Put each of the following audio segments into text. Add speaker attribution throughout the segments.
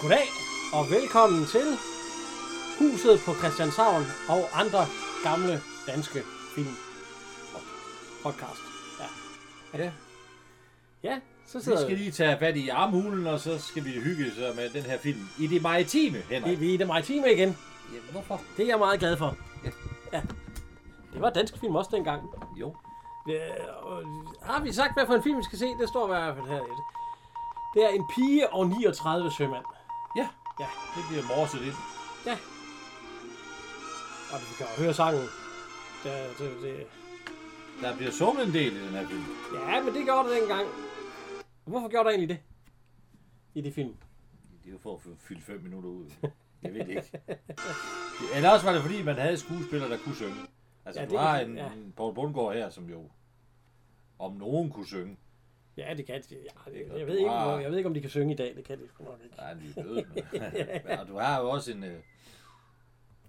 Speaker 1: Goddag og velkommen til Huset på Christianshavn og andre gamle danske film og podcast. Ja,
Speaker 2: Ja,
Speaker 1: ja så
Speaker 2: så
Speaker 1: sidder
Speaker 2: skal
Speaker 1: vi.
Speaker 2: lige tage fat i armhulen, og så skal vi hygge sig med den her film i det maritime, Henrik.
Speaker 1: Vi er i det maritime igen.
Speaker 2: Jamen, hvorfor?
Speaker 1: Det er jeg meget glad for.
Speaker 2: Ja.
Speaker 1: ja. Det var dansk film også dengang.
Speaker 2: Jo.
Speaker 1: Øh, og har vi sagt, hvad for en film vi skal se? Det står i hvert fald her i det. Det er en pige og 39 sømand.
Speaker 2: Ja,
Speaker 1: Ja,
Speaker 2: det bliver morset ind.
Speaker 1: ja. Og vi kan jo høre sangen. Det, det, det.
Speaker 2: Der bliver sunget en del i den her film.
Speaker 1: Ja, men det gjorde det dengang. Hvorfor gjorde der egentlig det? I det film.
Speaker 2: Det er jo for at få fyldt fem minutter ud. Jeg ved det ikke. Det- Eller også var det, fordi man havde skuespillere, der kunne synge. Altså,
Speaker 1: Ja,
Speaker 2: ja, du
Speaker 1: det
Speaker 2: har
Speaker 1: kan-
Speaker 2: en
Speaker 1: ja.
Speaker 2: ja. Paul Bundgaard her, som jo om nogen kunne synge.
Speaker 1: Ja, det kan de. Ja, det,
Speaker 2: godt,
Speaker 1: jeg,
Speaker 2: du
Speaker 1: ved ikke,
Speaker 2: har-
Speaker 1: hvor- jeg ved ikke, om de kan synge i dag. Det kan de sgu nok ikke.
Speaker 2: Nej, han er jo død. men- Og du har jo også en... øh,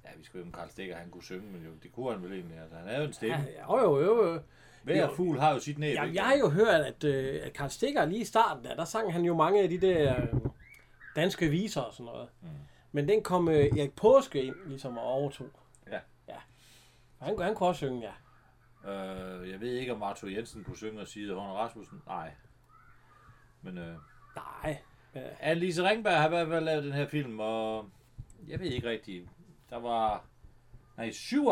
Speaker 2: Ja, vi skal jo om Karl Stikker, han kunne synge, men jo, det kunne han vel egentlig. Altså, han havde jo en stemme.
Speaker 1: Ja, jo, jo, jo. jo.
Speaker 2: Hver fugl har jo sit næb.
Speaker 1: Jamen,
Speaker 2: ikke?
Speaker 1: jeg har jo hørt, at, øh, at Karl Stikker lige i starten, der, der sang han jo mange af de der øh, danske viser og sådan noget. Mm. Men den kom øh, Erik Påske ind, ligesom og overtog.
Speaker 2: Ja.
Speaker 1: Han, han kunne også synge, ja.
Speaker 2: Øh, jeg ved ikke, om Arthur Jensen kunne synge og sige Horne Rasmussen. Nej. Men øh,
Speaker 1: Nej. men, øh,
Speaker 2: Annelise Ringberg har i hvert fald lavet den her film, og jeg ved ikke rigtigt. Der var... Nej, 77.775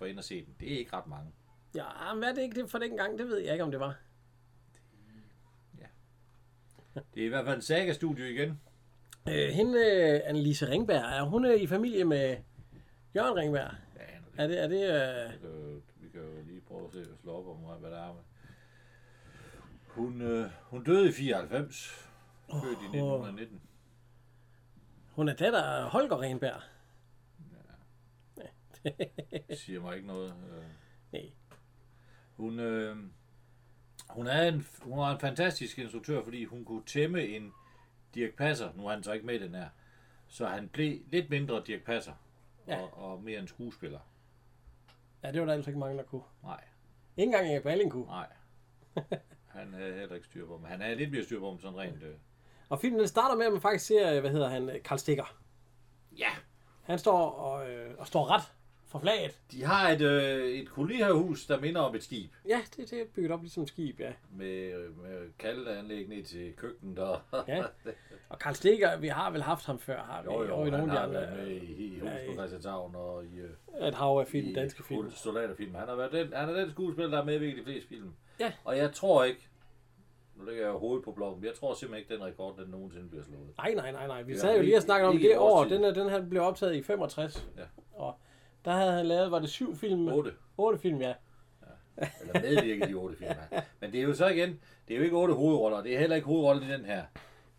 Speaker 2: var inde og se den. Det er ikke ret mange.
Speaker 1: Ja, men hvad er det ikke det for dengang? Det ved jeg ikke, om det var.
Speaker 2: Det er i hvert fald en saga-studio igen.
Speaker 1: Øh, hende, øh, Annelise Ringberg, er hun øh, i familie med Jørgen Ringberg?
Speaker 2: Ja, Henrik,
Speaker 1: Er det, er det, øh,
Speaker 2: vi kan jo- vi kan jo lige prøve at se, slå op om, hvad der er med. Hun, øh, hun døde i 94. Født i 1919.
Speaker 1: hun er datter af Holger Ringberg?
Speaker 2: Siger mig ikke noget. Øh.
Speaker 1: Nej.
Speaker 2: Hun, øh, hun, er en, hun var en fantastisk instruktør, fordi hun kunne tæmme en Dirk Passer. Nu er han så ikke med i den her. Så han blev lidt mindre Dirk Passer.
Speaker 1: Ja.
Speaker 2: Ja. Og, og mere en skuespiller.
Speaker 1: Ja, det var der altså ikke mange, der kunne.
Speaker 2: Nej,
Speaker 1: Ikke engang Erik Balling kunne.
Speaker 2: nej. Han havde heller ikke styr på ham. Han er lidt mere styr på ham sådan rent... Øh.
Speaker 1: Og filmen den starter med, at man faktisk ser, øh, hvad hedder han, øh, Karl Stikker.
Speaker 2: Ja,
Speaker 1: Han står og, øh, og står ret for flaget.
Speaker 2: de har et, øh, et kolonihavehus, der minder om et skib.
Speaker 1: Ja, det, det er bygget op ligesom skib, ja.
Speaker 2: Med, øh, med kaldeanlæg ned til køkkenet og...
Speaker 1: ja. Og Karl Stikker, vi har vel haft ham før, har vi?
Speaker 2: jo,
Speaker 1: Øh, og
Speaker 2: jo,
Speaker 1: i
Speaker 2: han
Speaker 1: nogle af
Speaker 2: har
Speaker 1: de
Speaker 2: været
Speaker 1: andre,
Speaker 2: med i, i Hus på Christianshavn og i... Øh,
Speaker 1: et hav af film, danske film.
Speaker 2: Fuld soldaterfilm. Han, har været den, han er den skuespiller, der har medvirket i de fleste film.
Speaker 1: Ja.
Speaker 2: Og jeg tror ikke, nu lægger jeg hovedet på blokken, men jeg tror simpelthen ikke, den rekord, den nogensinde bliver slået.
Speaker 1: Nej, nej, nej, nej. Vi
Speaker 2: Det
Speaker 1: sad
Speaker 2: var
Speaker 1: jo lige og
Speaker 2: ikke-
Speaker 1: snakkede om
Speaker 2: ikke
Speaker 1: det
Speaker 2: i
Speaker 1: år.
Speaker 2: årstiden.
Speaker 1: Den her, den her blev optaget i 65.
Speaker 2: Ja.
Speaker 1: Og der havde han lavet, var det syv film?
Speaker 2: Otte.
Speaker 1: Otte film, ja.
Speaker 2: Eller medvirket i otte film. han. Men det er jo så igen, det er jo ikke otte hovedroller, det er heller ikke hovedrollen i den her.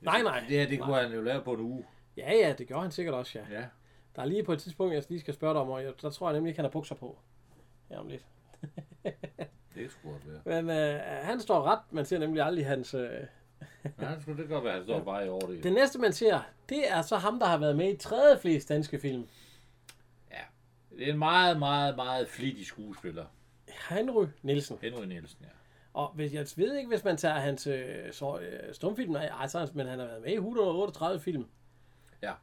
Speaker 1: Nej, nej.
Speaker 2: Det her, det kunne han jo lave på en uge.
Speaker 1: Ja, ja, det gjorde han sikkert også, ja.
Speaker 2: Ja.
Speaker 1: Der er lige på et tidspunkt, jeg lige skal spørge dig om, og jeg, der tror jeg nemlig ikke, han har bukser på. Ja, om lidt.
Speaker 2: Det skulle godt være.
Speaker 1: Men øh, han står ret. Man ser nemlig aldrig hans... Øh...
Speaker 2: Men han skulle det kan godt være, at han står bare i over det.
Speaker 1: Det næste, man ser, det er så ham, der har været med i tredje flest danske film.
Speaker 2: Ja. Det er en meget, meget, meget flittig skuespiller.
Speaker 1: Henry Nielsen.
Speaker 2: Henry Nielsen, ja.
Speaker 1: Og hvis, jeg ved ikke, hvis man tager hans øh, så, øh, stumfilm, nej, ej, så er han- men han har været med i 138 film.
Speaker 2: Ja.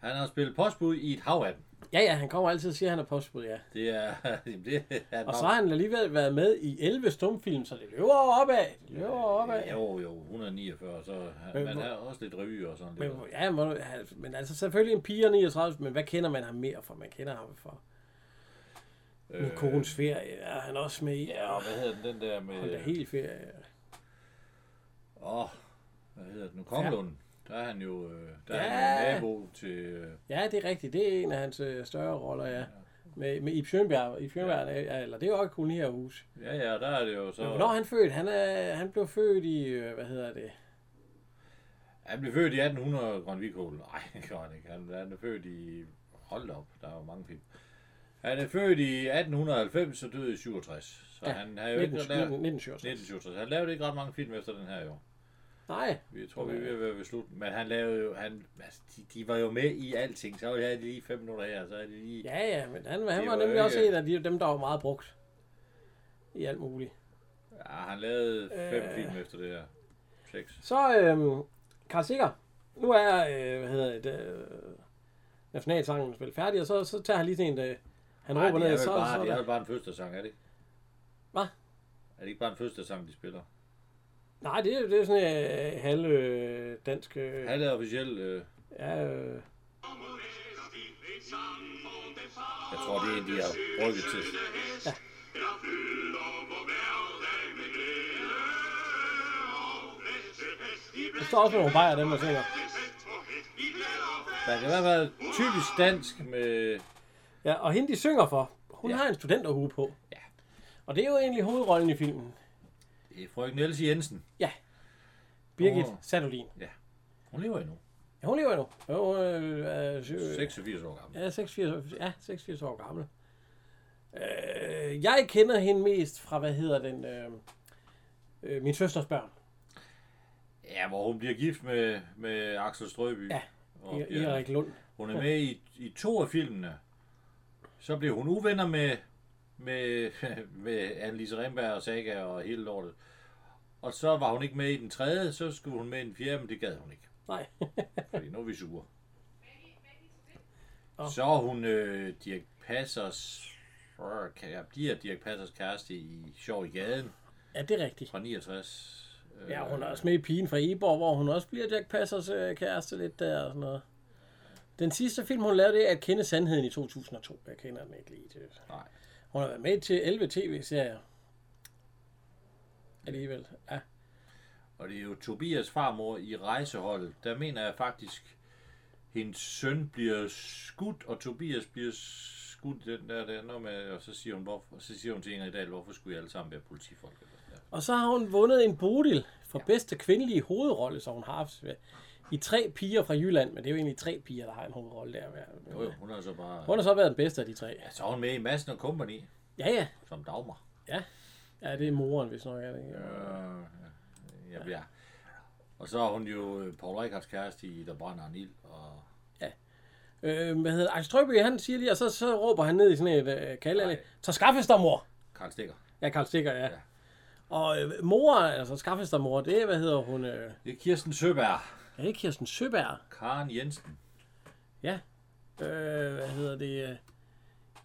Speaker 2: Han har spillet postbud i et hav af dem.
Speaker 1: Ja, ja, han kommer altid og siger, at han er postbud, ja.
Speaker 2: Det er... Jamen, det er
Speaker 1: Og så har han alligevel været med i 11 stumfilm, så det løber jo opad. Det løber jo opad.
Speaker 2: Ja, Jo, jo, 149, så
Speaker 1: Men
Speaker 2: men, man
Speaker 1: hvor-
Speaker 2: er også lidt revy og sådan
Speaker 1: Men,
Speaker 2: lidt.
Speaker 1: ja, må, du- han- men altså selvfølgelig en pige og 39, men hvad kender man ham mere for? Man kender ham for øh, Konens ferie, er han også med i,
Speaker 2: Ja,
Speaker 1: og
Speaker 2: og hvad hedder den, den der
Speaker 1: Honda
Speaker 2: med...
Speaker 1: Helt ferie.
Speaker 2: Åh, oh, hvad hedder den nu? Kongelund. Der er han jo øh, der er
Speaker 1: Ja.
Speaker 2: han jo nabo til... øh,
Speaker 1: Ja, det er rigtigt, det er en af hans øh, større roller, ja. Med, med Ib Sjønbjerg, Ib Sjønbjerg, ja. eller det er jo også kun her hus.
Speaker 2: Ja, ja, der er det jo
Speaker 1: Men
Speaker 2: så...
Speaker 1: hvornår er han født? Han, er, han blev født i, øh, hvad hedder det?
Speaker 2: Han blev født i 1800, Grønvig Kål. Nej, det gør han ikke. Han, han er født i... Hold da op, der er jo mange film. Han er født i 1890 og døde i 67. Så
Speaker 1: Ja,
Speaker 2: ja, han har jo ikke...
Speaker 1: 19,
Speaker 2: lavet-
Speaker 1: 1967.
Speaker 2: 1967. Han lavede ikke ret mange film efter den her, jo.
Speaker 1: Nej,
Speaker 2: Vi tror, vi er ved at være ved slut. Men han lavede jo... Han, altså, de, de, var jo med i alting. Så havde de lige fem minutter her, så er de lige...
Speaker 1: ja, ja, men han, han
Speaker 2: Det
Speaker 1: var
Speaker 2: var
Speaker 1: nemlig
Speaker 2: ikke-
Speaker 1: også en af de, dem, der var meget brugt i alt muligt. Øh.
Speaker 2: Ja, han lavede fem film efter det her. Seks.
Speaker 1: Så øhm, Karl Sikker, nu er øh, hvad hedder det, øh, nationalsangen spillet færdig, og så, så tager han lige sådan en, øh, han
Speaker 2: Nej,
Speaker 1: råber ned,
Speaker 2: det
Speaker 1: og
Speaker 2: er vel
Speaker 1: så,
Speaker 2: bare,
Speaker 1: så,
Speaker 2: det er
Speaker 1: så
Speaker 2: vel bare en fødselsdagssang, er det ikke?
Speaker 1: Hvad?
Speaker 2: Er det ikke bare en fødselsdagssang, de spiller?
Speaker 1: Nej, det er, det er sådan en øh, halv øh, dansk... Øh,
Speaker 2: Han er officielt... Øh,
Speaker 1: ja, øh,
Speaker 2: jeg tror, det er en, de har rykket til.
Speaker 1: der står også med nogle bajer, dem der synger.
Speaker 2: Man kan i hvert fald typisk dansk med...
Speaker 1: Ja, og hende de synger for, hun
Speaker 2: Ja.
Speaker 1: ja. har en studenterhue på.
Speaker 2: Ja.
Speaker 1: Og det er jo egentlig hovedrollen i filmen.
Speaker 2: Det er øh, frøken Else Jensen.
Speaker 1: Birgit
Speaker 2: Åh.
Speaker 1: oh. Sadolin.
Speaker 2: Hun lever endnu.
Speaker 1: Ja, hun lever endnu. Jo, hun er, øh, syv-
Speaker 2: 86 år gammel.
Speaker 1: Ja, 86, ja, 86 år gammel. Øh, jeg kender hende mest fra, hvad hedder den, øh, øh, min søsters børn.
Speaker 2: Ja, hvor hun bliver gift med, med Axel Strøby.
Speaker 1: Ja,
Speaker 2: Og,
Speaker 1: I, E- Erik Lund.
Speaker 2: Hun er med i, i to af filmene. Så blev hun uvenner med, med, med Annelise Remberg og Saga og hele lortet. Og så var hun ikke med i den tredje, så skulle hun med i den fjerde, men det gad hun ikke.
Speaker 1: Nej.
Speaker 2: Fordi nu er vi sure.
Speaker 1: Åh.
Speaker 2: Så er hun øh, Dirk Passers... øh, kan- Ja, bliver Dirk Passers kæreste i Sjov i gaden
Speaker 1: ja, det er rigtigt.
Speaker 2: fra 69. Øh,
Speaker 1: Ja, hun er også med i Pigen fra Eborg, hvor hun også bliver Jack Passers øh, kæreste lidt der og sådan noget. Den sidste film, hun lavede, det er At kende sandheden i 2002. Jeg kender den ikke lige til.
Speaker 2: Nej.
Speaker 1: Hun har været med til 11 tv-serier. Alligevel. Ja.
Speaker 2: Og det er jo Tobias farmor i rejseholdet. Der mener jeg faktisk, hendes søn bliver skudt, og Tobias bliver skudt i den der, der når med, og så siger hun, hvorfor, og så siger hun til Ingrid Dahl, hvorfor skulle I alle sammen være politifolk? Eller sådan der.
Speaker 1: Og så har hun vundet en Bodil for bedste kvindelige hovedrolle, som hun har haft i tre piger fra Jylland, men det er jo egentlig tre piger, der har en hovedrolle der.
Speaker 2: Jo, jo, hun har så bare...
Speaker 1: Hun har så været den bedste af de tre.
Speaker 2: Så er hun med i Madsen og Company,
Speaker 1: Ja, ja.
Speaker 2: som Dagmar.
Speaker 1: Ja, det er moren, hvis nok er det. ikke?
Speaker 2: Øh, ja, ja. Og så er hun jo øh, Paul Rikards kæreste i Der brænder en ild, og
Speaker 1: Øh, hvad hedder Axel Strøby, han siger lige, og så, så råber han ned i sådan et øh, kalde,
Speaker 2: Nej.
Speaker 1: så skaffes der mor.
Speaker 2: Karl Stikker.
Speaker 1: Ja, Karl Stikker, ja.
Speaker 2: Ja.
Speaker 1: ja. Og øh, mor, altså skaffes der mor, det er, hvad hedder hun? Øh,
Speaker 2: Det er Kirsten Søberg,
Speaker 1: er det Kirsten Søberg?
Speaker 2: Karen Jensen.
Speaker 1: Ja. Øh, hvad hedder det? Øh,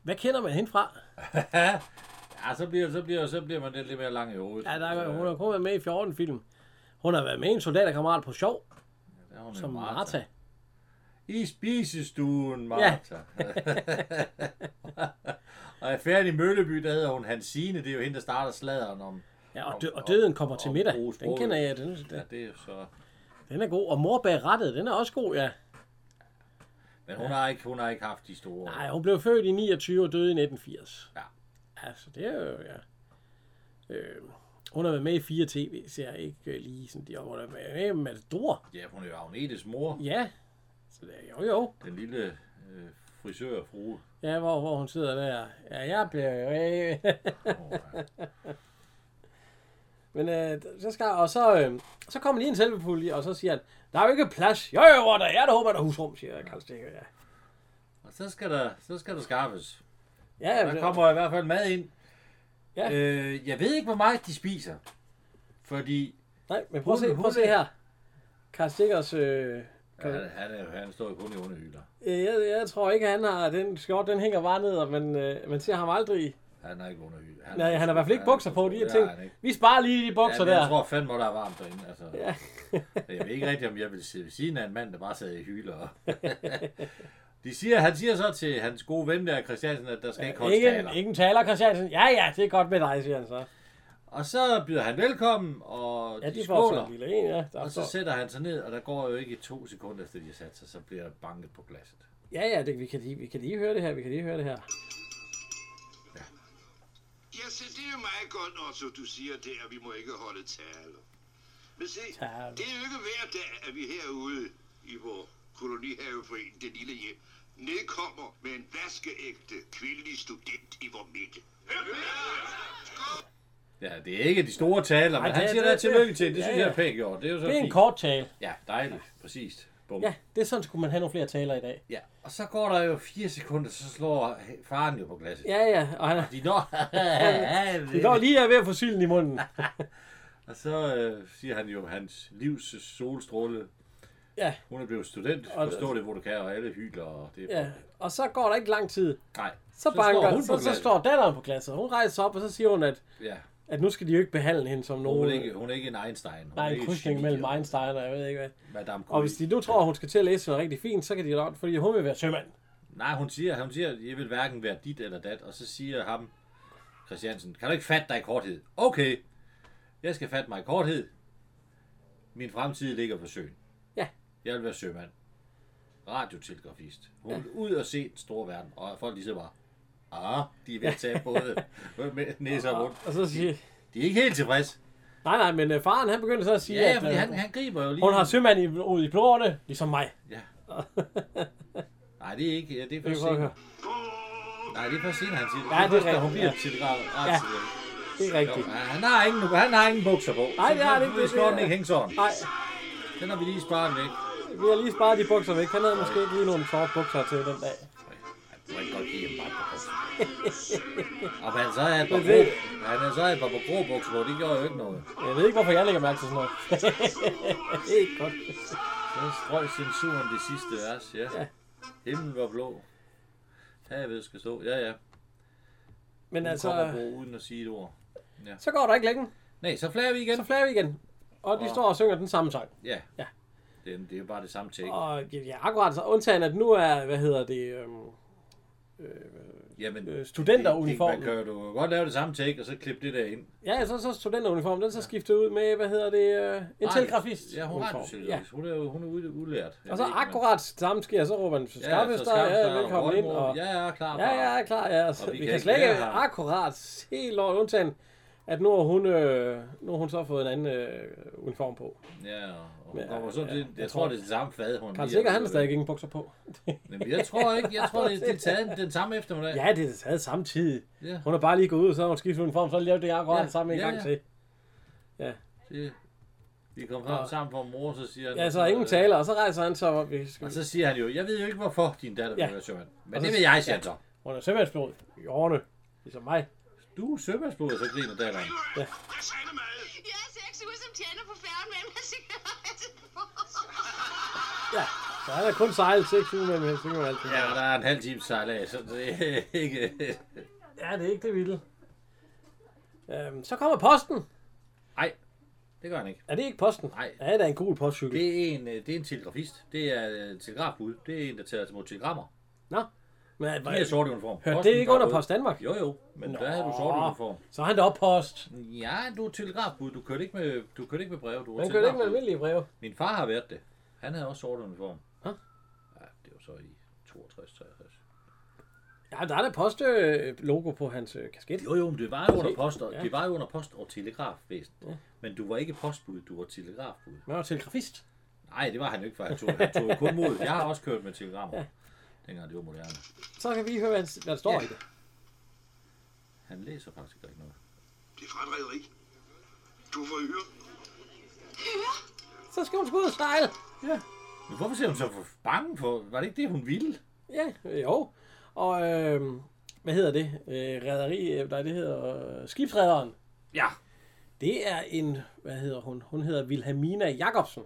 Speaker 1: hvad kender man hende fra?
Speaker 2: ja, så bliver, så, bliver, så bliver man lidt, lidt mere lang i hovedet.
Speaker 1: Ja, der er,
Speaker 2: Øh,
Speaker 1: hun har kun været med i 14 film. Hun har været med i en soldaterkammerat på sjov,
Speaker 2: Der er hun
Speaker 1: som
Speaker 2: en
Speaker 1: Martha. Martha.
Speaker 2: I spisestuen, Martha. og er færdig i Mølleby, der hedder hun Hansine. Det er jo hende, der starter sladeren om...
Speaker 1: Ja, og, dø-
Speaker 2: Og-
Speaker 1: og døden
Speaker 2: og-
Speaker 1: kommer til
Speaker 2: og
Speaker 1: middag.
Speaker 2: bruge
Speaker 1: Den
Speaker 2: sproget.
Speaker 1: kender jeg, den,
Speaker 2: Ja,
Speaker 1: den,
Speaker 2: det er jo så...
Speaker 1: den er god. Og mor bag rattet, den er også god, ja.
Speaker 2: Men hun har ikke, hun har ikke haft de store...
Speaker 1: Nej, hun blev født i 29 og døde i 1980.
Speaker 2: Ja.
Speaker 1: Altså, det er jo, ja. Øh, hun har været med i fire tv, ser jeg ikke øh, lige sådan, de, og hun har været med i Matador.
Speaker 2: Ja, hun er jo Agnetes mor.
Speaker 1: Ja, så det er, jo jo.
Speaker 2: Den lille øh, frisørfrue.
Speaker 1: Ja, hvor, hvor hun sidder der. Ja, jeg bliver jo af.
Speaker 2: Åh, ja.
Speaker 1: Men øh, så skal, og så, øh, så kommer lige en selvbepulje, og så siger han, der er jo ikke plads. Jo, jo, hvor der er, der håber, der er husrum, siger Karl Stikker. Ja,
Speaker 2: og så skal, der, så skal der skaffes.
Speaker 1: ja
Speaker 2: Der
Speaker 1: det-
Speaker 2: kommer i hvert fald mad ind.
Speaker 1: Ja.
Speaker 2: Øh, jeg ved ikke, hvor meget de spiser. Fordi
Speaker 1: Nej, men prøv at se,
Speaker 2: Hunde,
Speaker 1: prøv at se
Speaker 2: hunde.
Speaker 1: her. Karl Stikkers... Øh,
Speaker 2: Ja, han, han, er, han står jo kun i underhylder.
Speaker 1: øh, jeg, jeg, tror ikke, han har... Den skjort, den hænger bare ned, og man, øh, man ser ham aldrig...
Speaker 2: Han er ikke underhylder. Han
Speaker 1: Nej, han har i hvert fald ikke bukser på, de her
Speaker 2: Ja,
Speaker 1: ting.
Speaker 2: han er ikke.
Speaker 1: Vi sparer lige de
Speaker 2: Ja,
Speaker 1: bukser
Speaker 2: men jeg
Speaker 1: der.
Speaker 2: tror fandme, der er varmt derinde. Altså,
Speaker 1: Ja.
Speaker 2: jeg ved ikke rigtigt, om jeg vil sidde ved siden af en mand, der bare sad i hylder. De siger, han siger så til hans gode ven der, Christiansen, at der skal ikke holdes
Speaker 1: Ingen,
Speaker 2: taler.
Speaker 1: ingen taler, Christiansen. Ja, ja, det er godt med dig, siger han så.
Speaker 2: Og så byder han velkommen, og
Speaker 1: Ja, de får så
Speaker 2: skåler.
Speaker 1: en lille en, ja. Der
Speaker 2: Og så
Speaker 1: står.
Speaker 2: sætter han sig ned, og der går jo ikke to sekunder efter, de har sat sig, så bliver der banket på glasset.
Speaker 1: Ja, ja, det, vi, kan lige, vi kan lige høre det her, vi kan lige høre det her.
Speaker 3: Ja, så det er jo meget godt, når så du siger det, at vi må ikke holde taler. Men se,
Speaker 1: Taler.
Speaker 3: det er jo ikke hver dag, at vi herude i vores kolonihaveforening, det lille hjem, nedkommer med en vaskeægte kvindelig student i vores midte.
Speaker 2: Ja, det er ikke de store taler, men
Speaker 1: det
Speaker 2: han
Speaker 1: er-
Speaker 2: siger
Speaker 1: det
Speaker 2: der
Speaker 1: er-
Speaker 2: tillykke til. Det
Speaker 1: ja,
Speaker 2: synes jeg er
Speaker 1: ja.
Speaker 2: pænt gjort. Det er jo så
Speaker 1: Det er en
Speaker 2: fint.
Speaker 1: kort tale.
Speaker 2: Ja, dejligt. Præcis. Bum.
Speaker 1: Ja, det er sådan, skulle man have nogle flere taler i dag.
Speaker 2: Ja, og så går der jo fire sekunder, så slår faren jo på glasset.
Speaker 1: Ja, ja, og han,
Speaker 2: De når...
Speaker 1: det går lige er ved at få silden i munden.
Speaker 2: Og så øh, siger han jo, hans livs solstråle
Speaker 1: Ja.
Speaker 2: Hun er blevet student,
Speaker 1: Og-
Speaker 2: forstår det, hvor du kan, og alle hygler, og det er...
Speaker 1: Ja, og så går der ikke lang tid.
Speaker 2: Nej.
Speaker 1: Så, banker,
Speaker 2: står hun
Speaker 1: så,
Speaker 2: på
Speaker 1: så,
Speaker 2: glasset.
Speaker 1: står datteren på glasset. Hun rejser sig op, og så siger hun, at,
Speaker 2: Ja.
Speaker 1: at nu skal de jo ikke behandle hende som
Speaker 2: Hun er,
Speaker 1: nogen...
Speaker 2: ikke, hun er ikke en Einstein. Hun
Speaker 1: Nej,
Speaker 2: er
Speaker 1: en
Speaker 2: ikke
Speaker 1: krydsning
Speaker 2: geni,
Speaker 1: mellem
Speaker 2: og
Speaker 1: Einstein og jeg ved ikke hvad.
Speaker 2: Madame
Speaker 1: Og hvis de nu tror, hun skal til at læse noget rigtig fint, så kan de jo nok, fordi hun vil være sømand.
Speaker 2: Nej, hun siger, hun siger, jeg vil hverken være dit eller dat, og så siger ham, Christiansen, kan du ikke fatte dig i korthed? Okay, jeg skal fatte mig i korthed. Min fremtid ligger på søen.
Speaker 1: Ja.
Speaker 2: Jeg vil være sømand. Radiotelegrafist. Hun vil ud og se den store verden, og folk lige så bare, ah, de er ved at tage både med næser rundt.
Speaker 1: Og så siger
Speaker 2: De er ikke helt tilfredse.
Speaker 1: Nej, nej, men øh, faren han begyndte så at sige,
Speaker 2: Ja, ja
Speaker 1: at
Speaker 2: fordi
Speaker 1: øh,
Speaker 2: han, han griber jo lige...
Speaker 1: hun har sømand i, ud i bloderne, ligesom mig.
Speaker 2: Ja. Nej, det er ikke... ja, Det er
Speaker 1: Det
Speaker 2: først
Speaker 1: kan jeg
Speaker 2: senere.
Speaker 1: godt
Speaker 2: Nej, det er først senere, han siger det.
Speaker 1: Ja, det er
Speaker 2: først, da hun
Speaker 1: rigtigt,
Speaker 2: bliver
Speaker 1: ja.
Speaker 2: til det grad.
Speaker 1: Ja.
Speaker 2: Ja.
Speaker 1: Det er
Speaker 2: Jo,
Speaker 1: rigtigt.
Speaker 2: han har ingen, han har ingen bukser på.
Speaker 1: Nej, det har han ikke,
Speaker 2: Det
Speaker 1: det-
Speaker 2: skal den
Speaker 1: det-
Speaker 2: ikke hænge sådan.
Speaker 1: Nej,
Speaker 2: Den har vi lige sparet væk.
Speaker 1: vi har lige sparet de bukser væk. Han havde måske ikke lige nogle sorte bukser til den dag.
Speaker 2: Jeg må ikke godt give ham bare på bukser. Og han så havde et par
Speaker 1: Men
Speaker 2: grå,
Speaker 1: det-
Speaker 2: han havde så havde et par grå bukser på, det gjorde jo ikke noget.
Speaker 1: Jeg ved ikke, hvorfor jeg lægger mærke til sådan noget. det er ikke godt.
Speaker 2: Så strøg censuren det sidste vers, ja.
Speaker 1: Ja.
Speaker 2: Himlen var blå. Havet skal stå. Ja, ja.
Speaker 1: Men
Speaker 2: Hun
Speaker 1: altså,
Speaker 2: kommer på uden at sige et ord.
Speaker 1: så går der ikke længe.
Speaker 2: Nej, så flager vi igen.
Speaker 1: Så flager vi igen. Og de
Speaker 2: Og-
Speaker 1: står og synger den samme sang.
Speaker 2: Ja.
Speaker 1: Ja.
Speaker 2: Det, det er jo bare det samme take.
Speaker 1: Og ja, akkurat så undtagen, at nu er, hvad hedder det, øhm,
Speaker 2: Jamen,
Speaker 1: øh,
Speaker 2: det- Man
Speaker 1: studenteruniformen.
Speaker 2: kan jo godt lave det samme take, og så klippe det der ind.
Speaker 1: Ja, så, så studenteruniformen, den er så skiftet ud med, hvad hedder det, øh, en telegrafist.
Speaker 2: Ja, hun, har det ja. hun er jo hun er ude, udlært. Jeg
Speaker 1: Og så
Speaker 2: ved ikke, men-
Speaker 1: akkurat samme sker, så råber man, Skaffestad, ja, ja, velkommen ind. Og,
Speaker 2: Ja, ja, klar.
Speaker 1: ja, ja, er klar, ja. Så,
Speaker 2: Og
Speaker 1: vi, kan, slet
Speaker 2: være
Speaker 1: ikke
Speaker 2: her.
Speaker 1: akkurat helt lort undtagen, at nu har hun, øh, nu har hun så fået en anden øh, uniform på.
Speaker 2: Ja, og hun
Speaker 1: Ja,
Speaker 2: kommer så
Speaker 1: ja,
Speaker 2: til, jeg,
Speaker 1: jeg
Speaker 2: tror,
Speaker 1: tror-
Speaker 2: det er det samme fad, hun
Speaker 1: Karl
Speaker 2: lige har
Speaker 1: Sikker, han har
Speaker 2: fået.
Speaker 1: stadig ingen bukser på.
Speaker 2: Jamen, jeg tror ikke, jeg tror, det, det er taget den- den samme eftermiddag.
Speaker 1: ja, det er taget samtidig.
Speaker 2: Ja.
Speaker 1: Hun har bare lige gået ud, og så har hun skiftet uniform, så lavede det akkurat
Speaker 2: Ja,
Speaker 1: ja, sammen en
Speaker 2: ja,
Speaker 1: gang
Speaker 2: ja.
Speaker 1: til.
Speaker 2: Det, vi kom frem sammen for mor, så siger han... "Øh,
Speaker 1: Ja, så ingen taler, og så rejser han så op. Vi skal...
Speaker 2: Og så siger han jo, jeg ved jo ikke, hvorfor din datter
Speaker 1: Ja.
Speaker 2: vil være sømand. Men
Speaker 1: Og så-
Speaker 2: det vil jeg, siger han så.
Speaker 1: Hun er sømandsblod i årene, ligesom mig.
Speaker 2: Du er sømandsblod, og så griner datteren.
Speaker 1: Ja.
Speaker 3: Hvad sagde du mad?
Speaker 4: Jeg ser ikke så ud som tjener på færgen, men man siger, at
Speaker 1: Ja, så han har kun sejlet 6 uger med Helsingør og alt det
Speaker 2: Ja,
Speaker 1: der.
Speaker 2: og der er en halv time sejlads, så det er ikke...
Speaker 1: Ja, det er ikke det vilde. Øhm, så kommer posten.
Speaker 2: Nej, det gør han ikke.
Speaker 1: Er det ikke posten?
Speaker 2: Nej.
Speaker 1: Ja, det er en gul postcykel. Det...
Speaker 2: Det er en, øh, det er en telegrafist. Det er en telegrafbud. Det er en, der tager mod telegrammer.
Speaker 1: Nå. Men er,
Speaker 2: Det er sort uniform.
Speaker 1: Hørte
Speaker 2: Posten
Speaker 1: det ikke
Speaker 2: var
Speaker 1: under
Speaker 2: rød.
Speaker 1: Post Danmark?
Speaker 2: Jo, jo. Men Nå. der havde du sort uniform.
Speaker 1: Så er han deroppe post.
Speaker 2: Ja, du er telegrafbud. Du kørte ikke med, du kørte ikke med brev. Du var
Speaker 1: Man kører ikke med
Speaker 2: telegrafbud.
Speaker 1: almindelige breve.
Speaker 2: Min far har været det. Han havde også sort uniform.
Speaker 1: Hå?
Speaker 2: Ja, det var så i 62-63.
Speaker 1: Ja, der er da post-logo på hans øh, kasket.
Speaker 2: Jo, jo, men det var jo under
Speaker 1: Se.
Speaker 2: post og,
Speaker 1: Ja.
Speaker 2: det var jo under post og telegrafvæsen. Men du var ikke postbud, du var telegrafbud.
Speaker 1: Man var telegrafist.
Speaker 2: Nej, det var han jo ikke, for han tog, han tog jo kun mod. Jeg har også kørt med telegrammer. Dengang det var moderne.
Speaker 1: Så kan vi lige høre, hvad, hvad der står
Speaker 2: Ja.
Speaker 1: i det.
Speaker 2: Han læser faktisk ikke noget.
Speaker 3: Det er fra et rederi. Du får hyret.
Speaker 1: Så skal hun sgu ud og sejle.
Speaker 2: Men hvorfor ser hun så for bange for? Var det ikke det, hun ville?
Speaker 1: Ja, øh, jo. Og øh, hvad hedder det? Øh, rederi, øh, nej, det hedder øh, skibsrederen.
Speaker 2: Ja.
Speaker 1: Det er en, hvad hedder hun? Hun hedder Vilhelmina Jacobsen.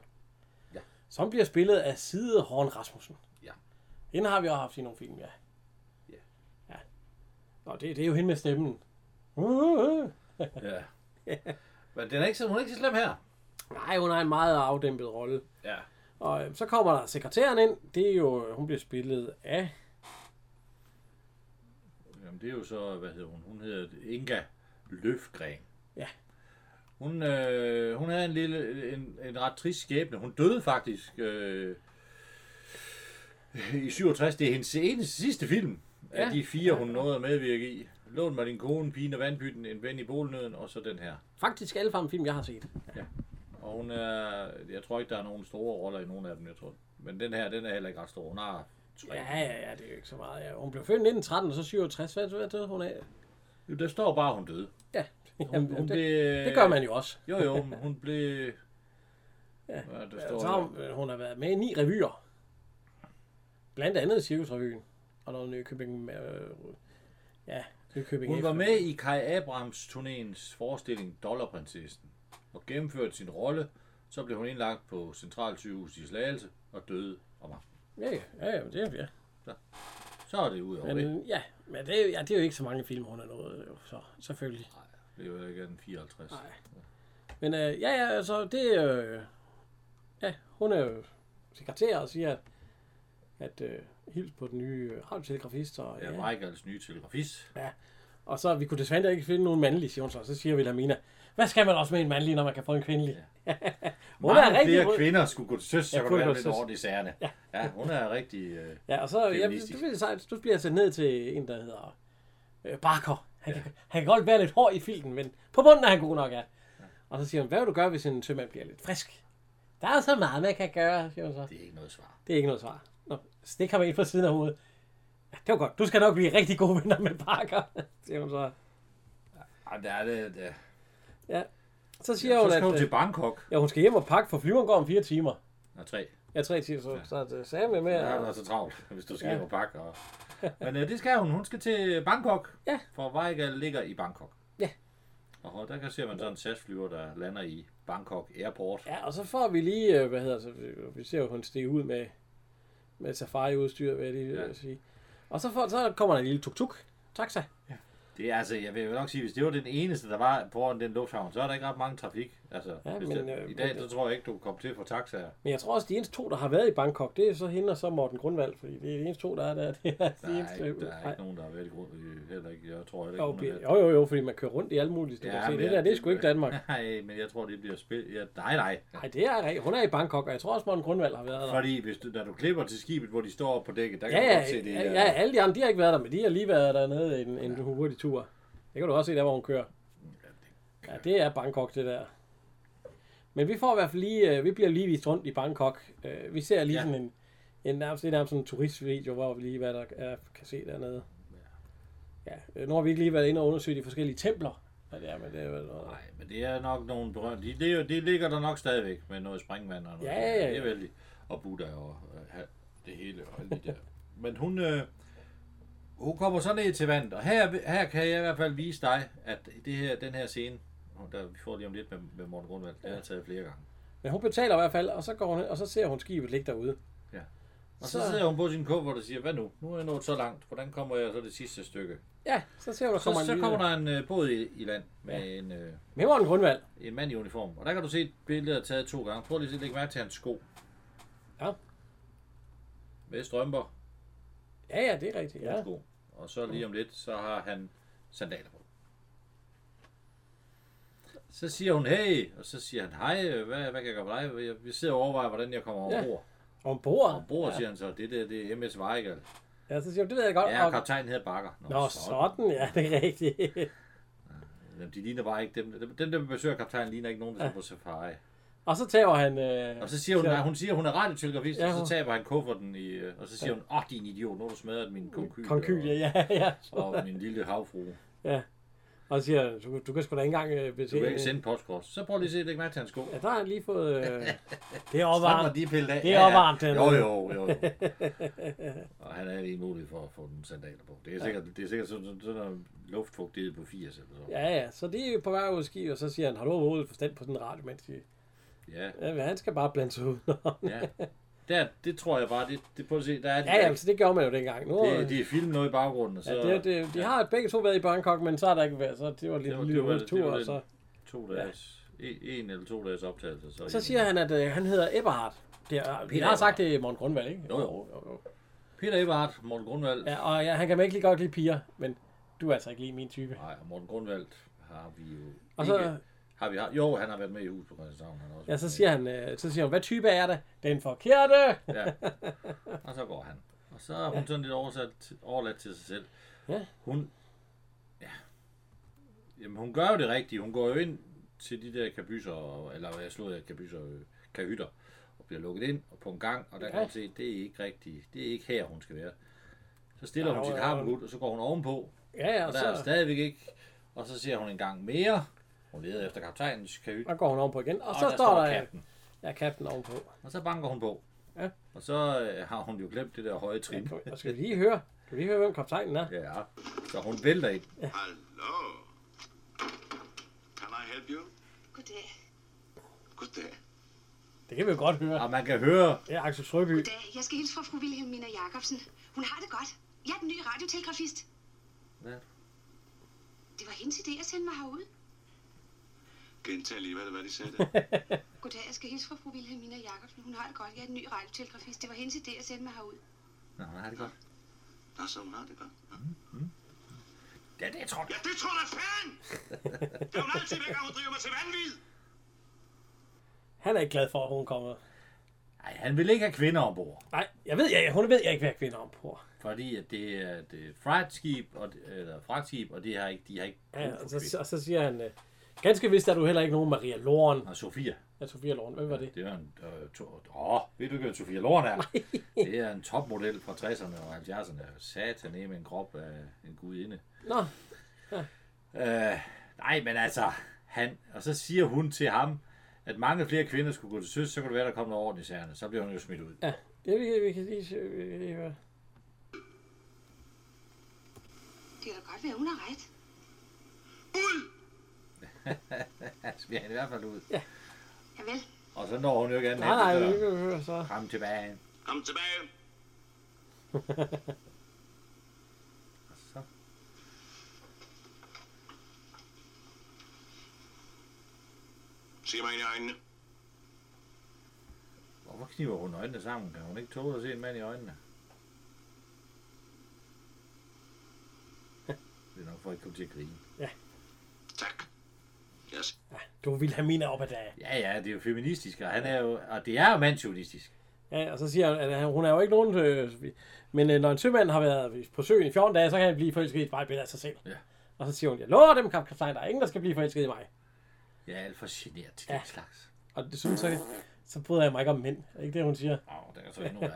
Speaker 2: Ja.
Speaker 1: Ja. Som bliver spillet af Side Horn Rasmussen.
Speaker 2: Ja.
Speaker 1: Hende har vi også haft i nogle film, ja.
Speaker 2: Ja.
Speaker 1: Ja. ja. Nå, det, det er jo hende med stemmen. Uh, uh, uh.
Speaker 2: ja. Men den er ikke så, hun er ikke så slem her.
Speaker 1: Nej, hun har en meget afdæmpet rolle.
Speaker 2: Ja.
Speaker 1: Og øh, så kommer der sekretæren ind. Det er jo, øh, hun bliver spillet af...
Speaker 2: Jamen, det er jo så, hvad hedder hun? Hun hedder Inga Løfgren.
Speaker 1: Ja.
Speaker 2: Hun, øh, hun havde en lille, en, en ret trist skæbne. Hun døde faktisk øh, i 67. Det er hendes eneste sidste film af
Speaker 1: Ja.
Speaker 2: de fire, hun nåede at medvirke i. Lån mig din kone, pigen og vandbytten, en ven i bolnøden, og så den her.
Speaker 1: Faktisk alle sammen film, jeg har set.
Speaker 2: Og hun er, jeg tror ikke, der er nogen store roller i nogen af dem, jeg tror. Men den her, den er heller ikke ret stor. Hun har tre.
Speaker 1: Ja, ja, ja, det er jo ikke så meget. Ja. Hun blev født i 1913, og så 67. Hvad, hvad døde hun af?
Speaker 2: Jo, Der står bare, hun døde.
Speaker 1: Ja,
Speaker 2: Hun,
Speaker 1: Jamen,
Speaker 2: hun
Speaker 1: det,
Speaker 2: blev,
Speaker 1: det gør man jo også.
Speaker 2: Jo, jo, men hun blev... Ja, der
Speaker 1: Ja,
Speaker 2: står
Speaker 1: Så har hun, øh, hun har været med i ni revyer. Blandt andet Cirkusrevyen. Og noget Nykøbing... Øh, ja, Nykøbing
Speaker 2: Hun var
Speaker 1: F.
Speaker 2: med i Kai Abrams turnéens forestilling Dollarprinsessen og gennemførte sin rolle. Så blev hun indlagt på Centralsygehus i Slagelse, og døde om aftenen.
Speaker 1: Ja, ja, ja, ja, men det er ja.
Speaker 2: Så er det ud over det.
Speaker 1: Men ja, men det, er, ja, det er jo ikke så mange film, hun er nået, jo, så selvfølgelig.
Speaker 2: Det er jo ikke en 54.
Speaker 1: Nej. Men øh, ja, ja, altså, det... Øh, ja, hun er jo sekretær og siger, at, at øh, hils på den nye øh, radiotelegrafist. Og,
Speaker 2: Ja, Michaels nye telegrafist.
Speaker 1: ja. Og så, vi kunne desværre ikke finde nogen mandlige, siger hun så. Så siger Vilhelmina, hvad skal man også med en mandlig, når man kan få en kvindelig? Ja. hun er
Speaker 2: Mange
Speaker 1: rigtig...
Speaker 2: flere
Speaker 1: rød.
Speaker 2: kvinder skulle gå til søs, så
Speaker 1: Ja,
Speaker 2: kunne
Speaker 1: kunne
Speaker 2: det
Speaker 1: gå
Speaker 2: være
Speaker 1: til
Speaker 2: lidt
Speaker 1: søs.
Speaker 2: over i sagerne. Ja. hun er rigtig... Øh,
Speaker 1: Ja, og så ja, du,
Speaker 2: Feministisk.
Speaker 1: bliver sejt, du bliver sendt ned til en, der hedder øh, Barker. Han, ja. kan, han kan godt være lidt hård i filten, men på bunden er han god nok, ja. Og så siger hun, hvad vil du gøre, hvis en sømand bliver lidt frisk? Der er så meget, man kan gøre, siger hun så.
Speaker 2: det er ikke noget svar.
Speaker 1: Det er ikke noget svar. Nå, stik ham ind på siden af hovedet. Ja, det var godt. Du skal nok blive rigtig gode venner med Barker, siger hun så.
Speaker 2: Ej, der er det... Der.
Speaker 1: Ja. Så siger ja,
Speaker 2: Ja, så
Speaker 1: hun,
Speaker 2: skal hun
Speaker 1: at
Speaker 2: til
Speaker 1: øh,
Speaker 2: Bangkok.
Speaker 1: ja, hun skal hjem og pakke, for flyveren går om fire timer.
Speaker 2: Nå, tre.
Speaker 1: Ja, tre timer, så, ja. så, så sagde med, med
Speaker 2: Ja,
Speaker 1: ja,
Speaker 2: hun er så travlt, hvis du skal
Speaker 1: Ja.
Speaker 2: ja. på pakke. Og... Men øh, det skal hun. Hun skal til Bangkok.
Speaker 1: Ja.
Speaker 2: For Vejgal ligger i Bangkok.
Speaker 1: Ja.
Speaker 2: Og der kan se, man sådan en SAS-flyver, der lander i Bangkok Airport.
Speaker 1: Ja, og så får vi lige, øh, hvad hedder så, vi ser jo, hun stiger ud med, med safari-udstyr, hvad det ja.
Speaker 2: Ja.
Speaker 1: øh, sige. Og så, får, så kommer der en lille tuk-tuk, taxa.
Speaker 2: Det er altså, jeg vil jo nok sige, hvis det var den eneste, der var foran den lufthavn, så er der ikke ret mange trafik. Altså,
Speaker 1: Ja,
Speaker 2: ja, hvis
Speaker 1: men,
Speaker 2: men, det,
Speaker 1: øh,
Speaker 2: I dag,
Speaker 1: men-
Speaker 2: så tror jeg ikke, du kan komme til for taxaer.
Speaker 1: Men jeg tror også, de eneste to, der har været i Bangkok, det er så hende og så Morten Grundvald, fordi det er de eneste to, der er der. Det er de
Speaker 2: Der er,
Speaker 1: eneste,
Speaker 2: ikke, der er
Speaker 1: Nej.
Speaker 2: ikke nogen, der har været i grund. øh, Heller ikke, jeg tror heller
Speaker 1: Jo,
Speaker 2: ikke,
Speaker 1: bi- jo, jo, jo, fordi man kører rundt i alle mulige steder. Ja, det der, det er sgu ikke Danmark.
Speaker 2: Nej, men jeg tror, det bliver spil. Ja, nej, nej.
Speaker 1: Nej, det er rigtigt. Hun er i Bangkok, og jeg tror også, Morten Grundvald har været der.
Speaker 2: Fordi hvis du, når du klipper til skibet, hvor de står oppe på dækket, der
Speaker 1: Ja,
Speaker 2: kan du
Speaker 1: ja,
Speaker 2: godt se det.
Speaker 1: ja,
Speaker 2: er-
Speaker 1: ja, alle de andre, de har ikke været der, men de har lige været dernede en, en hurtig tur. Det kan du også se, der hvor hun kører. Ja, det er Bangkok, det der. Men vi får i hvert fald lige, øh, vi bliver lige vist rundt i Bangkok. Øh, vi ser lige
Speaker 2: Ja.
Speaker 1: sådan en, en nærmest, det er nærmest sådan en turistvideo, hvor vi lige hvad der er, kan se dernede. Ja, øh, nu har vi ikke lige været inde og undersøge de forskellige templer. Hvad det er, men det er vel noget.
Speaker 2: Nej, men det er nok nogle berømte. De, det, er jo- de ligger der nok stadigvæk med noget springvand og noget.
Speaker 1: Ja, ja, ja.
Speaker 2: Det er vældig. Og Buddha og øh, ha- det hele og alt det der. men hun, øh, hun kommer så ned til vandet, og her, her kan jeg i hvert fald vise dig, at det her, den her scene, og der, vi får lige om lidt med, med Morten Grundvald, den har jeg taget flere gange.
Speaker 1: Men hun betaler i hvert fald, og så går hun ned, og så ser hun skibet ligge derude.
Speaker 2: Og så,
Speaker 1: Så-
Speaker 2: så sidder hun på sin kuffert hvor der siger, hvad nu? Nu er jeg nået så langt. Hvordan kommer jeg så det sidste stykke?
Speaker 1: Ja, så ser hun, der
Speaker 2: Så,
Speaker 1: kommer
Speaker 2: så
Speaker 1: en
Speaker 2: kommer
Speaker 1: lille...
Speaker 2: der en øh, båd i, i land med ja. en, øh,
Speaker 1: Med Morten Grundvald.
Speaker 2: en mand i uniform. Og der kan du se et billede, der er taget to gange. Prøv lige at lægge mærke til hans sko.
Speaker 1: Ja.
Speaker 2: Med strømper.
Speaker 1: Ja, ja, det er rigtigt. Ja.
Speaker 2: ja. sko. Og så lige om lidt, så har han sandaler på. Så siger hun, hey, og så siger han, hej, øh, hvad, hvad kan jeg gøre for dig? Jeg- Vi sidder og overvejer, hvordan jeg kommer
Speaker 1: Ja.
Speaker 2: ombord.
Speaker 1: Ombord.
Speaker 2: Ja. Ombord, siger han så, det der, det er MS Weigel.
Speaker 1: Ja, så siger hun, det ved jeg godt.
Speaker 2: Ja,
Speaker 1: og-
Speaker 2: og kaptajnen hedder Bakker.
Speaker 1: Nå, sådan, ja, det er rigtigt.
Speaker 2: Jamen, De ligner bare ikke dem. dem- Dem, der besøger kaptajnen, ligner ikke nogen, der ja. på safari.
Speaker 1: og så tager han... Øh,
Speaker 2: Og så siger hun,
Speaker 1: så-
Speaker 2: nej, hun siger, hun er radiotelegrafist,
Speaker 1: Ja,
Speaker 2: ja, og
Speaker 1: hun-
Speaker 2: så taber han kufferten i, øh, og så siger ja. hun, åh, din idiot, nu har du smadret min konkylie.
Speaker 1: Konkylie, ja, ja.
Speaker 2: Og, og min lille havfrue.
Speaker 1: Og så siger han, du, du kan sgu da ikke engang øh,
Speaker 2: Du kan
Speaker 1: betale...
Speaker 2: ikke sende postkort. Så prøv lige at se, læg mærke til hans sko.
Speaker 1: Ja, der har han lige fået... Øh, det er
Speaker 2: Strømmer,
Speaker 1: opvarmt.
Speaker 2: de er pillet af.
Speaker 1: Det er opvarmt, den
Speaker 2: Jo,
Speaker 1: er.
Speaker 2: jo, jo. jo. og han er lige mulighed for at få nogle sandaler på. Det er sikkert, det er sikkert sådan, sådan, sådan noget luftfugtighed på 80 eller sådan.
Speaker 1: Ja, ja, så det er jo på vej ud af skib, og så siger han, har du overhovedet forstand på sådan en radio, mens de...
Speaker 2: Ja,
Speaker 1: Ja, men han skal bare blande sig ud.
Speaker 2: ja. Der, det tror jeg bare, det, det prøv at se, der er de,
Speaker 1: ja, ja, så det gjorde man jo dengang. Nu,
Speaker 2: det, de er filmet noget i baggrunden, og så
Speaker 1: ja, det, det, de har begge to været i Bangkok, men så har der ikke været, så det var lidt
Speaker 2: Det var-
Speaker 1: en
Speaker 2: det var-
Speaker 1: lille
Speaker 2: det var
Speaker 1: tur, og
Speaker 2: lidt-
Speaker 1: så...
Speaker 2: to dages, en, en eller to dages optagelse. Så,
Speaker 1: Så siger han, at øh, han hedder Eberhard. Det er, vi har
Speaker 2: Eberhard.
Speaker 1: sagt det i Morten Grundvald, ikke?
Speaker 2: Jo, jo.
Speaker 1: jo.
Speaker 2: Peter Eberhardt, Morten Grundvald.
Speaker 1: Ja, og ja, han kan ikke lige godt lide piger, men du er altså ikke lige min type.
Speaker 2: Nej, og Morten Grundvald har vi jo
Speaker 1: Og
Speaker 2: ikke.
Speaker 1: så,
Speaker 2: Har vi, har- jo, han har været med i hus på Christianshavn. Han har også
Speaker 1: ja,
Speaker 2: været
Speaker 1: så
Speaker 2: med.
Speaker 1: siger han, øh, så siger hun, hvad type er det? Den forkerte!
Speaker 2: Ja. Og så går han. Og så er hun sådan lidt oversat, overladt til sig selv.
Speaker 1: Ja.
Speaker 2: Hun, ja. Jamen, hun gør jo det rigtige. Hun går jo ind til de der kabyser, eller jeg slog jeg kabyser, øh, kahytter, og bliver lukket ind og på en gang, og der kan
Speaker 1: Ja.
Speaker 2: hun se, det er ikke rigtigt. Det er ikke her, hun skal være. Så stiller
Speaker 1: Nej,
Speaker 2: hun sit
Speaker 1: hun er-
Speaker 2: harpen ud, og så går hun ovenpå,
Speaker 1: Ja, ja,
Speaker 2: og
Speaker 1: og
Speaker 2: der er
Speaker 1: så,
Speaker 2: stadigvæk ikke. Og så ser hun en gang mere. Hun leder efter kaptajnens kahyt,
Speaker 1: og går hun ovenpå igen, og
Speaker 2: og
Speaker 1: så
Speaker 2: der
Speaker 1: står der, øh,
Speaker 2: kapten.
Speaker 1: ja, kapten ovenpå.
Speaker 2: Og så banker hun på.
Speaker 1: Ja.
Speaker 2: Og så øh, har hun jo glemt det der høje trin.
Speaker 1: Og skal vi lige høre, skal vi lige høre, hvem kaptajnen er?
Speaker 2: Ja, så hun vælter ind.
Speaker 3: Hello. Can I help you?
Speaker 4: Goddag.
Speaker 3: Goddag.
Speaker 1: Det kan vi jo godt høre.
Speaker 2: Og man kan høre,
Speaker 1: Det er Axel Strøby.
Speaker 4: Dag, jeg skal hilse fra fru Vilhelmina Jacobsen. Hun har det godt. Jeg er den nye radiotelegrafist.
Speaker 2: Ja.
Speaker 4: Det var hendes idé at sende mig herud.
Speaker 3: Gentag lige, hvad det var, de sagde der.
Speaker 4: Goddag, jeg skal hilse fra fru Vilhelmina Jacobsen. Hun har det godt. Jeg er den nye radiotelegrafist. Det var hendes idé at sende mig herud.
Speaker 2: Nå, hun har det godt.
Speaker 3: Nå, så hun har det godt. Nå.
Speaker 2: Ja, det tror jeg.
Speaker 3: Ja, det tror jeg fanden! Det er hun altid, hver gang hun driver mig til vanvid.
Speaker 1: Han er ikke glad for, at hun kommer.
Speaker 2: Ej, han vil ikke have kvinder ombord.
Speaker 1: Nej, jeg ved, jeg, hun ved jeg ikke, hvad kvinder om på.
Speaker 2: Fordi at det er et øh, fragtskib, og, eller fragtskib, og det har ikke, de har ikke brug
Speaker 1: Ja,
Speaker 2: for
Speaker 1: og,
Speaker 2: kvinder.
Speaker 1: så, og så siger han, øh, ganske vist er du heller ikke nogen Maria Loren.
Speaker 2: Og Sofia,
Speaker 1: Ja, Sofia Loren, hvem var det?
Speaker 2: det er en... Øh, to, åh, ved du ikke, hvad Sofia Loren er? det er en topmodel fra 60'erne og 70'erne. Satan med en krop af en gudinde.
Speaker 1: Nå,
Speaker 2: Øh, nej, men altså, han, og så siger hun til ham, at mange flere kvinder skulle gå til søs, så kunne det være, der kom noget orden i sagerne. Så bliver hun jo smidt ud.
Speaker 1: ja, ja vi, vi kan lige se, vi kan lige høre.
Speaker 4: Det kan da godt være, hun har ret.
Speaker 3: Ud!
Speaker 2: Ja, så bliver han i hvert fald ud.
Speaker 4: Javel.
Speaker 2: Og så når hun jo ikke andet
Speaker 1: Nej, nej, vi
Speaker 2: dør.
Speaker 1: kan høre så.
Speaker 2: Kom tilbage.
Speaker 3: Kom tilbage.
Speaker 2: Så.
Speaker 3: Se mig ind i øjnene.
Speaker 2: Hvorfor kniver hun øjnene sammen? Kan hun ikke tåle at se en mand i øjnene? Det er nok for at ikke komme til at grine.
Speaker 3: Tak. Yes.
Speaker 1: Du vil have mine op ad dag.
Speaker 2: Ja, ja, det er jo feministisk, og, han er jo, og det er jo mandsjournalistisk.
Speaker 1: Ja, og så siger han, at han- hun er jo ikke nogen... Øh, men øh, når en sømand har været på søen i 14 dage, så kan han blive forelsket i et vejbillede af sig selv.
Speaker 2: Ja.
Speaker 1: Og så siger hun, jeg lover dem, kaptajn, der er ingen, der skal blive forelsket i mig.
Speaker 2: Jeg er alt for generet til
Speaker 1: Ja.
Speaker 2: ja. den slags.
Speaker 1: Og desuden så, så bryder jeg mig ikke om mænd. Er det ikke det, hun siger?
Speaker 2: Au, det er så endnu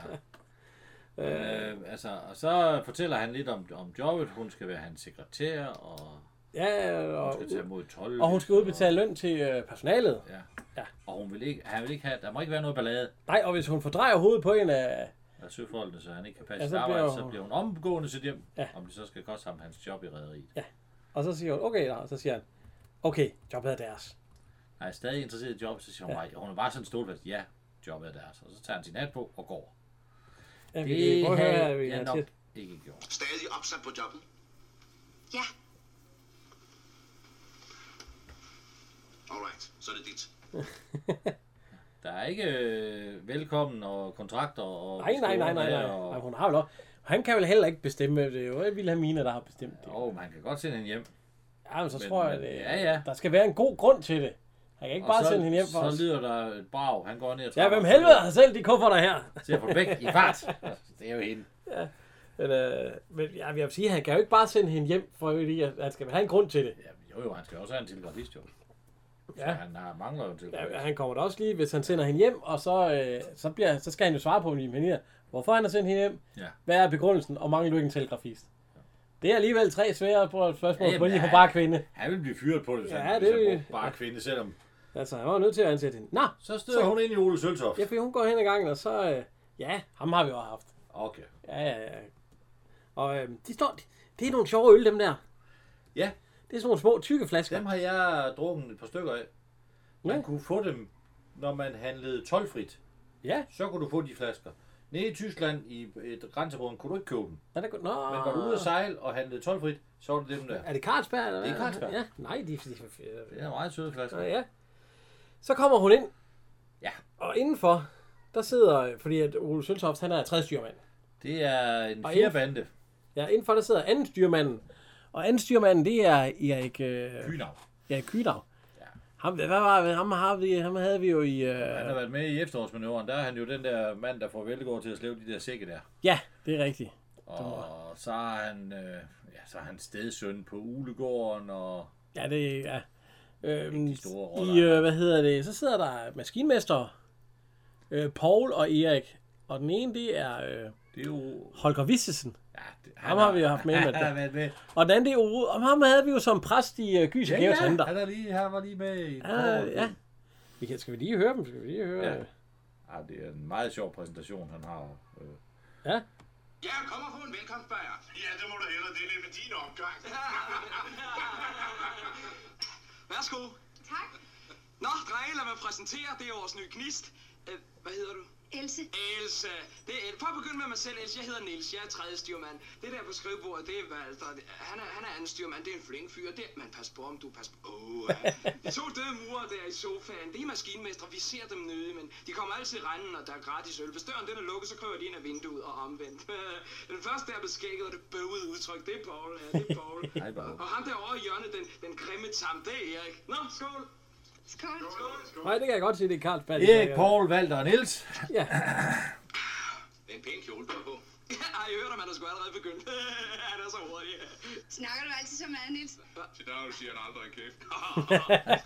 Speaker 2: værre. øh, altså, og så fortæller han lidt om, om jobbet. Hun skal være hans sekretær, og
Speaker 1: Ja, og,
Speaker 2: hun skal tage mod 12.
Speaker 1: og hun skal udbetale løn til øh, personalet.
Speaker 2: Ja.
Speaker 1: Ja.
Speaker 2: ja. Og hun vil ikke, han vil ikke have, der må ikke være noget ballade
Speaker 1: Nej, og hvis hun fordrejer hovedet på en af...
Speaker 2: af søfolkene, så han ikke kan
Speaker 1: Ja,
Speaker 2: passe
Speaker 1: så
Speaker 2: ja, arbejde,
Speaker 1: Altså, bliver
Speaker 2: så
Speaker 1: hun-
Speaker 2: bliver hun omgående til hjem,
Speaker 1: Ja.
Speaker 2: ja. om det så skal koste ham hans job i rederiet. Ja.
Speaker 1: Og så siger hun, okay, og så siger han, okay, jobbet er deres.
Speaker 2: Han er stadig interesseret i job, så siger hun, ja. hun er bare sådan stålfast, ja, jobbet er deres. Og så tager han sin hat på og går.
Speaker 1: Ja, vi kan prøve at høre, hvad vi
Speaker 2: jeg
Speaker 1: har
Speaker 2: nok
Speaker 1: til.
Speaker 2: ikke gjort.
Speaker 3: Stadig opsat på jobbet.
Speaker 4: Ja,
Speaker 3: Alright, så er det dit.
Speaker 2: Der er ikke øh, velkommen og kontrakter og...
Speaker 1: Nej, nej, nej, nej, nej.
Speaker 2: Og,
Speaker 1: nej hun har jo lov. Han kan vel heller ikke bestemme, det er jo Vilhelmina, der har bestemt det.
Speaker 2: jo, men han kan godt sende hende hjem.
Speaker 1: Ja, men så
Speaker 2: Men-
Speaker 1: tror jeg,
Speaker 2: men-
Speaker 1: det,
Speaker 2: ja, ja.
Speaker 1: der skal være en god grund til det. Han kan ikke bare
Speaker 2: så,
Speaker 1: sende hende hjem for os.
Speaker 2: Så lyder der et brag. Han går ned og
Speaker 1: Ja, hvem helvede har selv de kufferter her?
Speaker 2: Ser på væk i fart. Altså, Det er jo hende.
Speaker 1: Men, øh, men ja, jeg vil sige, han kan jo ikke bare sende hende hjem, for fordi at han skal vel have en grund til det.
Speaker 2: Ja, jo, jo, han skal også have en telegrafist, jo.
Speaker 1: Ja.
Speaker 2: Ja. Han har, mangler jo en
Speaker 1: Ja,
Speaker 2: telegrafist.
Speaker 1: han kommer da også lige, hvis han sender hende hjem, og så, øh, så, bliver, så skal han jo svare på, men hvorfor han har sendt hende hjem,
Speaker 2: Ja.
Speaker 1: hvad er begrundelsen, og mangler du ikke en telegrafist? Det er alligevel tre svære på et spørgsmål,
Speaker 2: Jamen,
Speaker 1: fordi hun
Speaker 2: ja.
Speaker 1: bare er kvinde.
Speaker 2: Han vil blive fyret på det, hvis
Speaker 1: Ja,
Speaker 2: han,
Speaker 1: det
Speaker 2: hvis
Speaker 1: vil-
Speaker 2: han brugte bare kvinde, selvom...
Speaker 1: Altså, han var jo nødt til at ansætte hende. Nå,
Speaker 2: Så støder hun ind i Ole Søltoft.
Speaker 1: ja, fordi hun går hen ad gangen, og så, øh, ja, ham har vi jo haft.
Speaker 2: Okay.
Speaker 1: Ja, ja, ja. Og øh, de står, de, det er nogle sjove øl, dem der.
Speaker 2: Ja,
Speaker 1: Det er sådan nogle små tykke flasker.
Speaker 2: dem har jeg drukket et par stykker af. Man
Speaker 1: Ja.
Speaker 2: kunne få dem, når man handlede tolvfrit.
Speaker 1: Ja,
Speaker 2: Så kunne du få de flasker. Nede i Tyskland, i et grænsebrød, kunne du ikke købe dem.
Speaker 1: er det godt? Nå,
Speaker 2: Men var du ude at sejle og handlede tolvfrit, så var det dem der.
Speaker 1: er det Carlsberg? Eller
Speaker 2: Det er
Speaker 1: hvad?
Speaker 2: Carlsberg.
Speaker 1: Ja, nej, de, de, de,
Speaker 2: Det er en meget søde flaske.
Speaker 1: Nå ja. Så kommer hun ind.
Speaker 2: Ja.
Speaker 1: Og indenfor, der sidder, fordi at Ole Søltoft, han er tredje styrmand.
Speaker 2: Det er en
Speaker 1: Og
Speaker 2: firebande.
Speaker 1: Ja, indenfor der sidder anden styrmanden. Og anden styrmanden, det er Erik, øh,
Speaker 2: Kynav.
Speaker 1: Erik Kydav.
Speaker 2: Ja.
Speaker 1: Ham, hvad var det? Ham, har vi, ham havde vi jo i...
Speaker 2: Han
Speaker 1: Øh,
Speaker 2: har været med i efterårsmanøvren. Der er han jo den der mand, der får Veltegård til at slæve de der sække der.
Speaker 1: ja, det er rigtigt.
Speaker 2: Og så er han, øh, ja, så er han stedsøn på Ulegården, og
Speaker 1: Ja, det er... Øhm,
Speaker 2: de store roller.
Speaker 1: I, øh, hvad hedder det? Så sidder der maskinmester, øh, Paul og Erik. Og den ene, det er øh,
Speaker 2: det er jo...
Speaker 1: Holger Vissesen.
Speaker 2: Ja, det,
Speaker 1: Ham har vi jo haft med,
Speaker 2: Han
Speaker 1: mand.
Speaker 2: har været med.
Speaker 1: Og den anden, det er Ove. Og ham havde vi jo som præst i øh, Gys og
Speaker 2: Ja,
Speaker 1: Gæves
Speaker 2: ja,
Speaker 1: Handler.
Speaker 2: han, er lige, han var lige med i
Speaker 1: Ja, ja. Vi kan, skal vi lige høre dem? Skal vi lige høre? Ja.
Speaker 2: Ja. ja. det er en meget sjov præsentation, han har. Øh,
Speaker 1: ja.
Speaker 3: Ja, kom og få en velkomstbajer. Ja, det må du hellere dele med din omgang.
Speaker 5: Værsgo.
Speaker 4: tak.
Speaker 5: Nå, drenge, lad mig præsentere det års nye knist. Øh, hvad hedder du?
Speaker 4: Else,
Speaker 5: Elsa. Det er, for at begynde med mig selv, Elsa. Jeg hedder Niels. Jeg er tredje styrmand. Det der på skrivebordet, det er Walter. Han er, han er anden styrmand. Det er en flink fyr. Det, man pas på, om du pas på. Åh, ja. De to døde murer der i sofaen. Det er maskinmestre. Vi ser dem nøde, men de kommer altid renden, og der er gratis øl. Hvis døren den er lukket, så kryber de ind af vinduet og omvendt. den første der er beskækket, og det bøvede udtryk. Det er Paul. Ja, det er Paul.
Speaker 2: Hej, Paul.
Speaker 5: og ham derovre i hjørnet, den, den grimme tam, det er Erik. Nå, skål.
Speaker 4: skål.
Speaker 1: Nej, det kan jeg godt se, det er Karls fald.
Speaker 2: Erik, Paul, Valter og Niels.
Speaker 1: Ja.
Speaker 3: Det er en pæn kjole, du har på.
Speaker 5: Ej, jeg hørte, man er sgu allerede begyndt. Han er så hurtig.
Speaker 4: Snakker du altid så meget, Nils?
Speaker 3: Til dag siger han aldrig en kæft.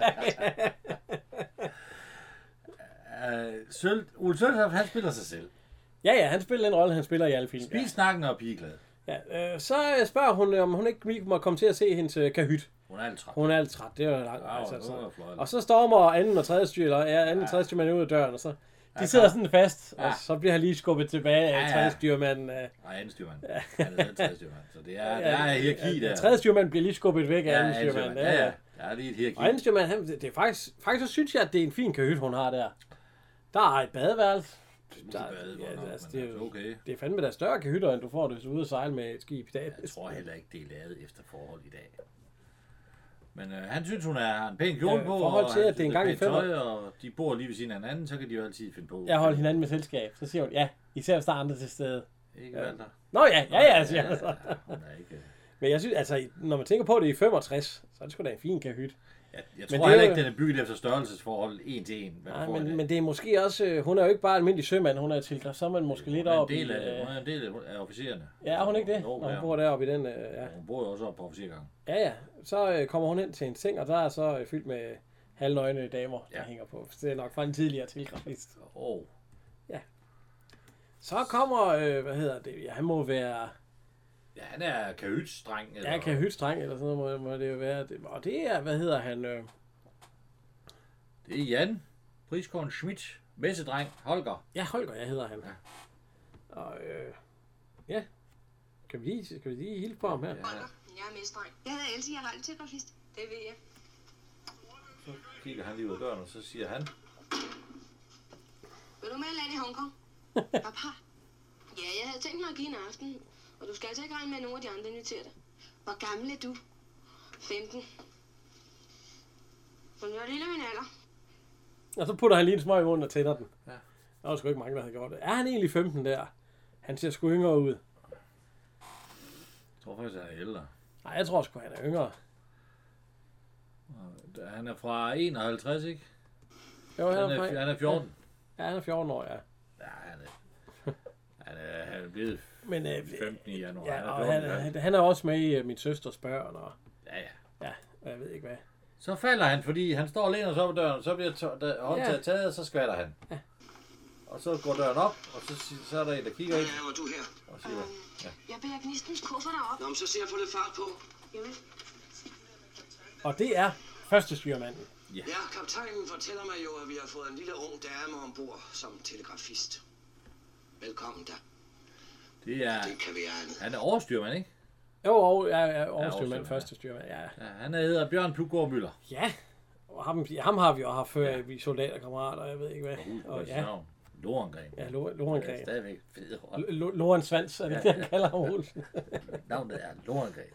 Speaker 2: Øh, Søl, Ole Søltoft, han spiller sig selv.
Speaker 1: ja, ja, han spiller den rolle, han spiller i alle film.
Speaker 2: Vi snakken og er pigeglad.
Speaker 1: Ja, øh, så øh, spørger hun, om hun ikke må komme til at se hendes øh, kahyt.
Speaker 2: Hun er alt træt.
Speaker 1: Hun er alt træt, det er jo langt.
Speaker 2: Au,
Speaker 1: altså,
Speaker 2: nu er jeg fløjet.
Speaker 1: så. Og så stormer anden og tredje styr, eller ja, anden og tredje styrmand ud af døren, og så de sidder sådan fast, og
Speaker 2: Ja.
Speaker 1: så bliver han lige skubbet tilbage af
Speaker 2: Ja, ja.
Speaker 1: tredje styrmanden. Øh,
Speaker 2: Nej, anden styrmand. Han er tredje styrmand. Så det er, der er hierarki der.
Speaker 1: Tredje styrmand bliver lige skubbet væk af
Speaker 2: Ja,
Speaker 1: anden styrmand.
Speaker 2: Ja, ja. Der er lige et hierarki.
Speaker 1: Og anden styrmand, han, det er faktisk, faktisk så synes jeg, at det er en fin kahyt, hun har der. Der er et badeværelse.
Speaker 2: Der, ja, nok, altså,
Speaker 1: det, er
Speaker 2: jo...
Speaker 1: jo,
Speaker 2: okay.
Speaker 1: det er fandme der er større kahytter, end du får, hvis du er ude og sejle med et skib i dag.
Speaker 2: Jeg tror heller ikke, det er lavet efter forhold i dag. Men øh, han synes, hun er, har en pæn kjole
Speaker 1: Ja,
Speaker 2: på,
Speaker 1: forhold
Speaker 2: og
Speaker 1: til,
Speaker 2: han
Speaker 1: at det er en
Speaker 2: synes,
Speaker 1: gang i
Speaker 2: pænt tøj,
Speaker 1: fem
Speaker 2: og de bor lige ved siden af hinanden, så kan de jo altid finde på.
Speaker 1: Jeg holder hinanden med selskab. Så siger hun, ja, især hvis der er andre til stede.
Speaker 2: Ikke Walter?
Speaker 1: Nå ja, ja, altså, ja, siger han så.
Speaker 2: ja, hun er ikke...
Speaker 1: Men jeg synes, altså, når man tænker på at det er i 65, så er det sgu da en fin kahyt.
Speaker 2: Jeg, jeg
Speaker 1: Men
Speaker 2: tror
Speaker 1: det er
Speaker 2: heller
Speaker 1: jo-
Speaker 2: ikke, den er bygget efter størrelsesforhold en til en. Hvad du
Speaker 1: Nej,
Speaker 2: får i dag.
Speaker 1: men, men det er måske også, øh, hun er jo ikke bare almindelig sømand, hun er tilgræs, så er man måske lidt
Speaker 2: hun er
Speaker 1: op
Speaker 2: en del
Speaker 1: i...
Speaker 2: af,
Speaker 1: øh,
Speaker 2: hun er en del af- af officererne.
Speaker 1: ja, er hun ikke det,
Speaker 2: Jo,
Speaker 1: når
Speaker 2: ja.
Speaker 1: hun bor deroppe i den... Øh, ja.
Speaker 2: Hun bor jo også oppe på officergangen.
Speaker 1: ja, ja. Så øh, kommer hun ind til en seng, og der er så øh, fyldt med halvnøgne damer, der
Speaker 2: Ja.
Speaker 1: hænger på. Så det er nok fra en tidligere tilgræs.
Speaker 2: Åh,
Speaker 1: Så kommer, øh, hvad hedder det, ja, han må være...
Speaker 2: ja, han er kahytsdreng. eller-
Speaker 1: Ja, kan hytstreng eller sådan noget, må, må det jo være. Det, og det er, hvad hedder han... Øh,
Speaker 2: Det er Jan, Priskorn Schmidt, messedreng, Holger.
Speaker 1: Ja, Holger, jeg hedder han. Ja. Og øh, ja, kan vi lige, kan vi lige hilse på ham her? Ja.
Speaker 4: Holger, jeg er mestreng. Jeg hedder Else, jeg er radiotelegrafist. Det ved jeg.
Speaker 2: Så kigger han lige ud af døren, og så siger han,
Speaker 4: Vil du med land i Hongkong? Papa? Ja, jeg havde tænkt mig at give en aften. Og du skal altså ikke regne med, at nogen af de andre inviterer dig. Hvor gammel er du? 15. Men jeg er lille af min alder.
Speaker 1: Og så putter han lige en smøg i munden og tænder den.
Speaker 2: Ja.
Speaker 1: Ja. Der var sgu ikke mange, der havde gjort det. Er han egentlig 15 der? Han ser sgu yngre ud.
Speaker 2: jeg tror faktisk, han er ældre.
Speaker 1: Nej, jeg tror sgu, han er yngre.
Speaker 2: Han er fra 51, ikke?
Speaker 1: Jo,
Speaker 2: Han
Speaker 1: han er,
Speaker 2: er, han er 14.
Speaker 1: Ja, han er 14 år, ja.
Speaker 2: Ja, han er, han er, han er blevet
Speaker 1: Men øh,
Speaker 2: 15 i januar.
Speaker 1: ja, og
Speaker 2: han
Speaker 1: han,
Speaker 2: er 14 i januar.
Speaker 1: han, han er også med i øh, min søsters børn, og
Speaker 2: Ja, ja.
Speaker 1: ja, og jeg ved ikke hvad.
Speaker 2: Så falder han, fordi han står og læner sig op ad døren, så bliver tå- da- håndtaget taget, og så skvatter han. Og så går døren op, og så, si- så er der en, der kigger ind
Speaker 5: Ja, var du her?
Speaker 2: og siger,
Speaker 4: Jeg bærer gnistens kufferter op.
Speaker 5: Nå, men så ser jeg få lidt fart på.
Speaker 4: Jamen,
Speaker 1: Og det er første styrmanden.
Speaker 5: Ja, kaptajnen fortæller mig jo, at vi har fået en lille ung dame ombord som telegrafist. Velkommen da.
Speaker 2: det er,
Speaker 5: Det kan være andet.
Speaker 2: han er overstyrmand, ikke?
Speaker 1: Jo, og jeg er overstyrmand,
Speaker 2: overstyrmand, ja.
Speaker 1: første styrmand, ja.
Speaker 2: Ja, han hedder Bjørn Plugård Møller.
Speaker 1: Ja, og ham, ham har vi jo haft før, ja. vi soldaterkammerater, jeg ved ikke hvad. Og ja,
Speaker 2: Lorengren.
Speaker 1: ja
Speaker 2: Det er
Speaker 1: Lorengren.
Speaker 2: stadigvæk fed rolle.
Speaker 1: Loren Svans, er det det, han kalder ham, Olsen?
Speaker 2: Navnet er Lorengren.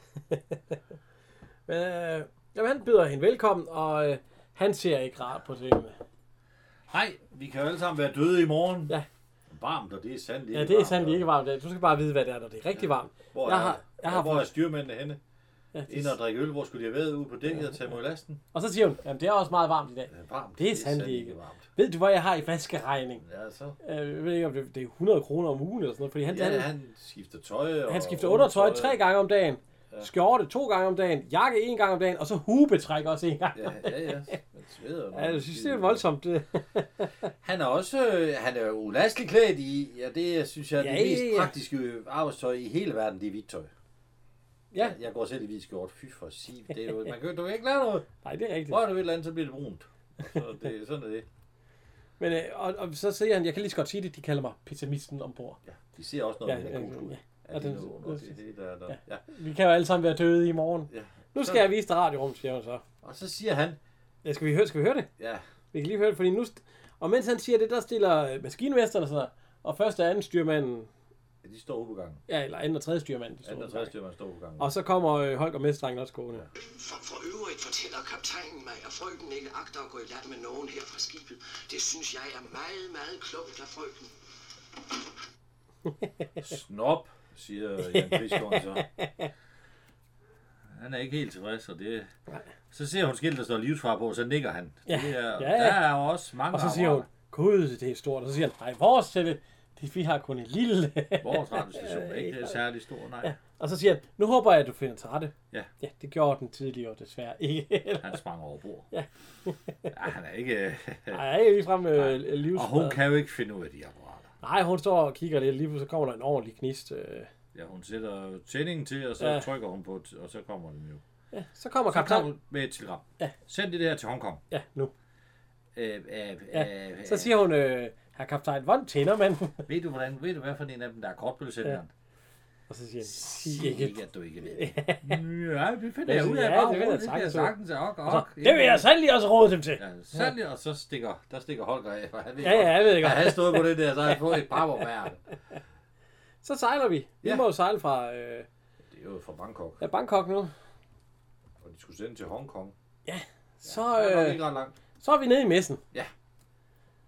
Speaker 1: Men, øh, jamen, han byder hende velkommen, og øh, han ser ikke rart på tingene.
Speaker 2: Hej, vi kan jo alle sammen være døde i morgen.
Speaker 1: Ja.
Speaker 2: Varmt, og det er sandt.
Speaker 1: Ja, det er sandt, det er ikke varmt. Du skal bare vide, hvad det er, når det er rigtig varmt.
Speaker 2: Hvor
Speaker 1: Jeg
Speaker 2: er,
Speaker 1: har- jeg har
Speaker 2: hvor er
Speaker 1: fået-
Speaker 2: styrmændene henne?
Speaker 1: Ja,
Speaker 2: Ind og drikke øl, hvor skulle de have været ude på dækket og tage mod lasten?
Speaker 1: Og så siger hun, jamen det er også meget varmt i dag.
Speaker 2: Det er varmt.
Speaker 1: Det er sandt
Speaker 2: sandelig
Speaker 1: ikke. Ved du, hvad jeg har i vaskeregning?
Speaker 2: Ja, så.
Speaker 1: Øh, Jeg ved ikke, om det, det er 100 kroner om ugen eller sådan noget, fordi han,
Speaker 2: Ja,
Speaker 1: han,
Speaker 2: han skifter tøj. Og
Speaker 1: Han skifter undertøj tre gange om dagen, skjorte to gange om dagen, jakke en gang om dagen, og så hubetræk også en gang.
Speaker 2: Ja, ja, ja. Han sveder. jo.
Speaker 1: Ja, jeg synes, det er voldsomt. Det.
Speaker 2: Han er også øh, han er jo ulastelig klædt i, og det synes jeg er
Speaker 1: Ja,
Speaker 2: det mest
Speaker 1: ja, ja.
Speaker 2: praktiske arbejdstøj i hele verden, det er hvidt tøj.
Speaker 1: Ja,
Speaker 2: Jeg går selv i hvidt skjort. Fy for sig, det er jo, man kan, du kan ikke lave noget.
Speaker 1: nej, det er rigtigt.
Speaker 2: Rører du et eller andet, så bliver det brunt. Og Så det, sådan er det.
Speaker 1: Men, øh, og, og, så siger han, jeg kan lige så godt sige det, de kalder mig pessimisten ombord.
Speaker 2: Ja, de ser også
Speaker 1: Ja,
Speaker 2: noget, ja,
Speaker 1: ja,
Speaker 2: der er
Speaker 1: ja,
Speaker 2: gul ud.
Speaker 1: ja.
Speaker 2: Ja,
Speaker 1: Og
Speaker 2: det er
Speaker 1: den-
Speaker 2: noget under, det er
Speaker 1: den-
Speaker 2: det, der, der. Ja.
Speaker 1: Vi kan jo alle sammen være døde i morgen.
Speaker 2: ja.
Speaker 1: Nu skal jeg vise dig radiorummet, siger hun så.
Speaker 2: Og så siger han,
Speaker 1: Ja, skal vi høre, skal vi høre det?
Speaker 2: ja,
Speaker 1: Vi kan lige høre det, fordi nu... St- og mens han siger det, der stiller øh, maskinmesteren sig, og første og anden styrmanden,
Speaker 2: Ja, de står ude på gangen.
Speaker 1: ja, eller anden og tredje styrmand, de står
Speaker 2: Anden og
Speaker 1: udenfor.
Speaker 2: tredje styrmand står ude på gangen.
Speaker 1: og så kommer øh, Holger Mestrangen også gående.
Speaker 5: For, for øvrigt fortæller kaptajnen mig, at frøken ikke agter at gå i land med nogen her fra skibet. Det synes jeg er meget, meget klogt af frøken.
Speaker 2: Snop, siger Jan Friskården så. Han er ikke helt tilfreds, og det... Så ser hun skilt, der står livsfar på, og så nikker han.
Speaker 1: Ja,
Speaker 2: Det er,
Speaker 1: ja, ja.
Speaker 2: Der er jo også mange
Speaker 1: Og så siger hun,
Speaker 2: apparater.
Speaker 1: gud, det er stort. Og så siger han, nej, vores tælle, det, vi har kun en lille.
Speaker 2: Vores radiostation er ikke særlig stor, nej.
Speaker 1: og så siger han, nu håber jeg, at du finder til rette.
Speaker 2: Ja.
Speaker 1: Ja, det gjorde den tidligere desværre ikke.
Speaker 2: Han sprang over bord. Ja. han er ikke...
Speaker 1: Nej, jeg er ikke ligefrem øh,
Speaker 2: Og hun
Speaker 1: livsmad.
Speaker 2: kan jo ikke finde ud af de apparater.
Speaker 1: Nej, hun står og kigger lidt, lige pludselig kommer der en ordentlig knist. Øh.
Speaker 2: Ja, hun sætter tændingen til, og så
Speaker 1: Ja.
Speaker 2: ja. trykker hun på, t- og så kommer den jo.
Speaker 1: Så kommer
Speaker 2: Så kommer
Speaker 1: kaptajnen.
Speaker 2: hun med et telegram.
Speaker 1: Ja.
Speaker 2: Send det der til Hongkong.
Speaker 1: Ja, nu.
Speaker 2: Øh, øh,
Speaker 1: Ja.
Speaker 2: øh,
Speaker 1: Så siger hun, øh, herr kaptajn, hvordan tænder man?
Speaker 2: Ved du, hvordan, ved du, hvad for en af dem, der er kortbølgesenderen? Ja.
Speaker 1: og så siger han, sig
Speaker 2: Sig
Speaker 1: ikke.
Speaker 2: ikke, at du ikke ved. ja, det finder jeg ud af.
Speaker 1: Ja,
Speaker 2: Ja,
Speaker 1: det
Speaker 2: det
Speaker 1: finder jeg
Speaker 2: finder jeg
Speaker 1: sagtens ud af.
Speaker 2: sagtens. Og, og,
Speaker 1: Så, det vil jeg sandelig også råde dem til.
Speaker 2: Ja, særlig, og så stikker, der stikker Holger af. for Han ved
Speaker 1: Ja, ja, jeg ved ikke.
Speaker 2: Har han stået på det der, så har han fået et par år
Speaker 1: Så sejler vi. Vi
Speaker 2: Ja.
Speaker 1: må jo sejle fra øh,
Speaker 2: Det er jo fra Bangkok,
Speaker 1: ja, Bangkok nu.
Speaker 2: og de skulle sende til Hongkong.
Speaker 1: Så,
Speaker 2: Det er nok
Speaker 1: øh,
Speaker 2: ikke ret langt.
Speaker 1: så er vi nede i messen.
Speaker 2: Ja.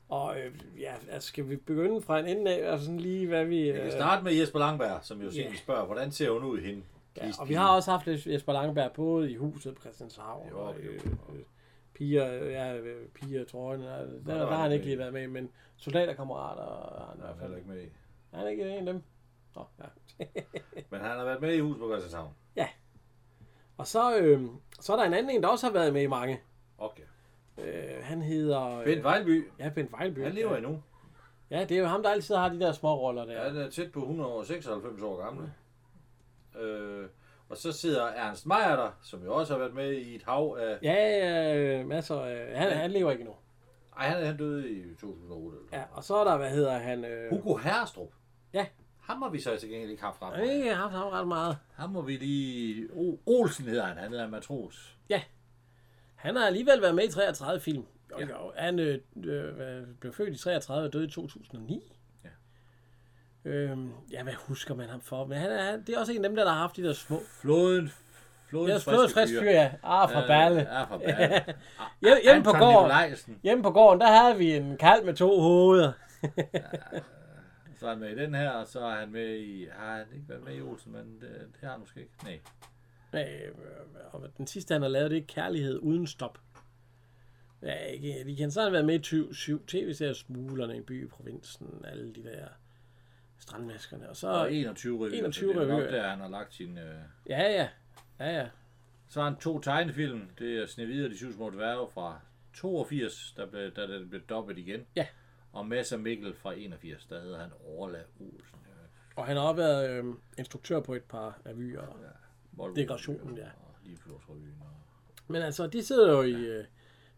Speaker 1: Og øh, ja, altså, skal vi begynde fra en ende af, altså sådan lige hvad vi...
Speaker 2: Vi
Speaker 1: Øh,
Speaker 2: kan starte med Jesper Langberg, som jo yeah. spørger, hvordan ser hun ud hende?
Speaker 1: ja, og vi har også haft lidt Jesper Langberg både i huset på Christianshavn
Speaker 2: Jo,
Speaker 1: og
Speaker 2: jo.
Speaker 1: øh, øh, piger, øh, ja, øh, piger og trøjen. og- Der, der, der, har han ikke lige været med, men soldaterkammerater og han er i hvert fald
Speaker 2: ikke med i.
Speaker 1: er han ikke en af dem. Nå, ja.
Speaker 2: Men han har været med i hus på Christianshavn.
Speaker 1: Og så, øh, så er der en anden en, der også har været med i mange.
Speaker 2: Okay.
Speaker 1: Øh, han hedder... Øh,
Speaker 2: Bent Vejlby,
Speaker 1: Ja, Bent Vejlby.
Speaker 2: han lever
Speaker 1: ja.
Speaker 2: endnu.
Speaker 1: Ja, det er jo ham, der altid har de der små roller der.
Speaker 2: Ja, han er tæt på 196 år gammel. Øh, og så sidder Ernst Meyer der, som jo også har været med i et hav af...
Speaker 1: Ja, øh, masser. Øh, han, han lever ikke endnu.
Speaker 2: Ej, han, han døde i 2008. Eller sådan.
Speaker 1: Ja, og så er der, hvad hedder han? Øh,
Speaker 2: Hugo Herrestrup.
Speaker 1: Ja.
Speaker 2: Ham har vi så til gengæld ikke haft frem.
Speaker 1: øh, jeg har haft ham ret meget.
Speaker 2: Ham må vi lige... O- Olsen hedder han, han hedder en matros.
Speaker 1: Han har alligevel været med i 33 film. Jo,
Speaker 2: Ja.
Speaker 1: jo. Han øh, øh, hvad- blev født i 33 og døde i 2009.
Speaker 2: Ja.
Speaker 1: Øhm, ja, hvad husker man ham for? Men han er, han- det er også en af dem, der, der har haft de der små...
Speaker 2: Floden... Floden
Speaker 1: Jeg er frisk fyr, ja. Ah, fra Berle.
Speaker 2: Ja, fra Berle.
Speaker 1: Hjem- hjemme på
Speaker 2: Anton
Speaker 1: gården.
Speaker 2: Nikolajsen.
Speaker 1: Hjemme på gården, der havde vi en kald med to hoveder.
Speaker 2: Så er han med i den her, og så er han med i... Har han ikke været med i Olsen, men det, det har han måske ikke. Nej.
Speaker 1: Øh, og den sidste, han har lavet, det er Kærlighed uden stop. Ja, ikke, de kan så har han været med i 27 tv-serier, Smuglerne, En by i provinsen, alle de der strandmaskerne. Og så,
Speaker 2: Og 21 revyer.
Speaker 1: 21
Speaker 2: så det er nok
Speaker 1: revyer.
Speaker 2: der, han har lagt sin... Øh...
Speaker 1: ja, ja, ja, ja.
Speaker 2: Så har han to tegnefilm. Det er Snevide og de syv små dværge fra 82, der blev, der, der blev dobbelt igen.
Speaker 1: Ja.
Speaker 2: Og Mads og Mikkel fra 81, der hedder han Orla Olsen. Øh,
Speaker 1: Og han har også været øh, instruktør på et par revyer.
Speaker 2: Volvo-
Speaker 1: Dekorationen, ja.
Speaker 2: Og Limfjordsrevyen. Og...
Speaker 1: Men altså, de sidder jo i... Øh,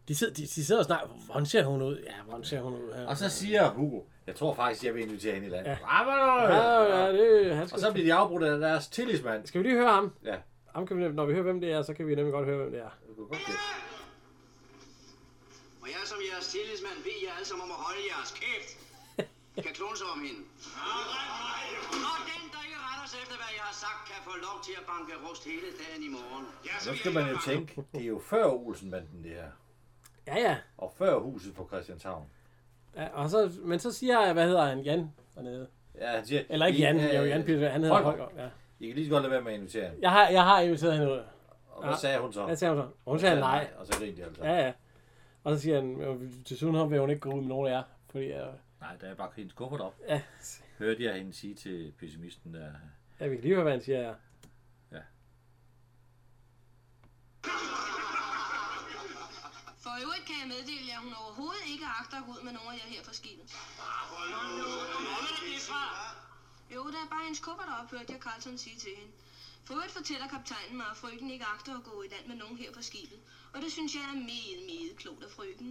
Speaker 1: de sidder, de, de sidder og snakker, hvordan ser hun ud? Ja, hvordan ser hun ud? Ja,
Speaker 2: og så siger Hugo, jeg tror faktisk, jeg vil invitere hende i land. Ja.
Speaker 1: ja, ja det, han
Speaker 2: Og
Speaker 1: skal,
Speaker 2: så bliver de afbrudt af deres tillidsmand.
Speaker 1: skal vi lige høre ham?
Speaker 2: Ja,
Speaker 1: ham kan vi, nem- når vi hører, hvem det er, så kan vi nemlig godt høre, hvem det er.
Speaker 2: det kunne godt det.
Speaker 5: Og jeg som jeres tillidsmand ved jer alle sammen om at holde jeres kæft. Kan klone sig om hende. Og den, der ikke retter sig efter, hvad jeg har sagt, kan få lov til at banke rust hele dagen i morgen. Ja,
Speaker 2: Nu skal man jo tænke, det er jo før Olsenbanden det her.
Speaker 1: Ja, ja.
Speaker 2: Og før huset på Christianshavn.
Speaker 1: ja og så, men så siger jeg, hvad hedder han? Jan dernede.
Speaker 2: Ja, han siger,
Speaker 1: Eller ikke
Speaker 2: I-
Speaker 1: Jan,
Speaker 2: øh,
Speaker 1: det er jo Jan Peter, han hedder
Speaker 2: Holger.
Speaker 1: Holger. Ja.
Speaker 2: I kan lige så godt lade være med at invitere hende.
Speaker 1: Jeg har, jeg har inviteret hende ud.
Speaker 2: Og hvad
Speaker 1: Ja.
Speaker 2: sagde hun så?
Speaker 1: Hvad sagde hun så? Hun sagde nej.
Speaker 2: Og så grinte de altså.
Speaker 1: Ja, ja. Og så siger han, "Øh, desuden vil hun ikke gå ud med nogen af jer. Fordi øh,
Speaker 2: Nej, der er bare hendes kuffert op.
Speaker 1: ja,
Speaker 2: Hørte jeg hende sige til pessimisten der...
Speaker 1: ja, vi kan lige høre, hvad han siger. Ja.
Speaker 4: For øvrigt kan jeg meddele jer, at hun overhovedet ikke agter at gå ud med nogen af jer her på skibet. Jo, der er bare hendes kupper, der ophørte jeg Carlson sige til hende. For øvrigt fortæller kaptajnen mig, at frøken ikke agter at gå i land med nogen her på skibet. Og det synes jeg er meget, meget klogt af frøken.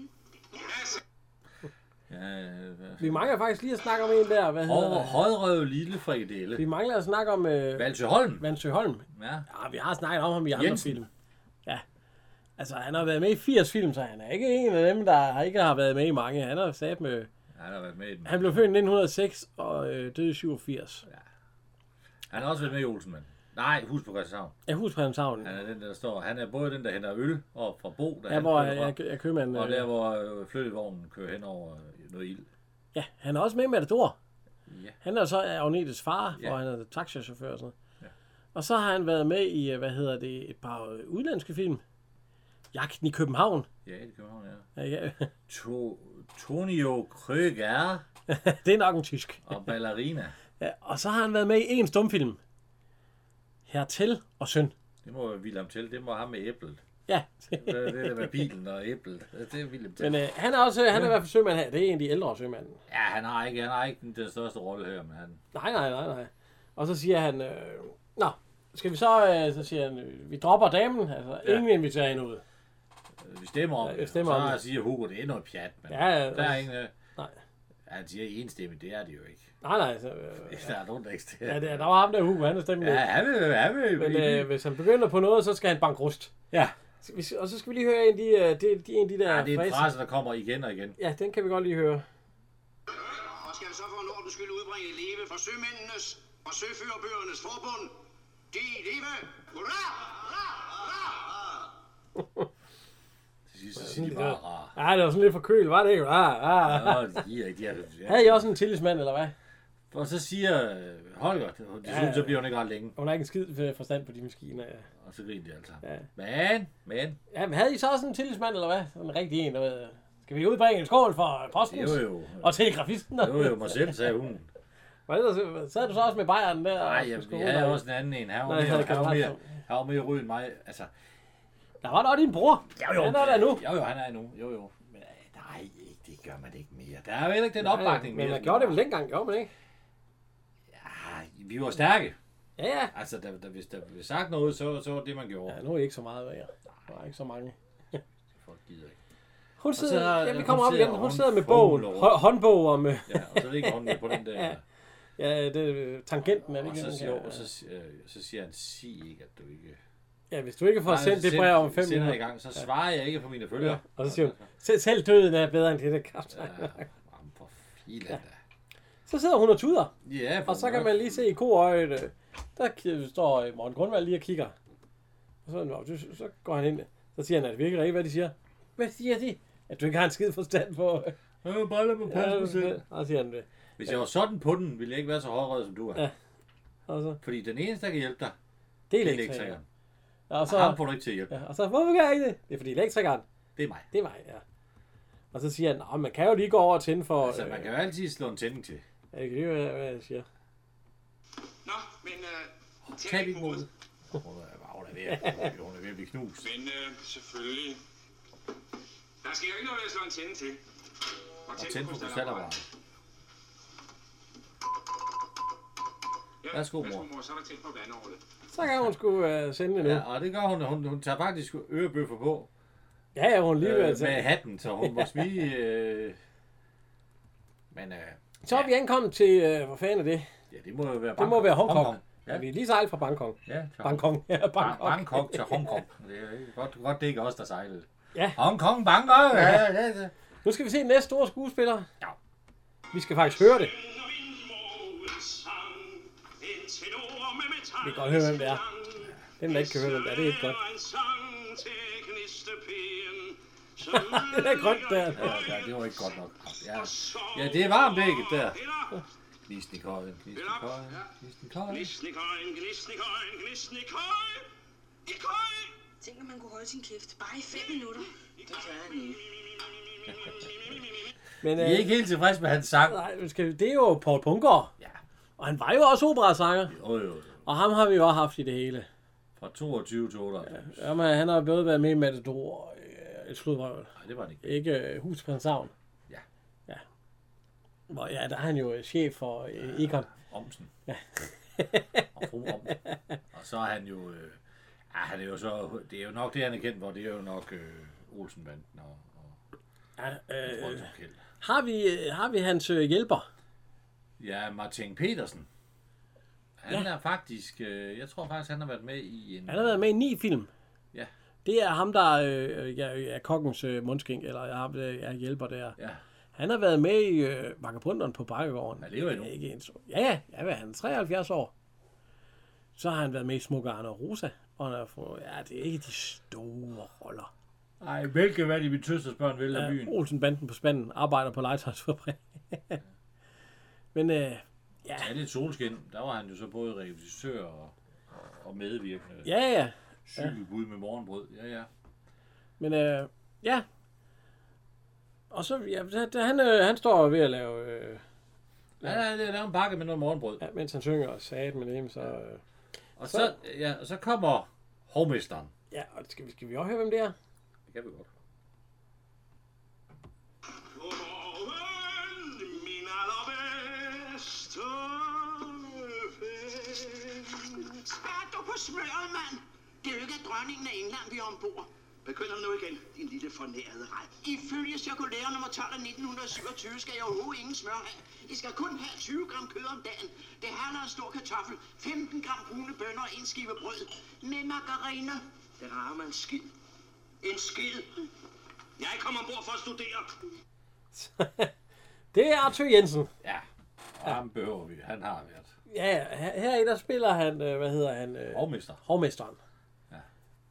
Speaker 2: Ja, øh,
Speaker 1: Vi mangler faktisk lige at snakke om en der. Hvad hedder
Speaker 2: Over
Speaker 1: han?
Speaker 2: højrøv lille frikadelle.
Speaker 1: Vi mangler at snakke om øh,
Speaker 2: Valse Holm.
Speaker 1: Vansø Holm. Ah,
Speaker 2: Ja.
Speaker 1: Ja, vi har snakket om ham i andre
Speaker 2: Jensen.
Speaker 1: film. Ja. Altså, han har været med i 80 film, så han er ikke en af dem, der ikke har været med i mange. Han har sat med...
Speaker 2: Han har været med i den.
Speaker 1: Han blev født i 1906 og øh, døde i 87.
Speaker 2: Han har også været med i Olsenmand. Nej, hus på Christianshavn.
Speaker 1: Jeg husker hans havn.
Speaker 2: Han er den, der står. Han er både den, der henter øl og fra Bo, der
Speaker 1: Ja, hvor
Speaker 2: kører
Speaker 1: jeg,
Speaker 2: fra,
Speaker 1: jeg, jeg købmand...
Speaker 2: og der,
Speaker 1: Øh,
Speaker 2: hvor øh, flyttevognen kører hen over øh, noget ild.
Speaker 1: ja, han er også med i Matador.
Speaker 2: Ja.
Speaker 1: Han er så Agnetes far,
Speaker 2: Ja.
Speaker 1: hvor han er taxachauffør og sådan noget. Og så har han været med i, øh, hvad hedder det, et par øh, udenlandske film. Jagten i København.
Speaker 2: Ja, det kører han, ja.
Speaker 1: Ja, ja.
Speaker 2: To, Tonio Krøger
Speaker 1: det er nok en tysk.
Speaker 2: og Ballerina.
Speaker 1: Ja, og så har han været med i en stumfilm. Hertil og Søn.
Speaker 2: Det må være William Tell. Det må ham med æblet.
Speaker 1: Ja.
Speaker 2: Det er det der med bilen og æblet. Det er William Tell.
Speaker 1: Men øh, han er også, han er i hvert fald sømand her. Det er en af de ældre sømænd.
Speaker 2: Ja, han har ikke, han har ikke den, den største rolle her, men han...
Speaker 1: Nej, nej, nej, nej. Og så siger han, øh, nå, skal vi så, øh, så siger han, øh, vi dropper damen. Altså, ja.
Speaker 2: Ja.
Speaker 1: ingen inviterer hende ud.
Speaker 2: øh, Vi stemmer om
Speaker 1: Ja,
Speaker 2: det.
Speaker 1: vi
Speaker 2: og
Speaker 1: stemmer
Speaker 2: så
Speaker 1: om det.
Speaker 2: siger Hugo, det er noget pjat, men
Speaker 1: Ja, ja,
Speaker 2: der er ingen... øh,
Speaker 1: Nej.
Speaker 2: Han siger enstemmigt, det er det jo ikke.
Speaker 1: Nej, nej. Så, øh,
Speaker 2: Der er nogen, der ikke stemmer.
Speaker 1: ja, det, der var ham der, Hugo, han er stemmen.
Speaker 2: Ja, han vil, han vil.
Speaker 1: Men øh, hvis han begynder på noget, så skal han banke rust.
Speaker 2: ja.
Speaker 1: Så vi- Og så skal vi lige høre en af de, øh, de, de, en af de der
Speaker 2: ja, det er en
Speaker 1: fraser.
Speaker 2: frase, der kommer igen og igen.
Speaker 1: Ja, den kan vi godt lige høre.
Speaker 3: Og skal så for en ordens skyld udbringe et leve fra sømændenes og søførerbøgernes forbund. De leve! Hurra! Hurra! Hurra!
Speaker 2: Til sidst så siger de bare, rar.
Speaker 1: Ja, det var sådan lidt for køl, var det ikke? Ah, ah, ah.
Speaker 2: Nå, de er ikke, de er,
Speaker 1: Havde I også en tillidsmand, eller hvad?
Speaker 2: Og så siger øh, Holger, det, det
Speaker 1: Ja,
Speaker 2: synes,
Speaker 1: ja.
Speaker 2: så bliver hun ikke ret længe.
Speaker 1: Hun har ikke en skid øh, forstand på de maskiner. Ja.
Speaker 2: Og så griner de alle sammen.
Speaker 1: Ja.
Speaker 2: Men, men,
Speaker 1: ja, men havde I så også en tillidsmand, eller hvad? Sådan en rigtig en, der ved. Skal vi udbringe en skål for posten?
Speaker 2: det var jo,
Speaker 1: Og telegrafisten?
Speaker 2: det var jo mig selv, sagde hun.
Speaker 1: Var det der, øh, sad du så også med bajeren der? og
Speaker 2: Nej, jeg,
Speaker 1: skulle
Speaker 2: jeg
Speaker 1: ud
Speaker 2: havde
Speaker 1: og-
Speaker 2: også en anden en. Han var
Speaker 1: Nej,
Speaker 2: mere,
Speaker 1: det kan
Speaker 2: han var
Speaker 1: jeg
Speaker 2: mere,
Speaker 1: ret
Speaker 2: han var mere rød end mig. Altså,
Speaker 1: Der var nok din bror. Han er der nu.
Speaker 2: Jo, jo, han er nu. Jo, jo. Men, øh, nej, ikke- det gør man ikke mere. Der er jo heller ikke den opbakning
Speaker 1: Ja, men
Speaker 2: mere.
Speaker 1: man gjorde det vel dengang, gjorde man ikke?
Speaker 2: Ah, vi var stærke.
Speaker 1: Ja, ja.
Speaker 2: Altså, der, der, hvis der blev sagt noget, så, så var det, man gjorde.
Speaker 1: Ja, nu er I ikke så meget værd. Der er ikke så mange.
Speaker 2: Folk gider ikke.
Speaker 1: Hun
Speaker 2: så
Speaker 1: sidder,
Speaker 2: har-
Speaker 1: ja, vi
Speaker 2: hun
Speaker 1: kommer op
Speaker 2: sidder
Speaker 1: igen. Hun
Speaker 2: oven
Speaker 1: sidder med
Speaker 2: i
Speaker 1: bogen.
Speaker 2: formler.
Speaker 1: Hå- Håndbog om... øh,
Speaker 2: Ja, og så ligger hun ned på den der.
Speaker 1: Ja, det er øh, tangenten, er det
Speaker 2: Og
Speaker 1: ikke?
Speaker 2: så
Speaker 1: den
Speaker 2: siger,
Speaker 1: kan-
Speaker 2: og så, si- øh, så siger han, sig ikke, at du ikke...
Speaker 1: Ja, hvis du ikke får
Speaker 2: Nej,
Speaker 1: sendt det
Speaker 2: send-
Speaker 1: brev om fem
Speaker 2: sender i
Speaker 1: minutter.
Speaker 2: gang, så svarer jeg ikke på mine følgere.
Speaker 1: Og så siger hun, "Se- selv døden er bedre end det der kaptajn.
Speaker 2: Ja, jamen, for filan da.
Speaker 1: Så sidder hun og tuder.
Speaker 2: Ja, for
Speaker 1: Og så kan
Speaker 2: nok.
Speaker 1: man lige se i koøjet, øh, der k- står øh, Morten Grundvald lige og kigger. Og så, nå, det- så går han ind. Så siger han, at det virker ikke, hvad de siger. Hvad siger de? At du ikke har en skid forstand på. øh,
Speaker 2: Øh, bare lad mig passe mig selv.
Speaker 1: Og så siger han det.
Speaker 2: Hvis jeg var sådan på den, ville jeg ikke være så hårdrød, som du er.
Speaker 1: Ja. Og så,
Speaker 2: Fordi den eneste, der kan hjælpe dig,
Speaker 1: det er
Speaker 2: det er
Speaker 1: elektrikeren.
Speaker 2: elektrikeren.
Speaker 1: Og
Speaker 2: Så... Ham
Speaker 1: så,
Speaker 2: får du ikke til at hjælpe.
Speaker 1: ja, og så, hvorfor gør jeg ikke det? Det er fordi elektrikeren,
Speaker 2: Det er mig.
Speaker 1: det er mig, ja. Og så siger han, "Nå, man kan jo lige gå over og tænde for...
Speaker 2: Altså, man kan jo altid slå en tænding til.
Speaker 1: øh, jeg kan lige høre, hvad jeg siger.
Speaker 3: Nå, men øh, tag
Speaker 2: Tag
Speaker 3: ikke
Speaker 2: din mod.
Speaker 3: modet.
Speaker 2: Hun er- hun er ved at- hun er ved at blive knust.
Speaker 3: Men øh, selvfølgelig.
Speaker 5: Der skal jo ikke noget ved at slå en tænde til.
Speaker 2: Og tænd på krystalapparat.
Speaker 5: Ja,
Speaker 2: Værsgo, mor.
Speaker 5: mor. Så er der tændt på vandåret.
Speaker 1: Så kan hun sgu øh, sende det nu.
Speaker 2: Ja, og det gør hun. Hun, hun tager faktisk ørebøffer på
Speaker 1: Ja, ja, hun er lige
Speaker 2: øh,
Speaker 1: ved at
Speaker 2: med
Speaker 1: tage.
Speaker 2: hatten, så hun må smige... Øh... Men øh,
Speaker 1: Så er vi ankommet til, øh, hvor fanden er det?
Speaker 2: ja, det må jo være
Speaker 1: Det må være Hongkong. Hongkong. Ja.
Speaker 2: Ja,
Speaker 1: vi er lige sejlet fra Bangkok.
Speaker 2: ja til Hongkong.
Speaker 1: Bangkok. Ja,
Speaker 2: Bang-
Speaker 1: Bangkok.
Speaker 2: Bangkok til Hongkong. Det er ikke- godt, godt, det er ikke os, der sejlede.
Speaker 1: Ja.
Speaker 2: Hongkong, Bangkok! Ja, ja, ja.
Speaker 1: Nu skal vi se næste store skuespiller.
Speaker 2: Ja.
Speaker 1: Vi skal faktisk høre det.
Speaker 3: Når vindmågens sang, en tenor med metal.
Speaker 1: Vi kan godt høre, hvem det er. Den, der ikke kan høre, hvem det er, det er ikke godt.
Speaker 3: en sang til knistepæen. Så
Speaker 1: Det er godt, der.
Speaker 2: Ja, ja, det var ikke godt nok. Ja, ja det er varmt ægget der.
Speaker 3: Eller
Speaker 2: Gnisten i køjen, gnisten i køjen, gnisten i køjen.
Speaker 3: Gnisten i køjen, gnisten i køjen, gnisten i køjen. I køjen.
Speaker 4: Tænk, at man kunne holde sin kæft bare i fem minutter. Det kan han ikke.
Speaker 1: Men
Speaker 2: Vi
Speaker 1: øh,
Speaker 2: er ikke helt tilfredse med hans sang.
Speaker 1: nej, vi skal, det er jo Paul Punker.
Speaker 2: Ja.
Speaker 1: Og han var jo også operasanger.
Speaker 2: Jo, jo, jo.
Speaker 1: Og ham har vi jo også haft i det hele.
Speaker 2: Fra 22 til 98.
Speaker 1: Jamen, han har både været med i Matador og øh, et sludrøvel.
Speaker 2: Nej, det var det ikke.
Speaker 1: Ikke øh, Hus på en Savn.
Speaker 2: Ja.
Speaker 1: Ja. Hvor, ja, der er han jo øh, chef for øh, Econ.
Speaker 2: Omsen. og fru Omsen. Og så er han jo... Øh, ah, han er jo så, det er jo nok det, han er kendt for. Det er jo nok øh, Olsenbanden og, og
Speaker 1: Ja, øh,
Speaker 2: Frøken Kjeld.
Speaker 1: har, vi, øh, har vi hans øh, hjælper?
Speaker 2: Ja, Martin Petersen. Han er faktisk... Øh, jeg tror faktisk, han har været med i en...
Speaker 1: Han har været med i ni film.
Speaker 2: Ja.
Speaker 1: Det er ham, der øh, er, er kokkens øh, mundskink, eller er ham, der er hjælper der.
Speaker 2: Ja.
Speaker 1: Han har været med i øh, Vagabunderen på Bakkegården.
Speaker 2: Han lever endnu.
Speaker 1: Ikke en, ja, ja, ja, hvad er han 73 år. Så har han været med i Smukke Arne og Rosa. Og han har fået, ja, det er ikke de store roller.
Speaker 2: Ej, hvilket hvad de min tøsters børn vil af byen.
Speaker 1: Ja, Olsenbanden på spanden arbejder på legetøjsfabrik. Men øh, ja,
Speaker 2: Ja, det er solskin. Der var han jo så både regissør og, og medvirkende.
Speaker 1: ja, ja.
Speaker 2: Syg bud med morgenbrød. Ja, ja.
Speaker 1: Men øh, ja. Og så, ja, da- da han, øh, han står ved at lave, øh,
Speaker 2: Ja, ja, det er der er en pakke med noget morgenbrød.
Speaker 1: ja, mens han synger og sagde med dem, så... Øh,
Speaker 2: Og så, ja, og så kommer hovmesteren.
Speaker 1: ja, og skal, vi- skal vi også høre, hvem det er?
Speaker 2: Det kan vi godt.
Speaker 3: Godmorgen, min allerbedste ven.
Speaker 5: Spær du på smøret, mand! Det er jo ikke, at dronningen af England vi er ombord.
Speaker 3: Begynder nu igen, din lille fornærede rej.
Speaker 5: Ifølge cirkulære nummer 12 af 1927 skal jeg overhovedet ingen smør have. I skal kun have 20 gram kød om dagen. Det handler en stor kartoffel, 15 gram brune bønner og en skive brød. Med margarine. Det rammer en skid.
Speaker 3: En skid. Jeg kommer ombord for at studere.
Speaker 1: Det er Arthur Jensen.
Speaker 2: Ja, og ham behøver vi. Han har været.
Speaker 1: Ja, her, her der spiller han, øh, hvad hedder han? Øh,
Speaker 2: Hovmester.
Speaker 1: Hovmesteren.
Speaker 2: Ja.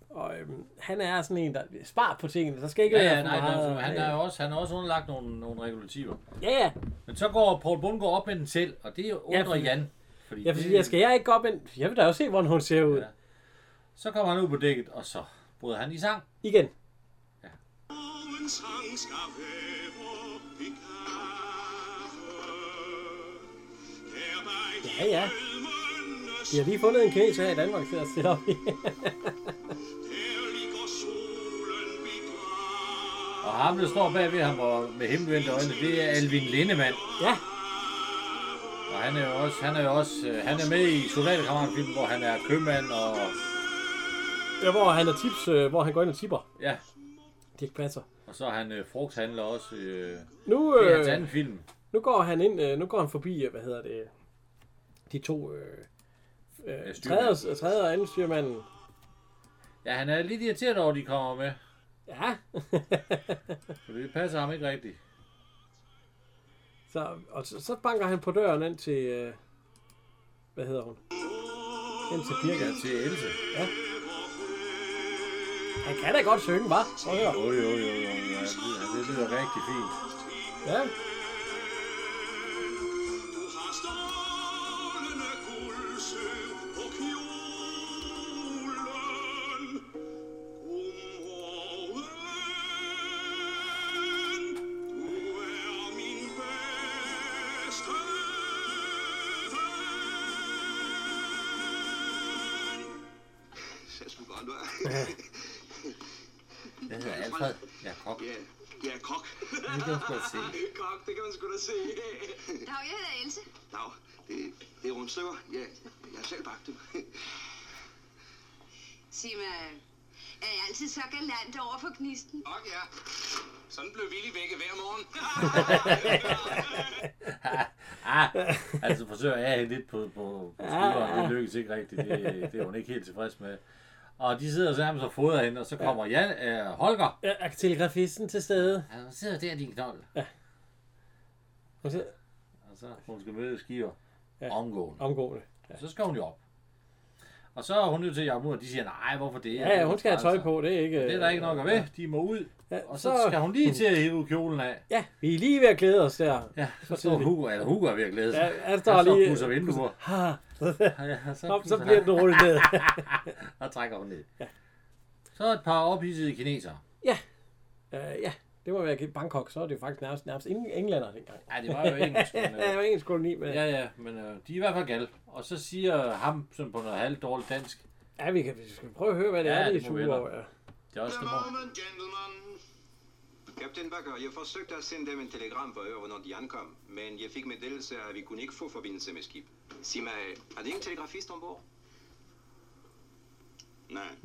Speaker 1: Og øhm, han er sådan en, der spar på tingene. Der skal ikke
Speaker 2: Ja, ja,
Speaker 1: være for
Speaker 2: nej,
Speaker 1: meget,
Speaker 2: nej, han,
Speaker 1: øh,
Speaker 2: er også, han er også underlagt nogle, nogle regulativer.
Speaker 1: Ja, ja.
Speaker 2: Men så går Paul Bundgaard op med den selv, og det undrer
Speaker 1: Ja,
Speaker 2: ja,
Speaker 1: fordi-
Speaker 2: Jan. Fordi
Speaker 1: Jeg, jeg skal jeg ikke gå op ind. Jeg vil da også se, hvordan hun ser ud. Ja.
Speaker 2: Ja. Så kommer han ud på dækket, og så bryder han i sang.
Speaker 1: Igen.
Speaker 3: Oven sang skal være i kaffe. Hervej
Speaker 1: Ja, ja.
Speaker 3: rødmønne
Speaker 1: Vi har lige fundet en kineser her i Danmark til at stille op i.
Speaker 3: Der ligger solen
Speaker 2: Og
Speaker 3: begravet.
Speaker 2: ham, der står bagved ham og med himmelvendte øjne, det er Alvin Lindemann.
Speaker 1: ja,
Speaker 2: Og han er jo også, han er jo også, øh, han er med i soldaterkammeratfilmen, hvor han er købmand og...
Speaker 1: der hvor han er tips, øh, hvor han går ind og tipper.
Speaker 2: Ja,
Speaker 1: Det ikke passer.
Speaker 2: og så er han øh, frugthandler også. Øh,
Speaker 1: Nu,
Speaker 2: det er hans
Speaker 1: øh,
Speaker 2: anden film.
Speaker 1: nu går han ind, øh, nu går han forbi, øh, hvad hedder det, de to øh, øh, tredje,
Speaker 2: styrmanden.
Speaker 1: tredje og anden styrmanden.
Speaker 2: Ja, han er lidt irriteret over, at de kommer med.
Speaker 1: Ja,
Speaker 2: For det passer ham ikke rigtigt.
Speaker 1: så, og så, så banker han på døren ind til, øh, hvad hedder hun? Ind til
Speaker 2: Ja,
Speaker 1: Birgit.
Speaker 2: til Else.
Speaker 1: Han kan da godt synge, hva'? Prøv at høre.
Speaker 2: Jo, jo, jo, jo. Ja, det, lyder- det lyder rigtig fint.
Speaker 1: Ja.
Speaker 3: Du har strålende guldsøv på kjolen. Godmorgen, du er min bedste ven.
Speaker 5: Jeg skulle godt være.
Speaker 2: Den hedder Alfred. Ja, kok.
Speaker 5: Ja, ja, kok.
Speaker 2: Det kan jeg sgu godt se.
Speaker 5: kok, det kan man sgu da se.
Speaker 4: Dag, jeg hedder Else.
Speaker 5: Nå, det, det er rundstykker. Ja, jeg har selv bagt dem.
Speaker 4: Sig mig, er jeg altid så galant over for gnisten?
Speaker 5: Kok, ja. Sådan blev Willy vækket hver morgen.
Speaker 2: Ah, altså forsøger jeg hende lidt på, på, på
Speaker 1: Ah.
Speaker 2: skulderen. Det lykkes ikke rigtigt. Det, det er hun ikke helt tilfreds med. Og de sidder sammen og fodrer hende, og så kommer Jan, øh, Holger.
Speaker 1: Ja, Er telegrafisten til stede?
Speaker 2: Han sidder der, din knold.
Speaker 1: Hun siger,
Speaker 2: Og så hun skal møde skiver
Speaker 1: Ja.
Speaker 2: ja. omgående.
Speaker 1: Omgående.
Speaker 2: Og så skal hun jo op. Og så er hun nødt til at jamme ud, og de siger, nej, hvorfor det? Altså,
Speaker 1: Ja, ja, hun skal have tøj på, det er ikke...
Speaker 2: Det er der ikke nok at ved. De må ud.
Speaker 1: Ja,
Speaker 2: Og så
Speaker 1: så-
Speaker 2: skal hun lige til at hive kjolen af.
Speaker 1: Ja, vi er lige ved at glæde os der.
Speaker 2: Ja, så står
Speaker 1: tidligt.
Speaker 2: Hugo, eller Hugo er ved at glæde sig.
Speaker 1: Ja,
Speaker 2: Ja,
Speaker 1: han står lige-
Speaker 2: Så pusser vinduer.
Speaker 1: Ha,
Speaker 2: Ja, så,
Speaker 1: Nå, så
Speaker 2: pusser
Speaker 1: bliver
Speaker 2: han.
Speaker 1: den rullet ned.
Speaker 2: Og trækker hun ned. Så et par ophidsede kinesere.
Speaker 1: Uh, ja, det må være i Bangkok, så er det jo faktisk nærmest, nærmest ingen englænder dengang.
Speaker 2: Ja, det var jo engelsk. Men,
Speaker 1: Ja, det
Speaker 2: øh,
Speaker 1: var engelsk koloni, men ja,
Speaker 2: ja, ja, men øh, de er i hvert fald gal. Og så siger ham, sådan på noget halvt dårligt dansk,
Speaker 1: ja vi, kan, vi skal prøve at høre, hvad det
Speaker 2: Ja,
Speaker 1: er, det er
Speaker 2: det må vi
Speaker 1: sure over. Ja.
Speaker 2: det er også det morgen.
Speaker 3: Godmorgen, gentlemen.
Speaker 5: Kaptajn Bakker, jeg forsøgte at sende dem en telegram for at høre, hvornår de ankom, men jeg fik meddelelse, at vi kunne ikke få forbindelse med skib. Sig mig, er det ingen telegrafist ombord?
Speaker 3: Nej.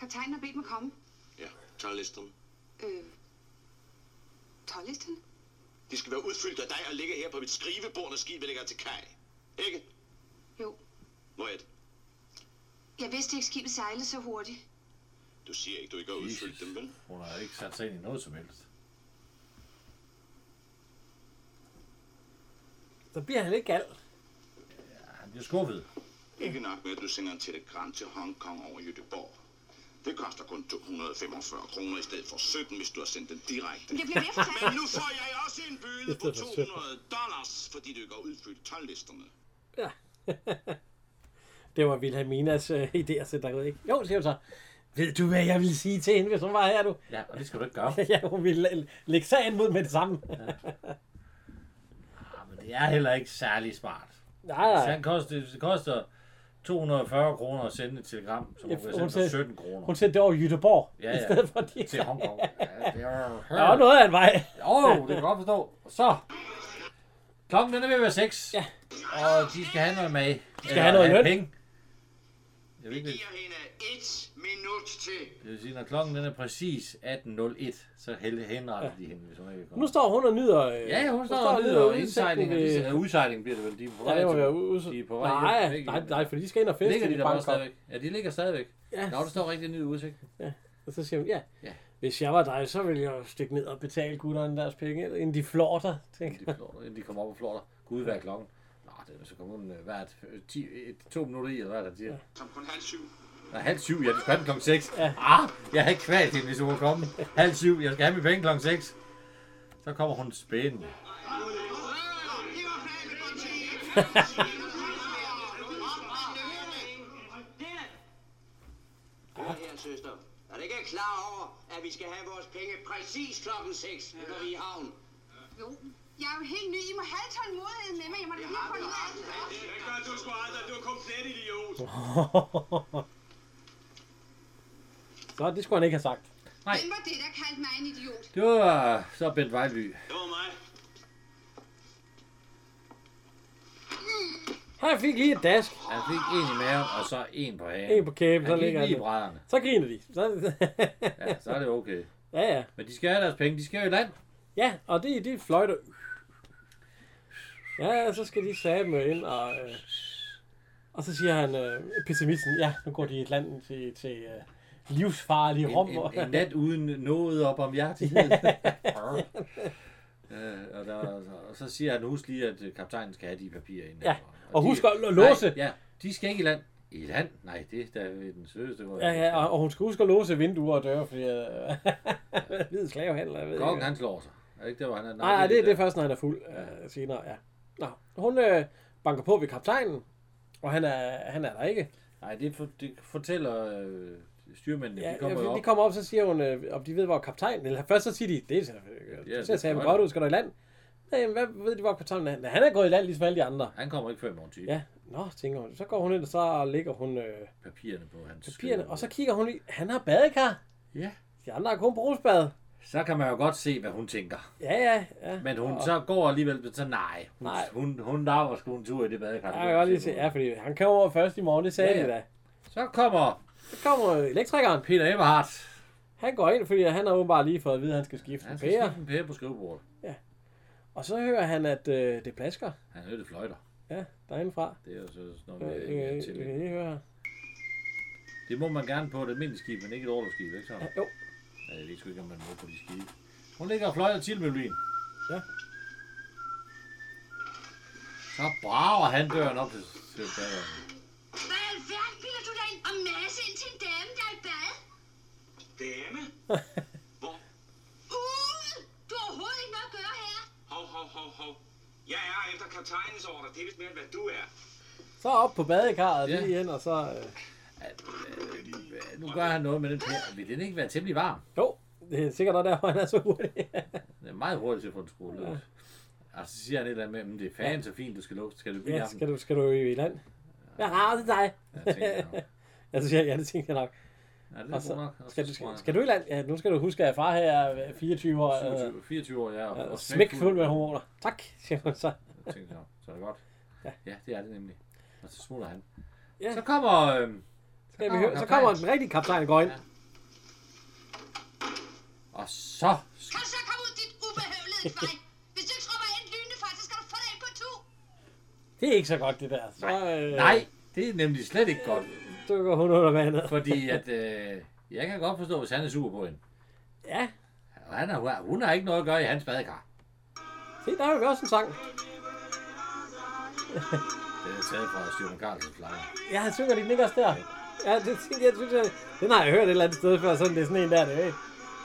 Speaker 4: Kaptajnen har bedt mig komme.
Speaker 3: Ja, tørlisterne.
Speaker 4: Øh, tøjlisten?
Speaker 3: De skal være udfyldt af dig og ligge her på mit skrivebord, når skibet ligger til kaj. Ikke?
Speaker 4: Jo,
Speaker 3: Må jeg det?
Speaker 4: Jeg vidste ikke, skibet sejlede så hurtigt.
Speaker 3: Du siger ikke, du ikke har udfyldt dem, vel?
Speaker 2: Hun har ikke sat sig ind i noget som helst.
Speaker 1: Så bliver han lidt gal.
Speaker 2: Han bliver skuffet.
Speaker 3: Ikke nok med, at du sender en telegram til Hongkong over Jødeborg. Det koster kun 245 kroner i stedet for 17, hvis du har sendt den direkte.
Speaker 4: Jeg bliver ved for
Speaker 3: Men nu får jeg også en bøde på
Speaker 1: Det er for sødt.
Speaker 3: 200 dollars, fordi du ikke har udfyldt 12-listerne.
Speaker 1: Ja. det var Vilhelminas øh, idé at sætte dig ud, ikke? Jo, siger hun så. Ved du, hvad jeg ville sige til hende, hvis hun var her, du?
Speaker 2: Ja, og det skal du ikke gøre.
Speaker 1: ja, hun ville læ- lægge sagen mod med det samme.
Speaker 2: Ja, men det er heller ikke særlig smart.
Speaker 1: nej,
Speaker 2: Hvis
Speaker 1: nej.
Speaker 2: han koster, hvis det koster 240 kroner at sende et telegram, så må
Speaker 1: Ja,
Speaker 2: vi
Speaker 1: hun
Speaker 2: sende for
Speaker 1: sagde-
Speaker 2: 17 kroner
Speaker 1: Hun sendte det over Jødeborg,
Speaker 2: Ja,
Speaker 1: i
Speaker 2: ja.
Speaker 1: stedet for de...
Speaker 2: til Hongkong. Ja, det
Speaker 1: Der var
Speaker 2: er
Speaker 1: noget af en vej.
Speaker 2: Åh, oh, det kan jeg godt forstå. Så. Klokken den er ved at være 6.
Speaker 1: Ja.
Speaker 2: Og de skal have noget med. Skal
Speaker 1: have noget løn.
Speaker 2: Penge. Jeg ved
Speaker 3: Vi
Speaker 2: ikke,
Speaker 3: giver hende et minut til.
Speaker 2: det vil sige, når klokken den er præcis 18.01, så hælde henretter de hende, hvis hun ikke
Speaker 1: Nu
Speaker 2: kommer.
Speaker 1: står hun og nyder... øh,
Speaker 2: Ja, hun står og nyder indsejling.
Speaker 1: ved-
Speaker 2: Ved... Udsejling bliver det vel. De er på
Speaker 1: Ja,
Speaker 2: vej,
Speaker 1: det må
Speaker 2: til-
Speaker 1: være ude.
Speaker 2: de er på vej
Speaker 1: Nej,
Speaker 2: hjem.
Speaker 1: nej, nej, for de skal ind og feste
Speaker 2: Ligger de
Speaker 1: i
Speaker 2: der bare
Speaker 1: Bangkok.
Speaker 2: stadigvæk? Ja, de ligger stadigvæk.
Speaker 1: Ja.
Speaker 2: Nå, der står rigtig nyd udsigt.
Speaker 1: Og så siger hun, ja,
Speaker 2: Ja.
Speaker 1: hvis jeg var dig, så ville jeg stikke ned og betale gutterne deres penge, inden de flår dig. tænker
Speaker 2: Inden de, flår, inden de kommer op og flår dig. Gud, hvad er klokken? Nå, det er så kommer hun øh, hvert øh, 10, et, to minutter i, eller hvad der siger.
Speaker 3: Som kun halv syv.
Speaker 2: Nej, halv syv, ja, det skal have den klokken seks. Ja. Ah, jeg har ikke kvalt hende, hvis hun var kommet. Halv syv, jeg skal have min penge klokken seks. Så kommer hun spændende.
Speaker 3: Det var planen, godt til.
Speaker 5: Hør her, søster.
Speaker 3: Er du ikke klar over, at vi skal have vores penge præcis klokken 6 i Mariehavn?
Speaker 4: Jo, jeg er jo helt ny. I må have tålmodighed med mig. Jeg må da lige få ud af det.
Speaker 5: Det gør du sgu aldrig. Du er komplet idiot.
Speaker 1: Så det skulle han ikke have sagt.
Speaker 4: Hvem var det, der kaldte mig en idiot?
Speaker 2: Det var øh, så Bent Vejlby.
Speaker 5: Det var mig.
Speaker 1: Han fik lige et dask.
Speaker 2: Han fik en i maven, og så en på hagen.
Speaker 1: En på kæben, så
Speaker 2: han gik
Speaker 1: ligger han
Speaker 2: lige i
Speaker 1: ned.
Speaker 2: brædderne.
Speaker 1: Så griner de. Så...
Speaker 2: Ja, så er det okay.
Speaker 1: ja, ja.
Speaker 2: Men de skal have deres penge, de skal jo i land.
Speaker 1: Ja, og det, det er fløjter. Ja, så skal de sabe ind, og, øh, og så siger han, øh, pessimisten, ja, nu går de i Atlanten til, til øh, livsfarlige
Speaker 2: En,
Speaker 1: rum.
Speaker 2: en, en nat uden noget op om hjertighed. øh, og, der, og så siger han, husk lige, at øh, kaptajnen skal have de papirer inden.
Speaker 1: Ja, og
Speaker 2: de-
Speaker 1: husk at l- låse.
Speaker 2: Nej, ja, de skal ikke i land. I land? Nej, det er da ved den sødeste. hvor-
Speaker 1: Ja, ja, og, og hun skal huske at låse vinduer og døre, fordi øh, hvid slavehandler, jeg ved ikke.
Speaker 2: Kongen, han slår sig. Er det ikke der, hvor han er?
Speaker 1: Nej, nej, det er det
Speaker 2: der.
Speaker 1: først, når han er fuld øh, senere, ja. Nå, hun øh, banker på ved kaptajnen, og han er, han er der ikke.
Speaker 2: Nej, det, for, det fortæller øh, styrmændene.
Speaker 1: Ja,
Speaker 2: de kommer
Speaker 1: ja,
Speaker 2: op.
Speaker 1: de kommer op, så siger hun, øh, om de ved, hvor kaptajnen Eller først så siger de, det ser,
Speaker 2: Ja,
Speaker 1: det
Speaker 2: det
Speaker 1: ser
Speaker 2: er
Speaker 1: sammen
Speaker 2: godt.
Speaker 1: godt ud, skal du i land? Nej, jamen, hvad ved de, hvor kaptajnen er? Nej, Han er gået i land, ligesom alle de andre.
Speaker 2: Han kommer ikke før i morgen til. Ja.
Speaker 1: Ja, nå, tænker hun. Så går hun ind, og så lægger hun øh,
Speaker 2: Papirerne på hans
Speaker 1: papirerne,
Speaker 2: skød.
Speaker 1: og så kigger hun i, han har badekar.
Speaker 2: Ja.
Speaker 1: De andre har kun brusbad.
Speaker 2: Så kan man jo godt se, hvad hun tænker.
Speaker 1: Ja, ja, ja.
Speaker 2: Men hun så går alligevel, så nej. Hun,
Speaker 1: Nej.
Speaker 2: hun, hun laver sgu en tur i det badekar.
Speaker 1: Jeg kan godt lige se, ja, fordi han kommer over først i morgen, det sagde
Speaker 2: Ja,
Speaker 1: ja,
Speaker 2: ja.
Speaker 1: de da.
Speaker 2: Så kommer
Speaker 1: Så kommer elektrikeren.
Speaker 2: Peter Eberhardt.
Speaker 1: Han går ind, fordi han har åbenbart lige fået at vide, at han skal skifte
Speaker 2: Han
Speaker 1: en
Speaker 2: skal
Speaker 1: pære.
Speaker 2: skifte en pære på skrivebordet.
Speaker 1: Og så hører han, at øh, det plasker.
Speaker 2: Han er det fløjter.
Speaker 1: Ja, derindefra.
Speaker 2: Det er jo så sådan
Speaker 1: Øh,
Speaker 2: noget,
Speaker 1: øh,
Speaker 2: man ikke
Speaker 1: øh,
Speaker 2: kan
Speaker 1: vi
Speaker 2: til.
Speaker 1: kan lige høre her.
Speaker 2: Det må man gerne på et almindeligt skib, men ikke et orlogsskib, ikke så?
Speaker 1: Ja, Jo,
Speaker 2: Ja, jeg ved sgu ikke, om man må på de skibe. Hun ligger og fløjter til melodien.
Speaker 1: Ja.
Speaker 2: Så brager han døren op til, til baderen.
Speaker 4: Hvad i alverden bilder du dig ind og masse ind til en dame, der er i bad?
Speaker 5: Dame? Hvor?
Speaker 4: Ud! Du har overhovedet ikke noget at gøre her.
Speaker 5: Hov, hov, hov, hov. Jeg er efter kaptajnens ordre. Det er vist mere, end hvad du er.
Speaker 1: så op på badekarret
Speaker 2: Ja.
Speaker 1: lige igen, og så... Øh,
Speaker 2: Nu gør han noget med den her. Vil den ikke være temmelig varm?
Speaker 1: jo, det er sikkert også derfor, han er så hurtig.
Speaker 2: Den er meget hurtigt til at få den skruet løs. Og så siger han et eller andet med, men det er fan så fint, du skal lukke. Skal du blive
Speaker 1: ja,
Speaker 2: ja,
Speaker 1: skal du, skal du i land? Ja, ja det er dig.
Speaker 2: Ja, tænker jeg nok.
Speaker 1: Jeg siger, ja, det tænker jeg nok.
Speaker 2: Ja, det er
Speaker 1: Og
Speaker 2: god
Speaker 1: så,
Speaker 2: nok. Og
Speaker 1: skal,
Speaker 2: så
Speaker 1: du,
Speaker 2: tror
Speaker 1: skal,
Speaker 2: jeg-
Speaker 1: skal du i land? Ja, nu skal du huske, at far her er 24 år. Øh,
Speaker 2: 27, 24 år, ja.
Speaker 1: og
Speaker 2: Og
Speaker 1: smækfuld med hormoner. Tak, siger hun så.
Speaker 2: Jeg tænkte, "Nå, så er det godt.
Speaker 1: Ja.
Speaker 2: Ja. ja, det er det nemlig. Og så smutter han.
Speaker 1: Ja.
Speaker 2: Ja. Så kommer... Øh,
Speaker 1: Skal vi høre? Så kommer den rigtige kaptajn går ind.
Speaker 2: Og så...
Speaker 4: Kan du så komme ud, dit ubehøvlede kvej? Hvis du ikke tror mig ind lynende fra, så skal du få dig ind på tu.
Speaker 1: Det er ikke så godt, det der. Så, øh,
Speaker 2: Nej, det er nemlig slet ikke godt.
Speaker 1: Så stykker hun under vandet.
Speaker 2: Fordi at, øh, jeg kan godt forstå, hvis han er sur på hende.
Speaker 1: Ja,
Speaker 2: Og han er, hun har ikke noget at gøre i hans badekar.
Speaker 1: se, der har vi også en sang.
Speaker 2: Det er taget fra Stjørn Karlsens flagge.
Speaker 1: Ja, han synger den ikke også der. Ja, det tænkte jeg, synes, jeg, den har jeg hørt et eller andet sted før, sådan det er sådan en der, det er ikke.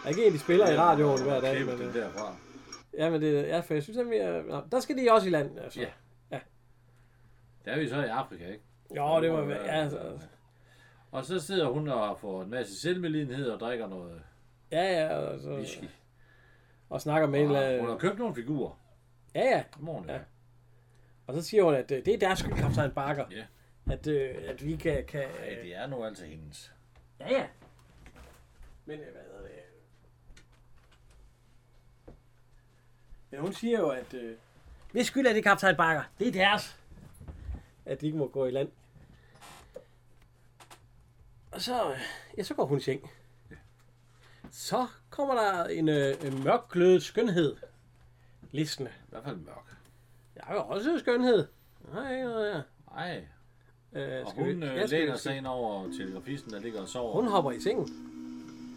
Speaker 1: Der er ikke en, de spiller i radioen hver dag.
Speaker 2: Klippet
Speaker 1: Men,
Speaker 2: den
Speaker 1: øh,
Speaker 2: derfra.
Speaker 1: ja, men det, ja, for jeg synes, at vi er, nå, der skal de også i land. Altså.
Speaker 2: Ja. Der er vi så i Afrika, ikke?
Speaker 1: Jo, det må være, ja, altså,
Speaker 2: Og så sidder hun og får en masse selvmelidenhed og drikker noget
Speaker 1: ja, ja, altså,
Speaker 2: whisky. Ah,
Speaker 1: og snakker med en eller
Speaker 2: Og hun har
Speaker 1: anden.
Speaker 2: købt nogle figurer.
Speaker 1: Ja, ja,
Speaker 2: Godmorgen, ja.
Speaker 1: Ja. og så siger hun, at øh, det er deres skyld, kaptajn Barker.
Speaker 2: Ja.
Speaker 1: At, øh, at vi kan, kan
Speaker 2: Ej, det er nu altså hendes.
Speaker 1: Ja, ja. Men øh, hvad hedder det? Men hun siger jo, at... Øh, Hvis skyld er det kaptajn Bakker. Det er deres. At de ikke må gå i land. Og så, øh, ja, så går hun i seng. Så kommer der en, øh, en mørkglødet skønhed. Listende.
Speaker 2: I hvert fald mørk.
Speaker 1: Jeg har jo også skønhed. Nej, nej, nej.
Speaker 2: Nej,
Speaker 1: Øh,
Speaker 2: og
Speaker 1: skal
Speaker 2: hun
Speaker 1: vi-
Speaker 2: øh,
Speaker 1: ja, skal vi
Speaker 2: læner
Speaker 1: se?
Speaker 2: sig ind over telegrafisten, der ligger og sover.
Speaker 1: Hun hopper i sengen.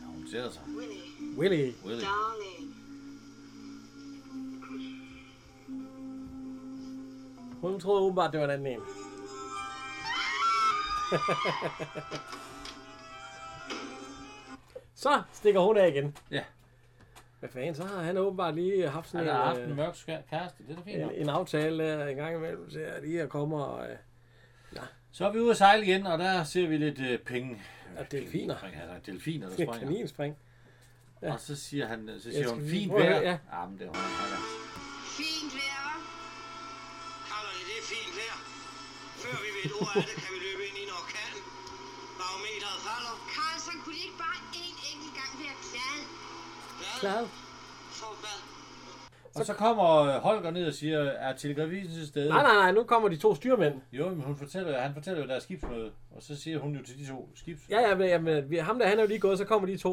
Speaker 2: Ja, hun sætter sig.
Speaker 4: Winnie,
Speaker 1: Willy.
Speaker 2: Willy.
Speaker 4: darling.
Speaker 1: Hun troede åbenbart, det var en anden en. så stikker hun af igen.
Speaker 2: Ja.
Speaker 1: Hvad fanden, så har han åbenbart lige haft
Speaker 2: Han
Speaker 1: sådan
Speaker 2: har haft
Speaker 1: en,
Speaker 2: en
Speaker 1: øh,
Speaker 2: mørk skæ- kæreste, det er da fint.
Speaker 1: en,
Speaker 2: nok.
Speaker 1: en aftale der en gang imellem, så jeg lige at komme og... Øh,
Speaker 2: Så er vi ude at sejle igen, og der ser vi lidt øh, penge.
Speaker 1: og delfiner.
Speaker 2: Altså, delfiner, der
Speaker 1: Det er
Speaker 2: springer.
Speaker 1: kaninspring.
Speaker 2: Og så siger han, øh, så
Speaker 1: Jeg
Speaker 2: siger hun,
Speaker 1: skal lige
Speaker 2: fint
Speaker 1: prøve at
Speaker 2: vejr.
Speaker 1: høre, ja.
Speaker 2: Ja, men det er hun.
Speaker 4: Fint vejr, hva'?
Speaker 3: Kalder I det fint her? Før vi ved et ord af det, kan vi løbe ind i en orkan. Barometeret falder.
Speaker 4: Carlson, kunne de ikke bare en enkelt gang være glad?
Speaker 3: Hvad?
Speaker 1: Klart.
Speaker 3: For hvad?
Speaker 2: Og så kommer øh, Holger ned og siger, er telegrafisen til stede?
Speaker 1: Nej, nej, nej, nu kommer de to styrmænd.
Speaker 2: Jo, men hun fortæller, han fortæller jo, der er skibsmøde. Og så siger hun jo til de to skibs.
Speaker 1: Ja, ja, men, ja, men vi- ham der, han er jo lige gået, så kommer de to.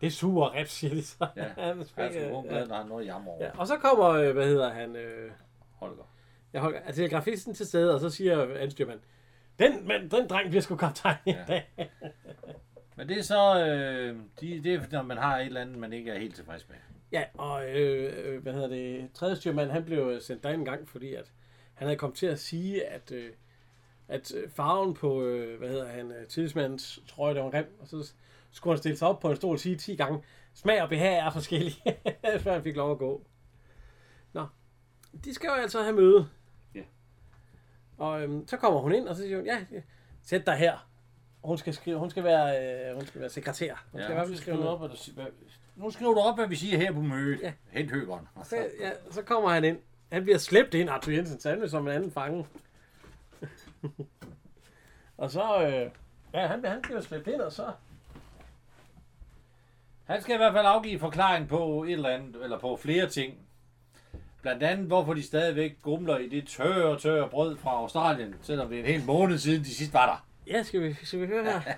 Speaker 1: Det er super rap, siger de så.
Speaker 2: Ja,
Speaker 1: han
Speaker 2: Han er
Speaker 1: springer,
Speaker 2: sgu glad, når han når jammer over.
Speaker 1: ja. Og så kommer, øh, hvad hedder han... Øh,
Speaker 2: Holger.
Speaker 1: Jeg holder, altså, jeg er grafisten til stede, og så siger anstyrmanden, den, mand, den dreng bliver sgu kaptajn i
Speaker 2: Ja.
Speaker 1: dag.
Speaker 2: Men det er så, øh, de, det er, når man har et eller andet, man ikke er helt tilfreds med.
Speaker 1: Ja, og øh, øh, hvad hedder det, tredje styrmand, han blev øh, sendt derind en gang, fordi at han havde kommet til at sige, at, øh, at øh, farven på, øh, hvad hedder han, øh, tillidsmandens trøje, der var grim, og så skulle han stille sig op på en stol og sige 10 gange, smag og behag er forskellige, før han fik lov at gå. Nå, de skal jo altså have møde.
Speaker 2: Ja.
Speaker 1: Og øhm, så kommer hun ind, og så siger hun, ja, ja, sæt dig her. Hun skal, skrive, hun skal, være, øh, hun skal være sekretær. Hun skal i
Speaker 2: Ja,
Speaker 1: hvert
Speaker 2: nu
Speaker 1: fald
Speaker 2: skriver
Speaker 1: skrive
Speaker 2: du
Speaker 1: noget.
Speaker 2: op, hvad du, si- hvad, nu skriver du op, hvad vi siger her på mødet.
Speaker 1: Ja.
Speaker 2: Hent Altså, høgeren.
Speaker 1: Så, ja, så kommer han ind. Han bliver slæbt ind, Arthur Jensen, så han vil som en anden fange. og så... Øh, ja, han, han bliver slæbt ind, og så...
Speaker 2: Han skal i hvert fald afgive forklaring på et eller andet, eller på flere ting. Blandt andet, hvorfor de stadigvæk grumler i det tørre, tørre brød fra Australien, selvom det er en hel måned siden, de sidst var der.
Speaker 1: Ja, skal vi, skal vi høre her?
Speaker 3: Hvad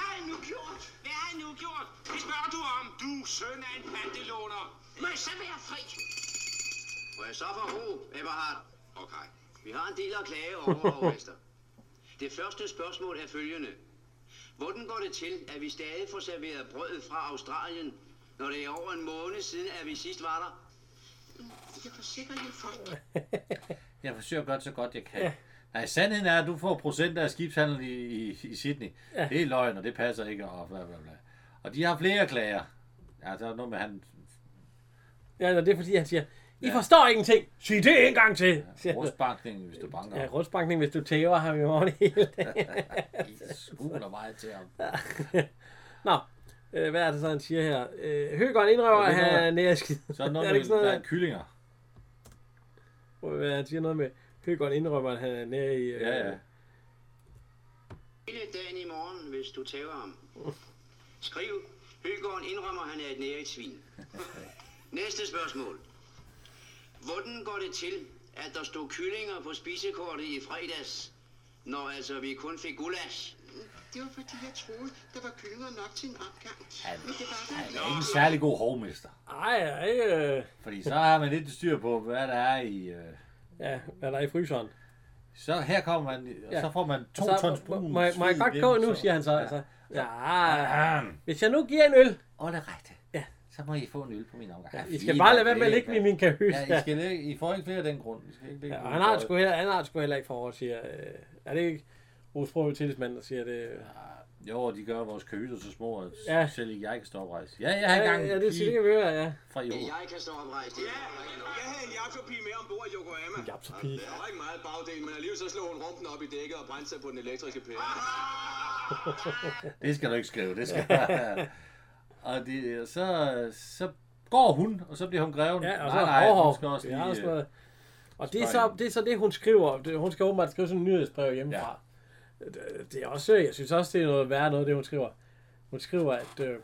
Speaker 3: har I nu gjort? Hvad har I nu gjort? Det spørger du om. Du søn af en pantelåner.
Speaker 4: Må jeg så være fri?
Speaker 3: Må jeg så få ro, Eberhard? Okay. Vi har en del at klage over, overmester. Det første spørgsmål er følgende. Hvordan går det til, at vi stadig får serveret brødet fra Australien, når det er over en måned siden, at vi sidst var der?
Speaker 4: Jeg forsikrer jer for,
Speaker 2: Jeg forsøger godt så godt, jeg kan. Ja. Nej, sandheden er, at du får procenter af skibshandel i, i, i Sydney. Ja. Det er løgn, og det passer ikke, og bla bla bla. Og de har flere klager. Ja, der er noget med han...
Speaker 1: ja, nå, det er fordi, han siger, I forstår ingenting. Sig det en gang til. Siger han.
Speaker 2: Rustbankning, hvis du banker.
Speaker 1: Ja,
Speaker 2: Ja,
Speaker 1: rustbankning, hvis du tæver ham i morgen hele dagen.
Speaker 2: skuler meget til ham.
Speaker 1: Nå, øh, hvad er det så, han siger her? Øh, Høgeren indrømmer,
Speaker 2: Ja,
Speaker 1: at
Speaker 2: det er
Speaker 1: han er
Speaker 2: noget-
Speaker 1: nærskid.
Speaker 2: Så er der
Speaker 1: er
Speaker 2: noget
Speaker 1: det
Speaker 2: med,
Speaker 1: ikke sådan
Speaker 2: der
Speaker 1: noget,
Speaker 2: er kyllinger.
Speaker 1: der- hvad, han siger noget med, Høgeren indrømmer, at han er nær i... Øh,
Speaker 2: Ja, ja.
Speaker 3: Hele dagen i morgen, hvis du tæver ham. Skriv, Høgården indrømmer, han er et næret svin. Næste spørgsmål. Hvordan går det til, at der stod kyllinger på spisekortet i fredags, når altså vi kun fik gulasch?
Speaker 6: Det var fordi, jeg troede, der var kyllinger nok til en opgang.
Speaker 2: Han,
Speaker 6: Men det var der
Speaker 2: han
Speaker 6: ikke.
Speaker 2: er ikke en særlig god hovmester.
Speaker 1: Ej, ej, øh,
Speaker 2: Fordi så har man lidt styr på, hvad der er i... Øh,
Speaker 1: ja, hvad er der i fryseren?
Speaker 2: Så her kommer man, og
Speaker 1: Ja.
Speaker 2: så får man to
Speaker 1: så,
Speaker 2: tons
Speaker 1: må,
Speaker 2: brun.
Speaker 1: må, jeg- må jeg
Speaker 2: sved
Speaker 1: godt
Speaker 2: ind,
Speaker 1: gå nu,
Speaker 2: så-
Speaker 1: siger han så.
Speaker 2: Ja.
Speaker 1: Altså. Ja.
Speaker 2: Ah,
Speaker 1: Hvis jeg nu giver en øl,
Speaker 2: Og det er rigtigt.
Speaker 1: Ja.
Speaker 2: Så må I få en øl på min omgang.
Speaker 1: Ja,
Speaker 2: Ja,
Speaker 1: I skal
Speaker 2: fint,
Speaker 1: bare
Speaker 2: det
Speaker 1: lade være med at
Speaker 2: er
Speaker 1: ligge i
Speaker 2: ikke-
Speaker 1: min kahøs.
Speaker 2: Ja, I, skal ikke, I får ikke flere af den grund. I skal ikke ligge
Speaker 1: Ja,
Speaker 2: i
Speaker 1: og
Speaker 2: min
Speaker 1: han har,
Speaker 2: grund.
Speaker 1: sgu heller, han har sgu heller ikke forår, siger... Øh, er det ikke Rus Brøve tillidsmand, der siger det?
Speaker 2: Jo, og de gør vores kahytter så små, at
Speaker 1: Ja.
Speaker 2: ja. selv ikke jeg kan stå oprejst. Ja, jeg har engang
Speaker 1: ja,
Speaker 2: en
Speaker 1: det, siger, det
Speaker 2: pige
Speaker 1: kan vi høre, ja.
Speaker 2: fra i år.
Speaker 3: Jeg kan stå oprejst.
Speaker 5: Ja, jeg havde en jakobpige med ombord i Yokohama.
Speaker 1: Japsa pige.
Speaker 5: Der var ikke meget bagdel, men alligevel så slog hun rumpen op i dækket og brændte sig på den elektriske pære.
Speaker 2: Det skal du ikke skrive, det skal Og det, så, så går hun, og så bliver hun greven.
Speaker 1: Ja, og så
Speaker 2: nej,
Speaker 1: er
Speaker 2: nej,
Speaker 1: der
Speaker 2: hun skal
Speaker 1: hårhår.
Speaker 2: også
Speaker 1: Ja, og sådan
Speaker 2: lige... øh,
Speaker 1: noget. Og det er,
Speaker 2: spejle.
Speaker 1: så, det er så det, hun skriver. Det- Hun skal åbenbart skrive sådan en nyhedsbrev hjemmefra. Det, det er også, jeg synes også, det er noget værre noget, det hun skriver. Hun skriver, at, øh,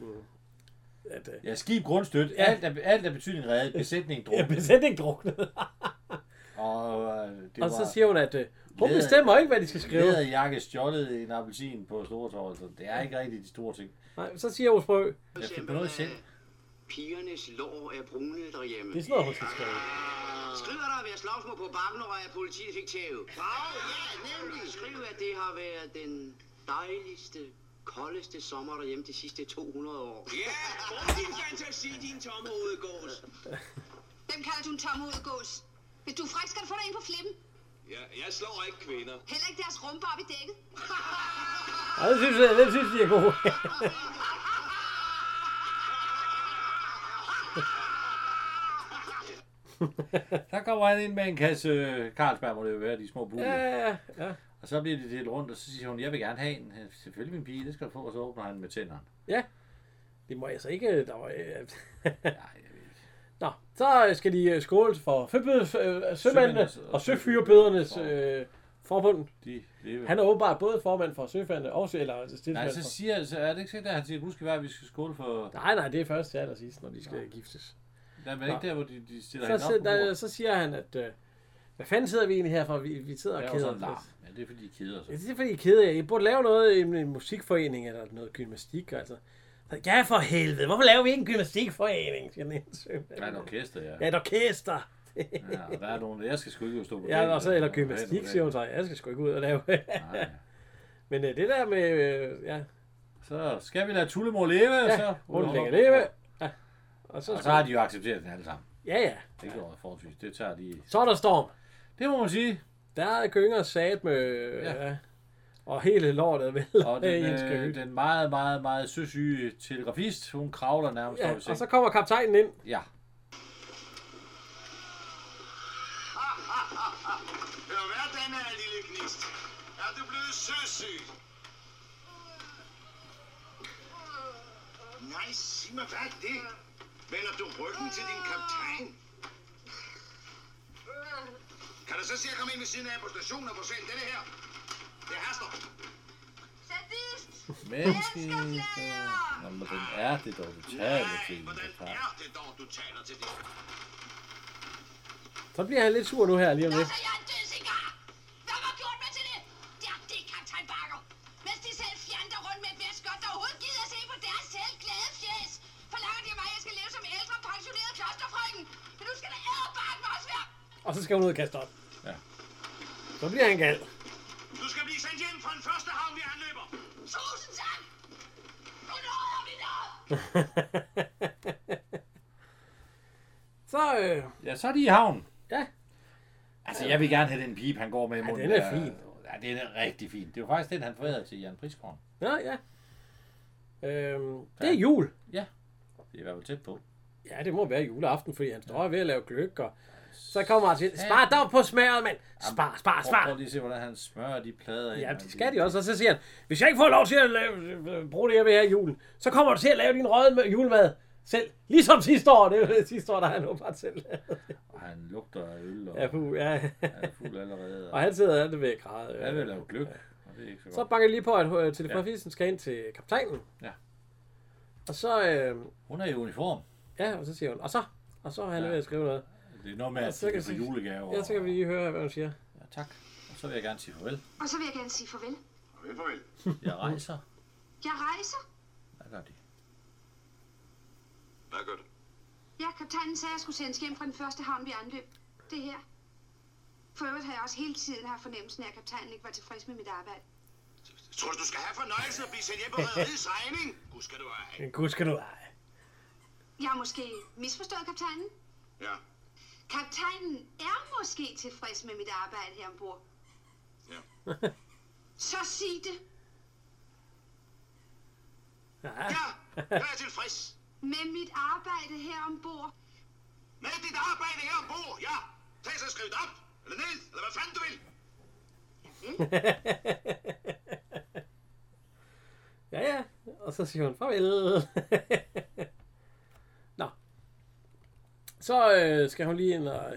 Speaker 1: at øh,
Speaker 2: Ja, skib grundstødt.
Speaker 1: Ja.
Speaker 2: Alt, er, alt er betydning reddet. Besætning
Speaker 1: ja,
Speaker 2: drukket.
Speaker 1: besætningen druknede.
Speaker 2: Og øh, det
Speaker 1: og
Speaker 2: var
Speaker 1: så siger hun, at øh, hun
Speaker 2: Læder-
Speaker 1: bestemmer ikke, hvad de skal skrive.
Speaker 2: skrive. jakke stjålet en appelsin på Stortorvet. Så det er ikke rigtig de store ting.
Speaker 1: Nej, så siger Rus Brøve,
Speaker 2: Jeg skal på noget selv.
Speaker 3: øh, Pigernes lår er brune derhjemme.
Speaker 1: det er sådan noget, hun skal skrive.
Speaker 3: Skriver der ved at slagsmål på bakken, og at politiet fik tæve. Brav, ja, nemlig. Skriv, at det har været den dejligste, koldeste sommer derhjemme de sidste 200 år.
Speaker 5: Ja, brug din fantasi, din tomme hovedgås.
Speaker 4: Hvem kalder du en tom hovedgås? Hvis du er fræk, skal du få dig ind på flippen.
Speaker 5: Ja, jeg slår ikke kvinder.
Speaker 4: Heller ikke deres rumpe op i dækket.
Speaker 1: Ja, det synes jeg, det synes jeg er gode.
Speaker 2: Der kommer han ind med en kasse øh, Carlsberg, må det jo være, de små buler.
Speaker 1: ja, ja, ja.
Speaker 2: Og så bliver det delt rundt, og så siger hun, jeg vil gerne have en. "Ja, Selvfølgelig min pige, det skal du få. Og så åbner han med tænderne.
Speaker 1: Ja. Det må jeg så ikke... Der var, øh,
Speaker 2: Nej, jeg ved ikke.
Speaker 1: Nå, så skal de øh, skåle for fødbødes, øh, sømændene
Speaker 2: Sømændenes og
Speaker 1: og søfyrebødernes øh, forbund.
Speaker 2: De lever.
Speaker 1: Han er åbenbart både formand for søfærdende og sø- eller
Speaker 2: Nej,
Speaker 1: stilsmand.
Speaker 2: så
Speaker 1: for-
Speaker 2: Altså, siger så er det ikke sikkert, at han siger, husk i hver, vi skal skåle for...
Speaker 1: Nej, nej, det er først til allersidst, når de skal giftes.
Speaker 2: Der er vel ikke der, hvor de, de stiller
Speaker 1: Så,
Speaker 2: hende op
Speaker 1: så,
Speaker 2: på
Speaker 1: der,
Speaker 2: bordet.
Speaker 1: så siger han, at øh, hvad fanden sidder vi egentlig her for? Vi, vi sidder
Speaker 2: Der
Speaker 1: og
Speaker 2: er jo
Speaker 1: keder
Speaker 2: sådan en larm.
Speaker 1: os.
Speaker 2: Ja, det er fordi, de keder sig.
Speaker 1: Ja, Det er fordi, I er kede af. jer. I burde lave noget, en, en musikforening eller noget gymnastik. Altså. Så, Ja, for helvede. Hvorfor laver vi ikke en gymnastikforening? Siger den ene sømand.
Speaker 2: Der er et orkester, ja.
Speaker 1: Ja, et orkester.
Speaker 2: ja og der er nogen, jeg skal sgu ikke stå på
Speaker 1: Ja, og så eller
Speaker 2: Ja,
Speaker 1: gymnastik,
Speaker 2: ja.
Speaker 1: siger hun så. Jeg skal sgu ikke ud og lave.
Speaker 2: Nej.
Speaker 1: Men øh, det der med, øh, ja,
Speaker 2: Så skal vi lade Tullemor leve, ja, så...
Speaker 1: hun lægger leve. Ja. Og så,
Speaker 2: Og så har de jo accepteret den alle sammen.
Speaker 1: Ja, ja.
Speaker 2: Det går forholdsvis. Det tager de...
Speaker 1: Så er der storm.
Speaker 2: Det må man sige.
Speaker 1: Der er gynger sat med... Ja.
Speaker 2: Ja.
Speaker 1: ja. Og hele lortet vel.
Speaker 2: Og den, øh, den meget, meget, meget søsyge telegrafist, hun kravler nærmest
Speaker 1: ja,
Speaker 2: over sig.
Speaker 1: og så kommer kaptajnen ind.
Speaker 2: Ja.
Speaker 5: Hør, hvad den er, lille gnist? Er du blevet søsyg?
Speaker 6: Nej, sig mig, hvad er det? Vender du ryggen til din kaptajn? Kan du så se at komme ind ved siden af på stationen og forsvinde denne her? Det haster.
Speaker 4: Sadist!
Speaker 2: Menneskeflager! Nå, men den er det dog totalt til.
Speaker 6: hvordan er det dog, du taler til det?
Speaker 1: Så bliver han lidt sur nu her lige om
Speaker 4: Nå,
Speaker 1: lidt.
Speaker 4: så jeg er en dødsigar! Hvem har gjort mig til det? Ja, det er kaptajn Bakker. Mens de selv fjander rundt med et værtskot, der overhovedet gider at se på deres selv glade fjes, forlanger de af mig, at jeg skal leve som ældre pensioneret klosterfrøken. Men nu skal der æderbarn mig også være...
Speaker 1: Og så skal hun ud og kaste op.
Speaker 2: Ja.
Speaker 1: Så bliver han gal.
Speaker 6: Du skal blive sendt hjem fra den første havn, vi anløber.
Speaker 4: Tusind tak! Nu nåede vi noget!
Speaker 1: så, øh,
Speaker 2: Ja, så er de i havn.
Speaker 1: ja.
Speaker 2: Altså, jeg vil gerne have den pipe, han går med i
Speaker 1: Ja,
Speaker 2: munden.
Speaker 1: den er
Speaker 2: der.
Speaker 1: fin.
Speaker 2: Ja, den er rigtig fin. Det er jo faktisk den, han forærede til Jan Priskorn.
Speaker 1: Nå, ja. Øhm, det er jul.
Speaker 2: Ja. Det er i hvert fald tæt på.
Speaker 1: Ja, det må være juleaften, fordi han står ved at lave gløk, og så kommer han til, spar dog på smæret, mand! Spar, spar,
Speaker 2: Prøv, prøv
Speaker 1: spar!
Speaker 2: lige at se, hvordan han smører de plader ind.
Speaker 1: Ja, det skal de også, og så siger han, hvis jeg ikke får lov til at lave, bruge det, jeg vil her i julen, så kommer du til at lave din røde julemad selv, ligesom sidste år. Det er jo det sidste år, der har han åbenbart selv lavet.
Speaker 2: Og han lugter af øl, og
Speaker 1: Ja, puh, ja.
Speaker 2: han er fuld allerede.
Speaker 1: Og
Speaker 2: Og
Speaker 1: han sidder andet ved at græde.
Speaker 2: han
Speaker 1: Ja.
Speaker 2: vil lave gløk. Og det er ikke så,
Speaker 1: Så
Speaker 2: godt.
Speaker 1: banker jeg lige på, at øh, telegrafisten skal ind til kaptajnen.
Speaker 2: Ja.
Speaker 1: Og så, øh,
Speaker 2: Hun er i uniform.
Speaker 1: ja, og så siger hun, og så, og så er han
Speaker 2: Ja.
Speaker 1: ved at skrive noget.
Speaker 2: Det er noget med,
Speaker 1: Og
Speaker 2: at
Speaker 1: så
Speaker 2: de
Speaker 1: kan
Speaker 2: kan få
Speaker 1: vi-
Speaker 2: julegaver.
Speaker 1: Ja, så kan vi lige høre, hvad hun siger.
Speaker 2: Ja, tak. Og så vil jeg gerne sige farvel.
Speaker 4: Og så vil jeg gerne sige farvel.
Speaker 6: Farvel, farvel.
Speaker 2: Jeg rejser.
Speaker 4: Jeg rejser.
Speaker 2: Hvad gør de?
Speaker 6: Hvad gør du?
Speaker 4: Ja, kaptajnen sagde, at jeg skulle sendes hjem fra den første havn, vi anløb. Det her. For øvrigt havde jeg også hele tiden haft fornemmelsen af, at kaptajnen ikke var tilfreds med mit arbejde.
Speaker 6: Tror du, du skal have fornøjelsen at blive sendt hjem på rederiets regning? Gud skal du ej.
Speaker 1: Men gud skal du ej.
Speaker 4: Jeg har måske misforstået kaptajnen.
Speaker 6: Ja,
Speaker 4: Kaptajnen er måske tilfreds med mit arbejde her ombord.
Speaker 6: ja.
Speaker 4: Så sig det.
Speaker 1: Nej,
Speaker 6: Ja, jeg er tilfreds.
Speaker 4: Med mit arbejde her ombord.
Speaker 6: Med dit arbejde her ombord, ja. Tag så skriv det op, eller ned, eller hvad fanden du vil.
Speaker 1: ja ja, og så siger hun farvel. Nå. Så øh, skal hun lige ind og...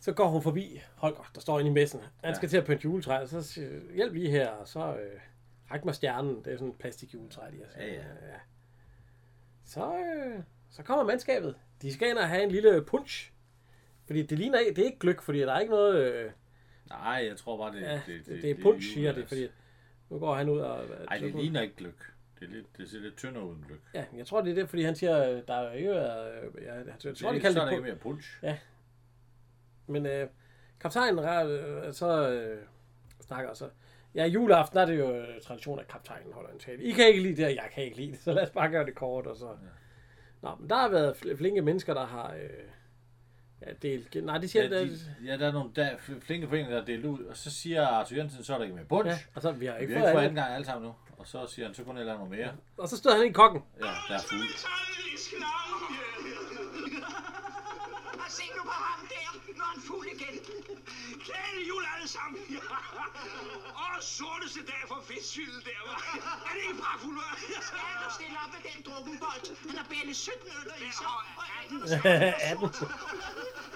Speaker 1: Så går hun forbi Holger, der står inde i messen. Han skal til at pynte juletræ, så siger, hjælp lige her, og så øh, ræk mig stjernen. Det er sådan en plastik juletræ, de har.
Speaker 2: Ja, ja.
Speaker 1: Så, øh, så kommer mandskabet. De skal ind og have en lille punch. Fordi det ligner ikke, det er ikke gløk, fordi der er ikke noget... Øh,
Speaker 2: Nej, jeg tror bare, det,
Speaker 1: Ja, det,
Speaker 2: det,
Speaker 1: det, det er punch,
Speaker 2: jul,
Speaker 1: siger det,
Speaker 2: altså.
Speaker 1: fordi nu går han ud og...
Speaker 2: Ej, det ligner ikke gløk. Det, er lidt, det ser lidt tyndere uden gløk.
Speaker 1: Ja, jeg tror, det er det, fordi han siger, øh, der er jo ikke... Øh, jeg, jeg, jeg, jeg
Speaker 2: Så
Speaker 1: tror, de
Speaker 2: så
Speaker 1: kalder
Speaker 2: er der
Speaker 1: det
Speaker 2: ikke
Speaker 1: punch.
Speaker 2: mere punch.
Speaker 1: Men øh, kaptajnen øh, så øh, snakker så... Ja, juleaften der er det jo øh, tradition, at kaptajnen holder en tale. I kan ikke lide det, og jeg kan ikke lide det, så lad os bare gøre det kort, og så... Nå, men der har været fl- flinke mennesker, der har... Øh, ja, delt... Nej, det siger...
Speaker 2: Ja,
Speaker 1: Ja,
Speaker 2: de, ja, der er nogle der, fl- flinke foreninger, der er delt ud, og så siger Arthur Jensen, så er der ikke mere punch.
Speaker 1: ja,
Speaker 2: Ja.
Speaker 1: og så vi har
Speaker 2: Vi
Speaker 1: ikke
Speaker 2: har
Speaker 1: fået
Speaker 2: ikke fået
Speaker 1: andet.
Speaker 2: anden gang alle sammen nu. Og så siger han, så kunne jeg lave noget mere.
Speaker 1: Og så stod han i kokken.
Speaker 2: Ja, der er fugle.
Speaker 5: Og se nu på ham der, når han fuld igen. Glædelig jul alle sammen. Og sorteste dag for fedtsylet der, var. Er det ikke bare fuld, hva'?
Speaker 7: Ja, du stiller op med den drukkenbold. Han har bændet 17 øl i sig. Og 18
Speaker 1: Atten.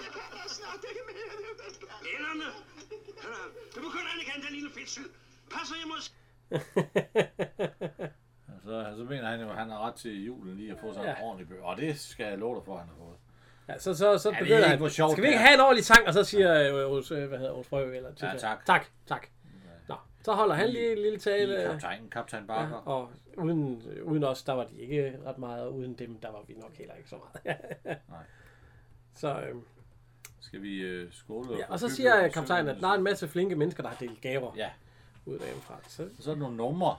Speaker 7: Jeg kan næsten ikke mere. Det er vel klart.
Speaker 5: Enderne. Nu begynder han igen, den lille fedtsyd. Passer jeg måske?
Speaker 2: Og Så, så mener han jo, at han har ret til julen lige at få sig en
Speaker 1: Ja.
Speaker 2: ordentlig bøger. Og det skal jeg love dig for, at han har fået.
Speaker 1: Ja, så, så, så
Speaker 2: det er
Speaker 1: begynder
Speaker 2: ikke,
Speaker 1: han.
Speaker 2: hvor sjovt
Speaker 1: Skal vi
Speaker 2: det
Speaker 1: ikke
Speaker 2: er."
Speaker 1: have en ordentlig sang, og så siger øh, Rus, øh, hvad hedder Rus Frø, eller Tita.
Speaker 2: tak.
Speaker 1: Tak, tak. Nå, så holder han lige en lille tale,
Speaker 2: Lige
Speaker 1: øh,
Speaker 2: kaptajnen, kaptajn Barker. Ja,
Speaker 1: og uden, øh, uden os, der var de ikke ret meget, og uden dem, der var vi nok heller ikke så meget.
Speaker 2: Nej.
Speaker 1: Så, øh,
Speaker 2: Skal vi øh, skåle?
Speaker 1: ja,
Speaker 2: for
Speaker 1: og så
Speaker 2: hygge
Speaker 1: siger
Speaker 2: og
Speaker 1: øh, kaptajnen,
Speaker 2: synge?
Speaker 1: at der er en masse flinke mennesker, der har delt gaver
Speaker 2: Ja,
Speaker 1: ud derhjemmefra. Så,
Speaker 2: og så er der nogle numre.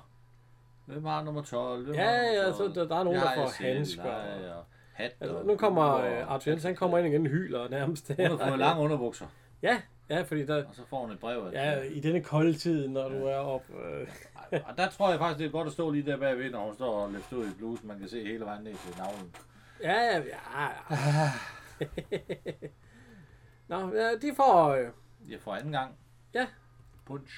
Speaker 2: Hvem har nummer 12? Hvem
Speaker 1: Ja,
Speaker 2: har nummer
Speaker 1: ja, så
Speaker 2: 12?
Speaker 1: der- der er nogen,
Speaker 2: Jeg
Speaker 1: der får
Speaker 2: er selv,
Speaker 1: handsker
Speaker 2: nej,
Speaker 1: og-
Speaker 2: og hat.
Speaker 1: altså,
Speaker 2: og
Speaker 1: nu kommer
Speaker 2: huer
Speaker 1: øh,
Speaker 2: og-
Speaker 1: Arthur Jensen, han kommer ind igen hyler nærmest.
Speaker 2: Hun har fået lange underbukser,
Speaker 1: ja, ja, fordi der,
Speaker 2: og så får hun et brev. at-
Speaker 1: ja, i denne kolde tid, når du er op. Øh,
Speaker 2: Ej, Og der tror jeg faktisk, det er godt at stå lige der bagved, når hun står og løfter ud i blusen. Man kan se hele vejen ned til navlen.
Speaker 1: Ja, ja, ja. Nå, ja, de får... Øh,
Speaker 2: Jeg får anden gang.
Speaker 1: Ja.
Speaker 2: Punch.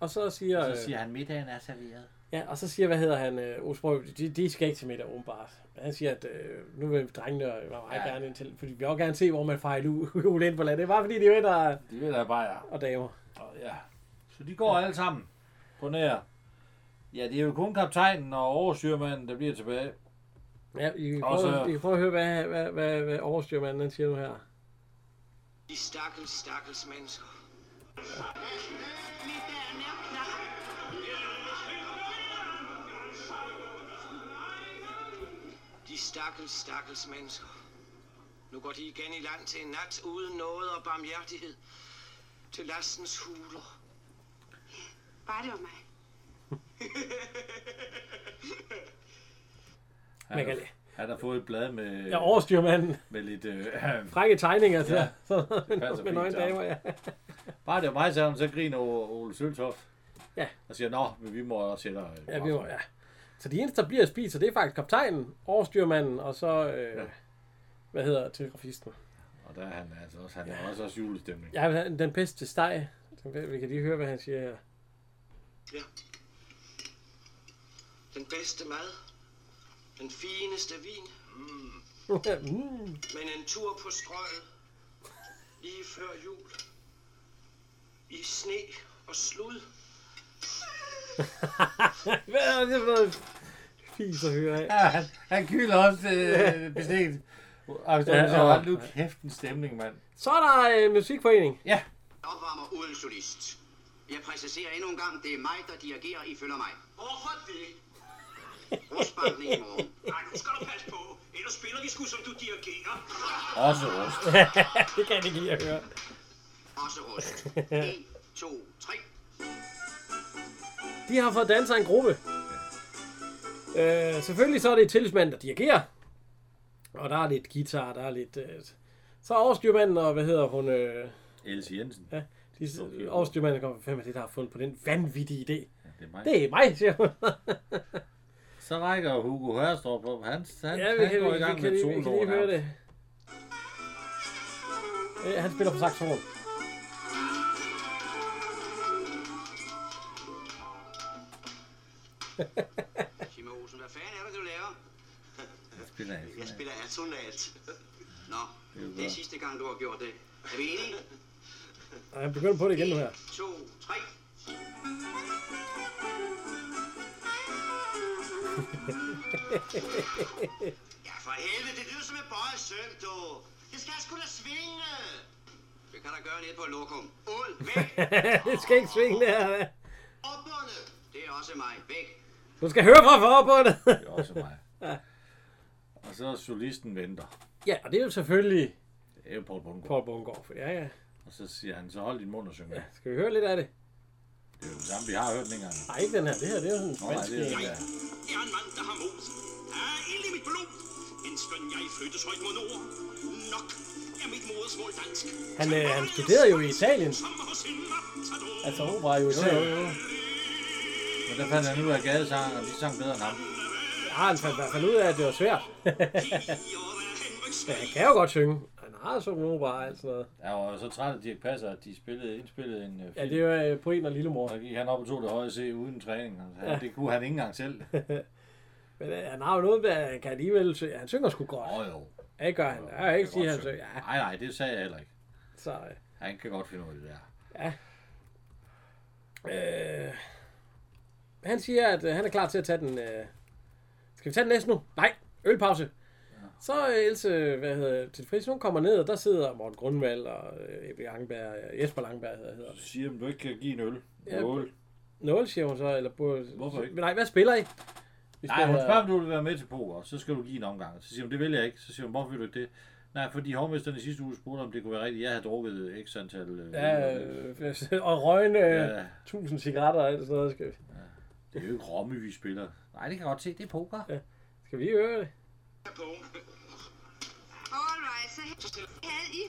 Speaker 1: og så siger... øh,
Speaker 2: Så siger han, middagen er serveret.
Speaker 1: Ja, og så siger, hvad hedder han, øh, Osbrøv, de, de skal ikke til middag, åbenbart. Men Han siger, at øh, nu vil drengene og mig meget
Speaker 2: Ja.
Speaker 1: gerne ind til, fordi vi vil også gerne se, hvor man fejler ud ind på landet. Det er bare fordi, de er der
Speaker 2: Det vil jeg bare, ja.
Speaker 1: og damer.
Speaker 2: Og ja. Så de går alle sammen på nær. Ja, det er jo kun kaptajnen og oversyrmanden, der bliver tilbage.
Speaker 1: Ja, I kan,
Speaker 2: Og
Speaker 1: prøve,
Speaker 2: så-
Speaker 1: I kan prøve at høre, hvad, hvad, hvad, hvad overstyrmanden han siger nu her.
Speaker 5: De stakkels, stakkels mennesker.
Speaker 7: Middagen er klar.
Speaker 5: De stakkels, stakkels mennesker. Nu går de igen i land til en nat uden noget og barmhjertighed. Til lastens huler.
Speaker 4: Bare det var mig.
Speaker 2: Han,
Speaker 1: Man kan-
Speaker 2: har- han har fået et blad med,
Speaker 1: Ja, overstyrmanden.
Speaker 2: med lidt... Øh,
Speaker 1: Frække tegninger til
Speaker 2: Ja.
Speaker 1: ja. så,
Speaker 2: passer
Speaker 1: med
Speaker 2: fint
Speaker 1: nøgne
Speaker 2: sammen.
Speaker 1: damer, ja.
Speaker 2: bare det er mig, sagde hun, så griner O- Ole Søltoft.
Speaker 1: Ja.
Speaker 2: Og siger, nå, men vi må også sætte... øh,
Speaker 1: Ja, vi må, ja. Så de eneste, der bliver spist, det er faktisk kaptajnen, overstyrmanden, og så, øh, ja.
Speaker 2: Ja.
Speaker 1: hvad hedder telegrafisten?
Speaker 2: Og der er han altså også, han er også, også julestemning.
Speaker 1: Ja, han- den bedste steg. Den- Vi kan lige høre, hvad han siger her.
Speaker 5: Ja. Den bedste mad. Den fineste vin.
Speaker 1: mm.
Speaker 5: Men en tur på strøget. Lige før jul. I sne og slud.
Speaker 1: Hvad er det for noget fis at høre af?
Speaker 2: Ja, han, han kylder også øh, bestemt. Og så
Speaker 1: Ja,
Speaker 2: ja,
Speaker 1: og-
Speaker 2: hold nu kæft en stemning, mand.
Speaker 1: Så er der øh, musikforening.
Speaker 2: Ja,
Speaker 6: Opvarmer uden solist.
Speaker 3: Jeg præciserer endnu en gang, det er mig, der dirigerer, I følger mig.
Speaker 5: Hvorfor det?
Speaker 3: Rusbankning i morgen.
Speaker 5: Nej, nu skal du passe på. Ellers spiller vi sgu, som du dirigerer.
Speaker 2: også rust.
Speaker 1: det kan jeg ikke lide at høre.
Speaker 3: Osserust. 1, 2, 3.
Speaker 1: De har fået danser en gruppe. Øh, selvfølgelig så er det et tillidsmand, der dirigerer. Og der er lidt guitar, der er lidt... Øh, så er overstyrmanden og, hvad hedder hun... Øh,
Speaker 2: Else Jensen.
Speaker 1: ja, de,
Speaker 2: Okay.
Speaker 1: okay. overstyrmanden kommer, hvem er det, der har fundet på den vanvittige idé?
Speaker 2: Det er mig.
Speaker 1: Det er mig, siger hun.
Speaker 2: Så rækker Hugo Hørstrup op. Han, han,
Speaker 1: ja, vi
Speaker 2: han
Speaker 1: kan,
Speaker 2: går
Speaker 1: vi,
Speaker 2: i gang
Speaker 1: vi, kan,
Speaker 2: med
Speaker 1: lige, vi kan lige
Speaker 2: soloen
Speaker 1: høre
Speaker 2: her.
Speaker 1: det. Øh, han spiller på saxofon.
Speaker 3: Simon Olsen, hvad fanden er det, du laver?
Speaker 2: Han spiller han.
Speaker 3: Jeg spiller atonalt. Nå,
Speaker 2: er jo
Speaker 3: det er
Speaker 2: godt.
Speaker 3: sidste gang, du har gjort det. Er vi enige?
Speaker 1: Og han begynder på det igen nu her.
Speaker 3: 1, 2, 3.
Speaker 6: Ja, for helvede, det lyder som en bøjet søm, du. Det skal sgu da svinge.
Speaker 3: Vi kan da gøre lidt på lokum.
Speaker 6: Ud, væk,
Speaker 1: det skal ikke svinge det her. hva'?
Speaker 6: opbundet.
Speaker 3: Det er også mig. Væk.
Speaker 1: Du skal høre fra forbundet.
Speaker 2: Det er også mig. Og så solisten venter.
Speaker 1: ja, og det er jo selvfølgelig
Speaker 2: Det er jo Paul Bundgaard.
Speaker 1: Paul Bungård. For, ja, ja.
Speaker 2: Og så siger han, så hold din mund og syng. med.
Speaker 1: Skal vi høre lidt af det?
Speaker 2: Det er jo det samme, vi har hørt den engang.
Speaker 1: Nej, ikke den her. Det her, det er jo sådan en
Speaker 2: Nå, nej,
Speaker 1: spansk...
Speaker 2: det er den
Speaker 1: øh,
Speaker 2: der.
Speaker 6: Jeg er en mand, der har mod. Der er ild i mit blod. Men skøn jeg flyttes højt mod nord. Nok er mit modersmål dansk.
Speaker 1: Han, øh, han studerede jo i Italien.
Speaker 6: Som hos en matador.
Speaker 1: Altså opera i
Speaker 2: Jo,
Speaker 1: USA.
Speaker 2: jo, jo. Men der fandt han ud af gadesangen, og de sang bedre end ham.
Speaker 1: Ja, han fandt i hvert fald ud af, at det var svært. Men han kan jo godt synge. Han har jo sunget opera og alt sådan noget.
Speaker 2: Jeg var så træt af Dirk Passer, at de spillede, indspillede en øh,
Speaker 1: Ja,
Speaker 2: film.
Speaker 1: det var øh, på en og lillemor.
Speaker 2: Og gik han op og tog det høje C uden træning. Altså, ja. Det kunne han ikke engang selv.
Speaker 1: Men øh, han har jo noget med, at han kan alligevel synge. Han synger sgu godt.
Speaker 2: Åh oh, jo.
Speaker 1: Ja, det gør han. Jeg er ikke sige, at han synger. Ja,
Speaker 2: Nej, nej, det sagde jeg heller ikke.
Speaker 1: så... øh,
Speaker 2: Han kan godt finde ud af det der.
Speaker 1: Øh, han siger, at øh, han er klar til at tage den... Øh, skal vi tage den næste nu? Nej, ølpause. Så øh, Else, hvad hedder til Fris, hun kommer ned, og der sidder Morten Grundvald og øh, Ebbe Langberg, øh, Jesper Langberg hedder, hedder
Speaker 2: Du
Speaker 1: det.
Speaker 2: siger, at du ikke kan give en øl.
Speaker 1: Ja,
Speaker 2: Ja, øl.
Speaker 1: Nål, siger hun så, eller på,
Speaker 2: Hvorfor ikke?
Speaker 1: Nej, hvad spiller I? Vi
Speaker 2: Nej, hun spørger, om du vil være med til poker, så skal du give en omgang. Så siger hun, det vil jeg ikke. Så siger hun, hvorfor vil du ikke det? Nej, fordi hovmesteren i sidste uge spurgte, om det kunne være rigtigt. Jeg havde drukket x antal... Øh,
Speaker 1: Ja,
Speaker 2: øl.
Speaker 1: øh, og røgne
Speaker 2: Ja.
Speaker 1: øh, tusind cigaretter og alt sådan noget. Skal vi,
Speaker 2: Det er jo ikke Romme, vi spiller. Nej, det kan jeg godt se. Det er poker.
Speaker 1: Ja. skal vi lige høre det?
Speaker 4: Alright, så havde I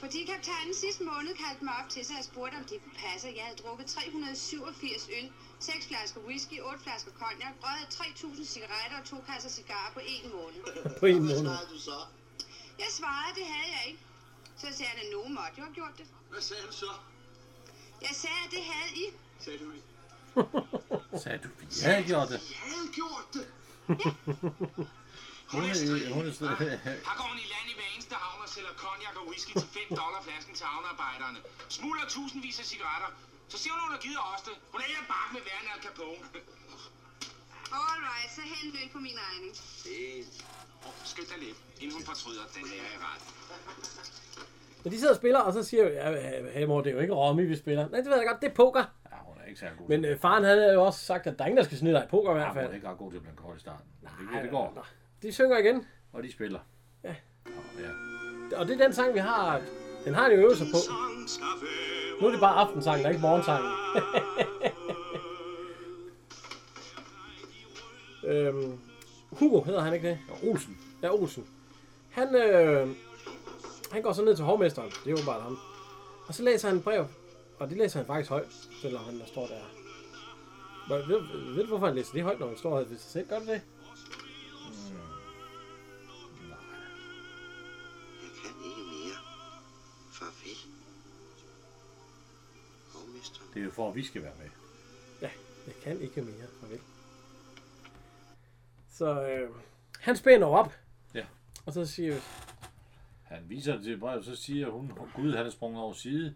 Speaker 4: Politikaptajnen sidste måned kaldte mig op til sig og spurgte, om det kunne passe. at Jeg havde drukket 387 øl, 6 flasker whisky, 8 flasker cognac, røget 3.000 cigaretter og to kasser cigarer på én måned.
Speaker 1: På en måned.
Speaker 6: du så?
Speaker 4: Jeg svarede, det havde jeg ikke. Så sagde han, at nogen måtte jo have gjort det.
Speaker 6: Hvad sagde du så?
Speaker 4: Jeg sagde, at det havde I.
Speaker 6: Sagde du ikke?
Speaker 2: Sagde du, vi havde gjort det.
Speaker 6: Jeg havde gjort det.
Speaker 2: Hun er, hun er,
Speaker 6: Ah.
Speaker 5: Her går hun i land i hver eneste havn og sælger cognac og whisky til 5 dollar flasken til havnearbejderne. Smuldrer tusindvis af cigaretter. Så siger hun, at hun har givet os det. Hun er helt bakke med værende Al Capone.
Speaker 4: Alright, så hent øl på min regning.
Speaker 5: Oh, skynd dig lidt, inden hun fortryder den her i ret.
Speaker 1: Men de sidder og spiller, og så siger jeg, ja, hey mor, det er jo ikke Romme, vi spiller. Nej, det ved jeg godt, det er poker.
Speaker 2: ja, hun er ikke særlig god.
Speaker 1: Men øh, faren han havde jo også sagt, at der er ingen, der skal snyde dig i poker i
Speaker 2: ja,
Speaker 1: hvert
Speaker 2: hun er
Speaker 1: fald.
Speaker 2: ikke ret god til at blande kort i starten. Men det, det går.
Speaker 1: De synger igen,
Speaker 2: Og de spiller. Ja. ja.
Speaker 1: og det er den sang, vi har. Den har de jo øvelser på. Nu er det bare aftensang, der er ikke morgensang. øhm, Hugo hedder han ikke det?
Speaker 2: Og Olsen.
Speaker 1: Ja, Olsen. Han, øh, han går så ned til hovmesteren. Det er åbenbart ham. Og så læser han et brev. Og det læser han faktisk højt, selvom han der står der. Hvor- Ved, ved, ved du, hvorfor han læser det højt, når han står her ved sig selv? Gør du det?
Speaker 3: Jeg kan ikke mere. Farvel. Hovmesteren.
Speaker 2: Det er jo for, at vi skal være med.
Speaker 1: Ja, jeg kan ikke mere. Farvel. Så øh, han spænder op.
Speaker 2: Ja.
Speaker 1: Og så siger vi,
Speaker 2: Han viser det til brevet, så siger hun, oh, gud, han er sprunget over side.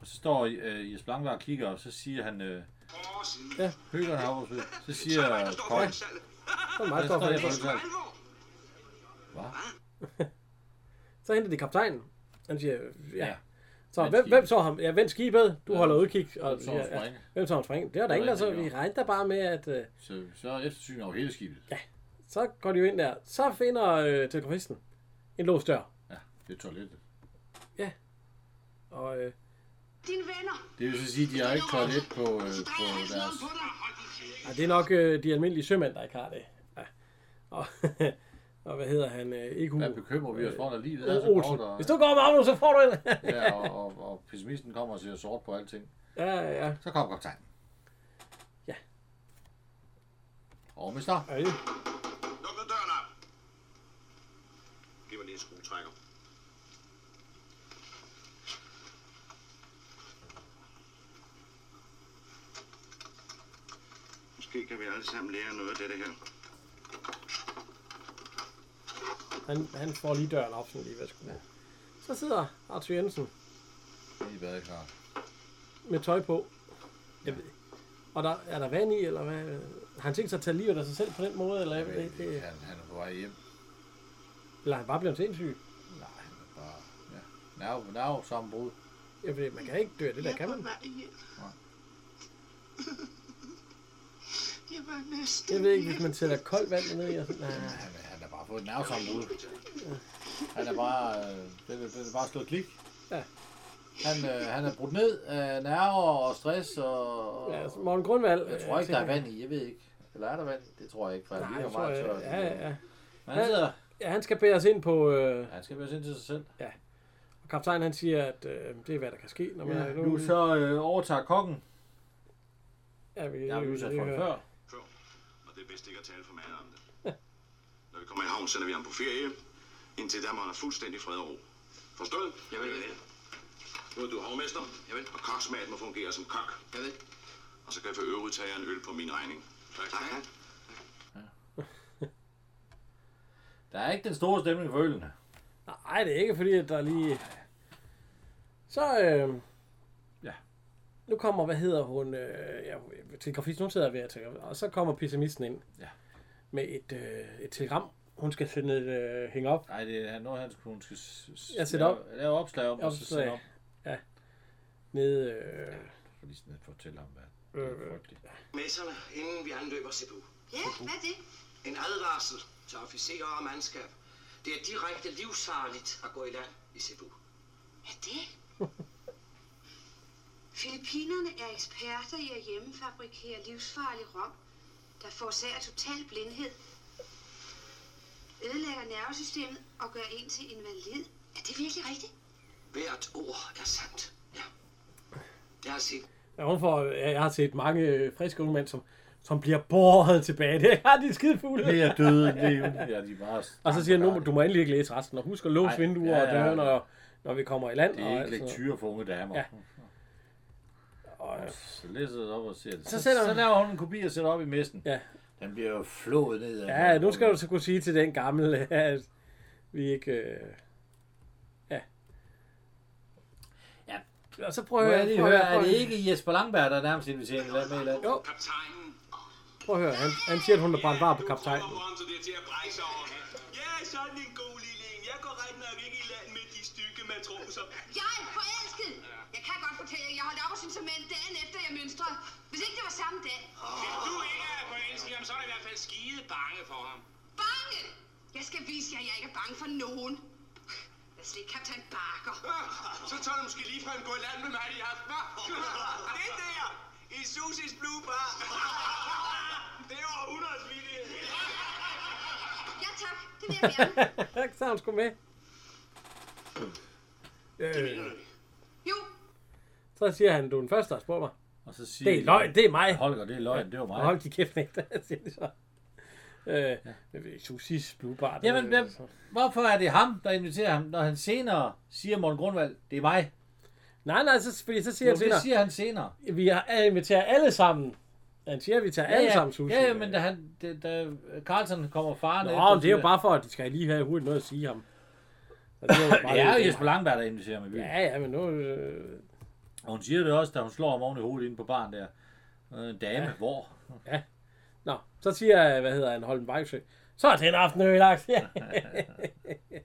Speaker 2: Og så står øh, Jes Blankberg og kigger, og så siger han, øh,
Speaker 5: Åh, siden.
Speaker 2: høgerne har oversved. Så siger
Speaker 6: Hvad står for
Speaker 2: Kong,
Speaker 6: i salget?
Speaker 1: så er det mig, der
Speaker 2: Ja,
Speaker 1: står
Speaker 2: så er det
Speaker 1: for det.
Speaker 2: for-
Speaker 6: For alvor.
Speaker 1: Så henter de kaptajnen. Han siger, ja.
Speaker 2: Ja.
Speaker 1: ja. Så
Speaker 2: Vend
Speaker 1: hvem, hvem
Speaker 2: skibet.
Speaker 1: så ham? Ja, vend skibet. Du
Speaker 2: Ja.
Speaker 1: holder udkig. Og,
Speaker 2: Hvem så
Speaker 1: siger,
Speaker 2: ham
Speaker 1: ja,
Speaker 2: springe?
Speaker 1: hvem så ham springe? Det var der
Speaker 2: Det
Speaker 1: ingen,
Speaker 2: var
Speaker 1: der så.
Speaker 2: ikke
Speaker 1: Vi
Speaker 2: det,
Speaker 1: regner da bare med, at øh,
Speaker 2: så, så er eftersyn over hele skibet. Ja,
Speaker 1: så går de jo ind der. Så finder øh, telegrafisten en låst dør.
Speaker 2: det er toilettet.
Speaker 1: Og øh,
Speaker 7: Dine venner.
Speaker 2: Det vil så sige, at de har ikke toilet på, øh,
Speaker 7: Så
Speaker 2: på
Speaker 7: drejer halsen om
Speaker 2: deres...
Speaker 7: på dig.
Speaker 1: ej, det er nok øh, de almindelige sømænd, der ikke har det. Ja. Og, og hvad hedder han? Øh, ikke Hugo.
Speaker 2: Hvad bekymrer vi os for, når livet er så
Speaker 1: Olsen.
Speaker 2: kort, og,
Speaker 1: Hvis du går med Magnus, så får du en.
Speaker 2: ja, og, og, og pessimisten kommer og ser sort på alting.
Speaker 1: ja, ja.
Speaker 2: Så kom kaptajnen.
Speaker 1: Ja.
Speaker 2: Og mister.
Speaker 1: Ej,
Speaker 6: Luk nu døren op. Giv mig lige en skruetrækker.
Speaker 3: Måske kan vi alle sammen lære noget af det her.
Speaker 1: han, han får lige døren op, sådan lige ved sku. Så sidder Arthur Jensen
Speaker 2: I badekar.
Speaker 1: med tøj på. Jeg ved, ikke. og der, er der vand i, eller hvad? Har han tænkt sig at tage livet af sig selv på den måde, eller, jeg ved, ikke, det,
Speaker 2: Han, han er på vej hjem.
Speaker 1: eller er han bare blevet sindssyg?
Speaker 2: Nej, han er bare... Ja. Nerv, nerv, sammenbrud.
Speaker 1: Jeg ved, man kan ikke dø af det der, kan man?
Speaker 7: Jeg var næsten
Speaker 1: Jeg ved ikke, hvis man sætter koldt vand ned i. og sådan- Nej,
Speaker 2: Han, er- han er bare fået et nervesammenbrud. Han er bare... Øh, det, er- det, er bare slået klik.
Speaker 1: Ja.
Speaker 2: Han, øh, han er brudt ned af nerver og stress og...
Speaker 1: ja, altså, så Morten Grundvald.
Speaker 2: Jeg tror ikke, der er vand i. Jeg ved ikke. Eller er der vand? Det tror jeg ikke, for han
Speaker 1: Nej,
Speaker 2: ligner
Speaker 1: jeg tror,
Speaker 2: meget
Speaker 1: jeg,
Speaker 2: tør.
Speaker 1: ja, ja, ja.
Speaker 2: Men han sidder...
Speaker 1: ja, han skal bære os ind på... Øh,
Speaker 2: Han skal være sind til sig selv.
Speaker 1: kaptajnen han siger, at øh, det er, hvad der kan ske, når man
Speaker 2: Ja,
Speaker 1: er
Speaker 2: nu så øh, overtager kokken.
Speaker 1: Ja, vi,
Speaker 2: Jeg har jo udsat for det
Speaker 1: hører-
Speaker 2: før.
Speaker 6: Og det er bedst ikke at tale for meget om det. Når vi kommer i havn, sender vi ham på ferie. Indtil da må han have fuldstændig fred og ro. Forstået? Jeg vil, jeg vil. Nu er du havmester. Jeg vil. Og koksmaden må fungere som kok. Jeg vil. Og så kan jeg for øvrigt tage jer en øl på min regning. Tak. tak.
Speaker 2: Der er ikke den store stemning for ølene.
Speaker 1: Nej, det er ikke fordi, at der er lige... Så, øh...
Speaker 2: Ja.
Speaker 1: Nu kommer, hvad hedder hun? Øh, ja, til grafist, hun sidder ved at tænke. Og så kommer pessimisten ind.
Speaker 2: Ja.
Speaker 1: Med et, øh, et telegram. Hun skal sende et øh, hænge op.
Speaker 2: Nej, det er noget, han skulle, hun skal s- s-
Speaker 1: Ja, sætte op.
Speaker 2: lave, lave opslag om, og så
Speaker 1: Opslag.
Speaker 2: sætte op.
Speaker 1: Nede, øh,
Speaker 2: Fordi sådan at fortælle ham, hvad
Speaker 1: Øh,
Speaker 2: det
Speaker 1: øh.
Speaker 2: er frygteligt.
Speaker 5: Messerne, inden vi anløber Cebu.
Speaker 4: Ja, hvad er det?
Speaker 5: En advarsel til officerer og mandskab. Det er direkte livsfarligt at gå i land i Cebu.
Speaker 4: Hvad er det? Filippinerne er eksperter i at hjemmefabrikere livsfarlig rom, der forårsager total blindhed, ødelægger nervesystemet og gør en til invalid. Er det virkelig rigtigt?
Speaker 5: Hvert ord er sandt. Ja. Jeg har set
Speaker 1: ja, hun får, ja, jeg har set mange øh, friske unge mænd, som, som bliver båret tilbage. Det har de skide fugle.
Speaker 2: Det er døde levende. Ja, de er bare...
Speaker 1: Og så siger han, nu, må- du må endelig ikke læse resten. Og husk at låse
Speaker 2: Ej,
Speaker 1: vinduer
Speaker 2: ja,
Speaker 1: og
Speaker 2: ja,
Speaker 1: døre,
Speaker 2: ja.
Speaker 1: når, når vi kommer i land.
Speaker 2: Det er
Speaker 1: og
Speaker 2: ikke
Speaker 1: alt sådan noget.
Speaker 2: lektyr for unge damer.
Speaker 1: altså- Ja.
Speaker 2: Ja.
Speaker 1: Og, øh,
Speaker 2: Så læser det op og ser det.
Speaker 1: Så
Speaker 2: Så,
Speaker 1: sætter
Speaker 2: så,
Speaker 1: hun-
Speaker 2: laver hun en kopi og sætter op i messen.
Speaker 1: Ja.
Speaker 2: Den bliver jo flået ned. af-
Speaker 1: Ja, nu skal du så kunne sige til den gamle, at vi ikke... Øh... Ja.
Speaker 2: Ja.
Speaker 1: Og så prøv
Speaker 2: Må
Speaker 1: at
Speaker 2: jeg
Speaker 1: høre,
Speaker 2: lige
Speaker 1: prøv at
Speaker 2: høre,
Speaker 1: høre,
Speaker 2: er
Speaker 1: prøv
Speaker 2: det
Speaker 1: at,
Speaker 2: ikke Jesper Langberg, der nærmest inviterer en land med i land?
Speaker 1: Jo.
Speaker 6: Kaptajnen.
Speaker 1: prøv at høre. Han, han siger, at hun er brændt var på kaptajnen.
Speaker 6: så det er til at brække over. Ja, sådan en god lille en. Jeg går ret nok ikke i land med de stykke matroser.
Speaker 4: Jeg er forelsket! Jeg kan godt fortælle jer, jeg holdt op og synes mænd dagen efter, jeg mønstrede. Hvis ikke det var samme dag.
Speaker 5: Hvis du ikke er på Instagram, så er der i hvert fald skide bange for ham.
Speaker 4: Bange! Jeg skal vise jer, at jeg ikke er bange for nogen. Lad os lige kaptajn Barker.
Speaker 5: Så tør du måske lige fra en gå i land med mig i aften, hva'? Det der! I Susis Blue Bar! Det var århundredsvilje!
Speaker 4: Ja tak, det vil jeg gerne.
Speaker 1: så er hun sgu med. Øh,
Speaker 4: Jo,
Speaker 1: så siger han, du er den første, der spørger mig.
Speaker 2: Og så siger
Speaker 1: Det er løgn, det er mig.
Speaker 2: Holger, det er løgn, det var
Speaker 1: Og
Speaker 2: mig.
Speaker 1: hold de kæft, ikke? Der siger de så. Øh, ja. Susis øh, Blue Bar. det-
Speaker 2: Jamen, hvem, hvorfor er det ham, der inviterer ham, når han senere siger Morten Grundvald, det er mig?
Speaker 1: Nej, nej, så, fordi så siger
Speaker 2: Jo,
Speaker 1: han
Speaker 2: det
Speaker 1: senere,
Speaker 2: siger han senere.
Speaker 1: vi har alle- inviterer alle sammen. Han siger, at vi tager
Speaker 2: Ja,
Speaker 1: alle
Speaker 2: ja,
Speaker 1: sammen sushi.
Speaker 2: ja, ja, men da, han, da, da Carlsen kommer faren
Speaker 1: Nå, men det er jo bare for, at de skal lige have hurtigt noget at sige ham. Og det er jo
Speaker 2: Det er jo
Speaker 1: lidt-
Speaker 2: Jesper Langberg, der inviterer mig. Ja.
Speaker 1: Ja, ja, men nu... Øh,
Speaker 2: Og hun siger det også, da hun slår ham oven i hovedet inde på baren der. Øh, En dame, ja. hvor?
Speaker 1: nå, så siger jeg, hvad hedder han, Holden Vejlsø. Så er det en aften ødelagt. Ja.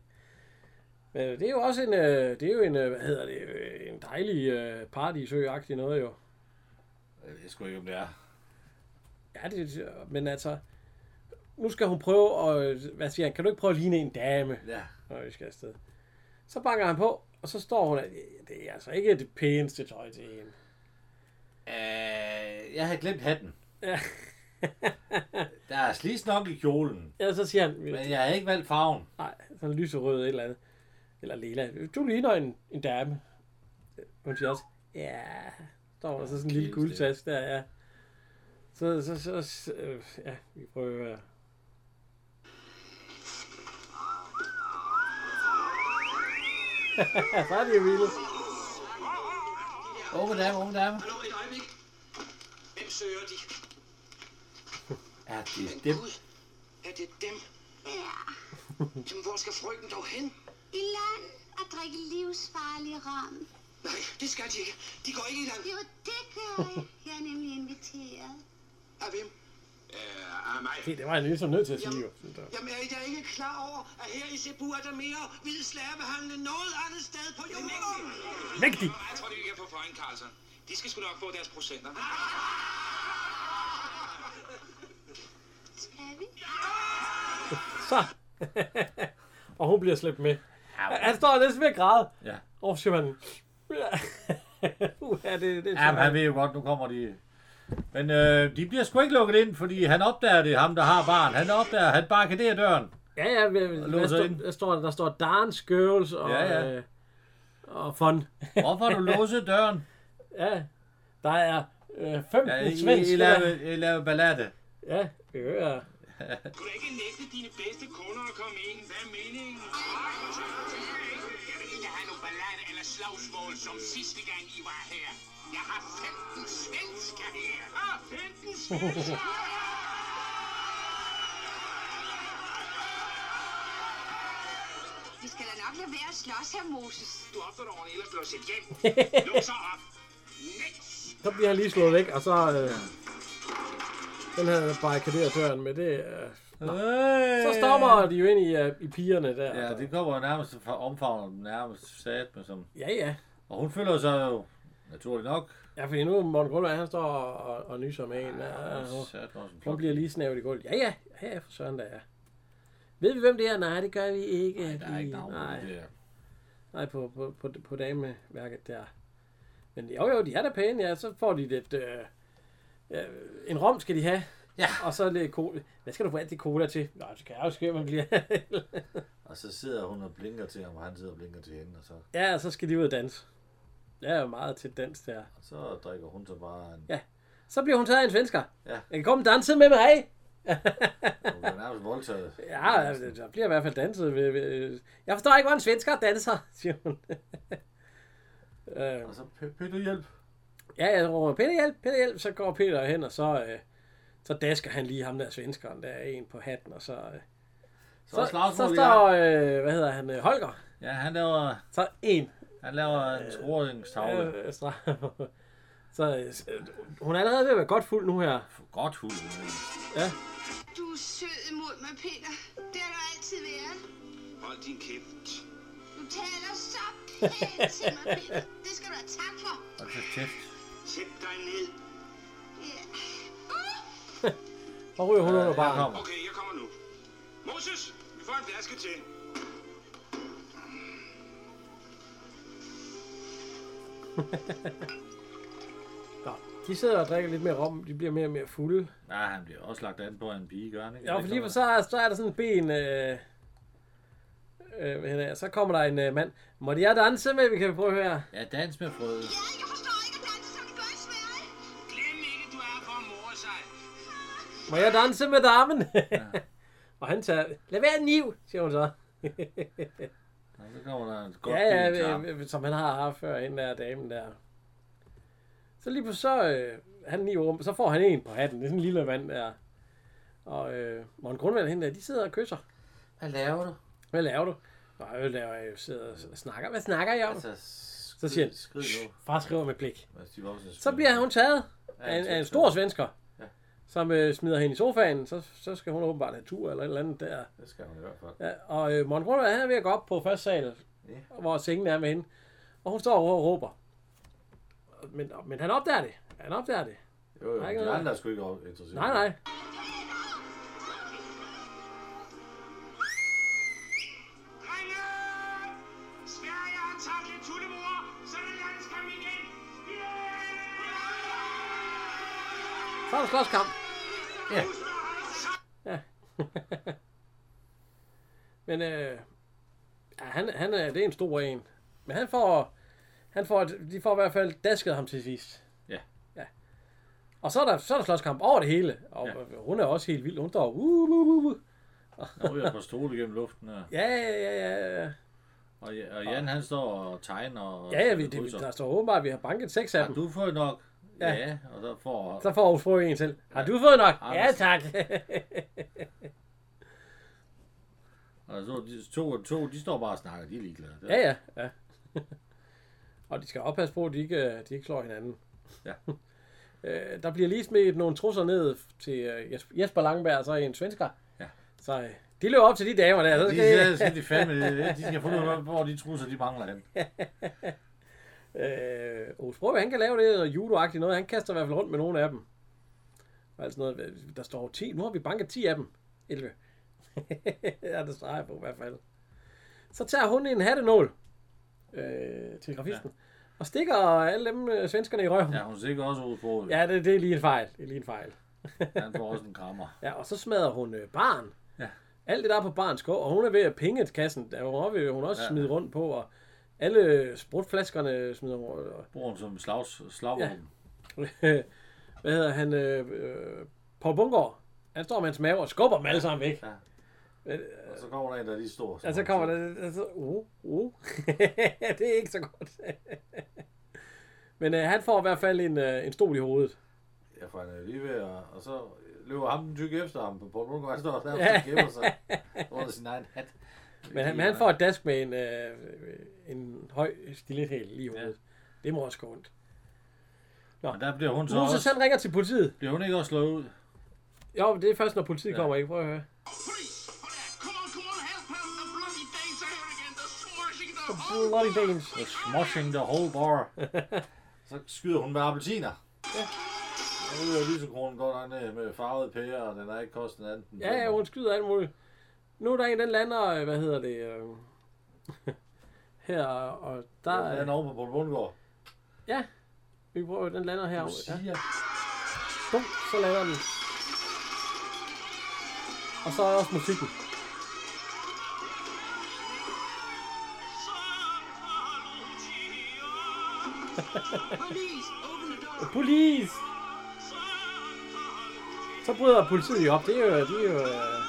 Speaker 1: men det er jo også en, øh, det er jo en, øh, hvad hedder det, øh, en dejlig øh, paradisø-agtig noget jo.
Speaker 2: Jeg ved sgu ikke, om det er.
Speaker 1: Ja, det, men altså, nu skal hun prøve at, hvad siger han, kan du ikke prøve at ligne en dame,
Speaker 2: Ja.
Speaker 1: når vi skal afsted? Så banker han på, Og så står hun, at det er altså ikke det pæneste tøj til hende.
Speaker 2: Øh, jeg havde glemt hatten.
Speaker 1: Ja.
Speaker 2: Der er slis nok i kjolen,
Speaker 1: ja, så siger han,
Speaker 2: men jeg havde ikke valgt farven.
Speaker 1: Nej, sådan lyserød et eller andet. Eller lilla. Du ligner en, en dame. Hun siger også, ja, der var så sådan en lille
Speaker 2: Kæmpe.
Speaker 1: guldtask der, ja. Så, så, så, så øh, ja, vi prøver at så er de jo vilde.
Speaker 2: Unge dame, unge dame.
Speaker 5: Hallo, et øjeblik. Hvem søger de?
Speaker 2: Ja, det er dem.
Speaker 5: Gud, er det dem?
Speaker 4: Ja.
Speaker 5: Jamen, hvor skal frygten dog hen?
Speaker 4: I land at drikke livsfarlig rom.
Speaker 5: Nej, det skal de ikke. De går ikke i land.
Speaker 4: Jo, det gør jeg. Jeg er nemlig inviteret.
Speaker 5: Af hvem?
Speaker 6: Øh, af mig.
Speaker 1: Det, det var jeg ligesom nødt til at sige, jo. Så der-
Speaker 5: Jamen, er I da ikke klar over, at her i Cebu er der mere hvide slavehandle end noget andet sted på jorden?
Speaker 1: Vigtig!
Speaker 5: Jeg tror, de kan få for en, Carlson. De skal sgu nok få deres procenter.
Speaker 4: Skal vi?
Speaker 1: Så! og hun bliver slæbt med.
Speaker 2: Au.
Speaker 1: Han står næsten ved at græde.
Speaker 2: Ja.
Speaker 1: Og siger man... Uha, det, det er
Speaker 2: Jamen, han
Speaker 1: sjovt.
Speaker 2: ved jo godt, nu kommer de. Men øh, de bliver sgu ikke lukket ind, fordi han opdager det, ham der har barn. Han opdager, han barkaderer døren.
Speaker 1: Ja, ja, hvad,
Speaker 2: låser
Speaker 1: hvad
Speaker 2: ind.
Speaker 1: står, der, står, der står Darns Girls og,
Speaker 2: Ja,
Speaker 1: ja,
Speaker 2: ja.
Speaker 1: ja. Øh, og Fun.
Speaker 2: Hvorfor har du låset døren?
Speaker 1: ja, der er øh, 15
Speaker 2: Ja,
Speaker 1: ja,
Speaker 2: I, I,
Speaker 1: svenske.
Speaker 2: I,
Speaker 1: der-
Speaker 2: laver, I laver ballade.
Speaker 1: Ja, ja.
Speaker 6: Du kan ikke nægte dine bedste kunder at komme ind. Hvad er meningen?
Speaker 8: Jeg vil ikke have nogen ballade eller slagsmål som sidste gang I var her. Jeg har 15 svensker her.
Speaker 6: Ah, 15 svensker!
Speaker 4: Vi skal da nok lade være at slås her, Moses.
Speaker 8: Du opfører dig ordentligt, ellers bliver du sendt hjem. Luk så op. Next.
Speaker 1: Så bliver han lige slået væk, og så... Øh, den havde jeg barrikaderet døren med det. Øh.
Speaker 2: Øh.
Speaker 1: Så stopper de jo ind i, øh, i pigerne der.
Speaker 2: Ja, det kommer jo nærmest fra omfavner dem nærmest sat med som...
Speaker 1: ja, ja.
Speaker 2: Og hun føler sig jo naturligt nok.
Speaker 1: Ja, fordi nu er Morten Grundvær, han står og, og nyser med en. Ja, og-
Speaker 2: Sat mig som
Speaker 1: Hun bliver lige snævet i gulvet. Ja, ja, ja, ja, for søren der er. Ved vi, hvem det er? Nej, det gør vi ikke.
Speaker 2: Nej, der er ikke navn på
Speaker 1: Nej,
Speaker 2: det der.
Speaker 1: nej på, på, på, på dameværket der. Men jo, jo, de er da pæne, ja. Så får de lidt... Øh, øh, en rom skal de have.
Speaker 2: Ja.
Speaker 1: Og så lidt cola. Hvad skal du få alt det cola til? Nej, så kan jeg jo skrive, man bliver...
Speaker 2: Og så sidder hun og blinker til ham, og han sidder og blinker til hende, og så,
Speaker 1: ja, og så skal de ud og danse. Jeg er jo meget til dans der.
Speaker 2: så drikker hun så bare en...
Speaker 1: Ja. Så bliver hun taget af en svensker.
Speaker 2: Ja.
Speaker 1: Jeg kan komme og danse med mig.
Speaker 2: Hun bliver nærmest voldtaget.
Speaker 1: Ja, altså, der bliver i hvert fald danset. Ved, ved, jeg forstår ikke, hvor en svensker danser, siger hun. øh,
Speaker 2: Og så "P- Peter hjælp.
Speaker 1: ja, jeg råber, Peter hjælp, Peter hjælp, så går Peter hen, og så, øh, så dasker han lige ham der svenskeren, der er en på hatten, og så... Øh,
Speaker 2: Så,
Speaker 1: så,
Speaker 2: er
Speaker 1: så,
Speaker 2: slagsmål
Speaker 1: så
Speaker 2: i
Speaker 1: står,
Speaker 2: gang.
Speaker 1: øh, hvad hedder han, øh, Holger,
Speaker 2: Ja, han laver,
Speaker 1: så en
Speaker 2: han laver en skrålingstavle.
Speaker 1: øh, straf. Så øh, øh, hun er allerede ved at være godt fuld nu her.
Speaker 2: Godt hul. hun er i.
Speaker 4: Du er sød imod mig, Peter. Det har du altid været.
Speaker 6: Hold din kæft.
Speaker 4: Du taler så pænt til mig, Peter. Det skal du have tak for.
Speaker 2: Og så kæft.
Speaker 6: Sæt dig ned.
Speaker 4: Ja.
Speaker 1: Og ryger hun under
Speaker 2: Øh, her
Speaker 1: baren.
Speaker 2: kommer.
Speaker 6: Okay, jeg kommer nu. Moses, vi får en flaske til.
Speaker 1: Nå, de sidder og drikker lidt mere rom, de bliver mere og mere fulde.
Speaker 2: Nej, han bliver også lagt an på af en pige, gør han ikke?
Speaker 1: Ja, for lige for så, er- så er der sådan en ben... Øh, øh, hvad hedder jeg, så kommer der en øh, mand. Må jeg danse med? Vi kan prøve at høre.
Speaker 2: Ja, dans med frøet.
Speaker 4: Ja, jeg forstår ikke at danse, som de gør i Sverige.
Speaker 8: Glem ikke, du er for mor sig.
Speaker 1: Må jeg danse med damen? og han tager... Lad være en niv, siger hun så.
Speaker 2: Og så kommer der en godt
Speaker 1: ja,
Speaker 2: bid til
Speaker 1: ja,
Speaker 2: ham.
Speaker 1: øh, øh, som han har haft før, hende der damen der. Så lige på så... Øh, han ni rum, så får han en på hatten. Det er sådan en lille mand der. Og øh, Morten Grundvand og hende der, de sidder og kysser.
Speaker 2: Hvad laver du?
Speaker 1: Hvad laver du? Nå, jeg laver, jeg sidder og snakker. Hvad snakker jeg om?
Speaker 2: Altså,
Speaker 1: så siger han,
Speaker 2: skrid nu.
Speaker 1: far skriver med blik.
Speaker 2: Hvis de voksne
Speaker 1: Så bliver hun taget af en, af en stor svensker,
Speaker 2: Ja.
Speaker 1: ja. som øh, smider hende i sofaen. Så, så skal hun åbenbart have tur eller et eller andet der.
Speaker 2: Det skal hun i hvert fald.
Speaker 1: Ja, og øh, Morten Grundvær, han er ved at gå op på første sal,
Speaker 2: Ja.
Speaker 1: hvor sengen er med hende. Og hun står over og råber. Men, men han opdager det. Han opdager det.
Speaker 2: Jo, jo,
Speaker 1: Nej,
Speaker 2: men
Speaker 1: ikke
Speaker 2: de
Speaker 1: noget.
Speaker 2: andre er sgu ikke over- interesseret.
Speaker 1: Nej, nej.
Speaker 8: Drenge! Sverige har tabt et
Speaker 1: Så er der slåskamp.
Speaker 2: Ja.
Speaker 1: Ja. Men øh, ja, han, han er, det er en stor en. Men han får, han får, de får i hvert fald dasket ham til sidst.
Speaker 2: Ja.
Speaker 1: ja. Og så er der, så er der slåskamp over det hele. Og ja. hun er også helt vild. Hun står, uh, uh, uh, uh.
Speaker 2: Nu er jeg på stole gennem luften her.
Speaker 1: Ja, ja, ja, ja, ja.
Speaker 2: Og, ja- og Jan han står og tegner. Og
Speaker 1: Ja, ja, vi, det, der står åbenbart, at vi har banket seks af
Speaker 2: Har
Speaker 1: dem.
Speaker 2: du fået nok?
Speaker 1: Ja.
Speaker 2: Ja. ja og så får...
Speaker 1: Så får hun fru en til. Har du fået nok?
Speaker 2: Ja,
Speaker 1: Ja,
Speaker 2: men-
Speaker 1: tak.
Speaker 2: Og så de to og to, de står bare og snakker, de er ligeglade.
Speaker 1: ja, ja, ja. og de skal oppasse på, at de ikke, øh, de ikke slår hinanden.
Speaker 2: Ja.
Speaker 1: øh, der bliver lige smidt nogle trusser ned til øh, Jes- Jesper Langberg og så en svensker.
Speaker 2: Ja.
Speaker 1: Så øh, de løber op til de damer der. Så
Speaker 2: De,
Speaker 1: skal,
Speaker 2: de, skal de, fandme, de skal finde ud af, hvor de trusser, de mangler hen.
Speaker 1: Øh, Osbro, han kan lave det noget judo noget. Han kaster i hvert fald rundt med nogle af dem. Og altså noget, der står 10. Nu har vi banket 10 af dem. 11. ja, der streger på i hvert fald. Så tager hun en hattenål øh, til grafisten. Ja. Og stikker alle dem øh, svenskerne i røven. Ja,
Speaker 2: Ja, hun ser ikke også ud på. Ja.
Speaker 1: ja det, det, er lige en fejl. Det er lige en fejl.
Speaker 2: Han får også en krammer.
Speaker 1: Ja, og så smadrer hun øh, barn.
Speaker 2: Ja.
Speaker 1: Alt det der er på barns gå, og hun er ved at pinge kassen. Der hun er ved, hun er også ja. smider rundt på, og alle sprutflaskerne smider hun. Og,
Speaker 2: Bruger hun som slags, slagvåben.
Speaker 1: Øh, hvad hedder han, øh, øh, Paul Bungård, han står med hans mave og skubber dem alle sammen væk.
Speaker 2: Ja. Og så kommer der en, der er lige stor.
Speaker 1: Og så kommer der, og så, uh, uh. det er ikke så godt. Men øh, han får i hvert fald en, øh, en stol i hovedet.
Speaker 2: Ja, for han er jo lige ved, at- og så løber ham den tykke efter ham på Paul Lundgaard. Han står der
Speaker 1: Ja.
Speaker 2: og gemmer sig under sin egen hat.
Speaker 1: Men han, men han får et dask med en, øh, en høj stilethæl lige i hovedet. Ja. Det må også gå ondt.
Speaker 2: Og der bliver hun så
Speaker 1: Nu så
Speaker 2: også...
Speaker 1: selv ringer til politiet.
Speaker 2: Bliver hun ikke også slået ud?
Speaker 1: Jo, men det er først, når politiet ja. kommer, ikke? Prøv at høre. Bloody Danes.
Speaker 2: Smoshing the whole bar. så skyder hun med appelsiner. Ja. Nu er lysekronen godt nok ned med farvede pærer, og den er ikke kostet en anden.
Speaker 1: Ja, ja, hun skyder alt muligt. Nu er der en, den lander, øh, hvad hedder det, øh, her, og der
Speaker 2: Den er
Speaker 1: er,
Speaker 2: over på Paul Lundgaard.
Speaker 1: ja, vi prøver, den lander her.
Speaker 2: Du
Speaker 1: Ja.
Speaker 2: siger,
Speaker 1: Bum, så lander den. Og så er også musikken.
Speaker 7: Police, open the door.
Speaker 1: Police! Så bryder politiet jo op. Det er jo, de er jo, øh,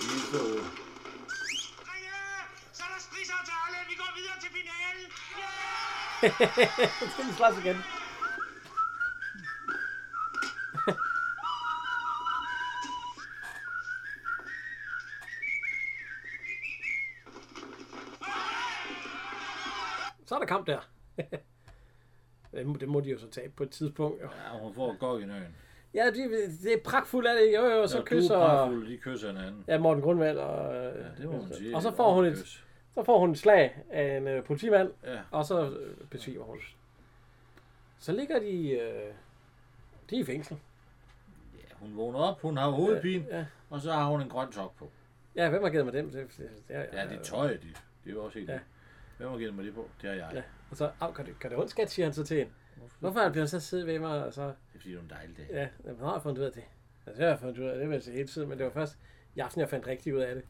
Speaker 2: lige så ud.
Speaker 8: Så er der spridsaftale. Vi går videre til finalen.
Speaker 1: så skal de slås igen. Så er der kamp der. det, må, det må de jo så tabe på et tidspunkt. Jo.
Speaker 2: Ja, hun får godt i nøgen.
Speaker 1: Ja, det, det er pragtfuldt af det. Jo, jo, og så
Speaker 2: Når
Speaker 1: ja,
Speaker 2: du
Speaker 1: kysser...
Speaker 2: og pragtfulde, de kysser hinanden.
Speaker 1: Ja, Morten Grundvald og... øh,
Speaker 2: Ja, det må man sige.
Speaker 1: og så
Speaker 2: Et
Speaker 1: får hun et,
Speaker 2: ordentligt kys.
Speaker 1: så får hun et slag af en øh, politimand,
Speaker 2: Ja.
Speaker 1: og så øh, besvimer hun. Så ligger de... Øh, de er i fængsel.
Speaker 2: Ja, hun vågner op, hun har hovedpine,
Speaker 1: Ja.
Speaker 2: og så har hun en grøn top på.
Speaker 1: Ja, hvem har givet mig dem? Det, det, det, øh, det,
Speaker 2: Ja, det er tøj, det, det er jo også helt...
Speaker 1: Ja.
Speaker 2: Ja. Hvem har givet mig det på? Det har jeg.
Speaker 1: Ja.
Speaker 2: Ja.
Speaker 1: Og så, au, kan det, kan det ondt, skat, siger han så til hende. Hvorfor har han så siddet ved mig, og så,
Speaker 2: Det er fordi, det er en dejlig dag. Ja.
Speaker 1: ja, hvornår har jeg fundet ud af det? Ja, det har jeg fundet ud af, det var hele tiden, men det var først i aften, jeg fandt rigtigt ud af det.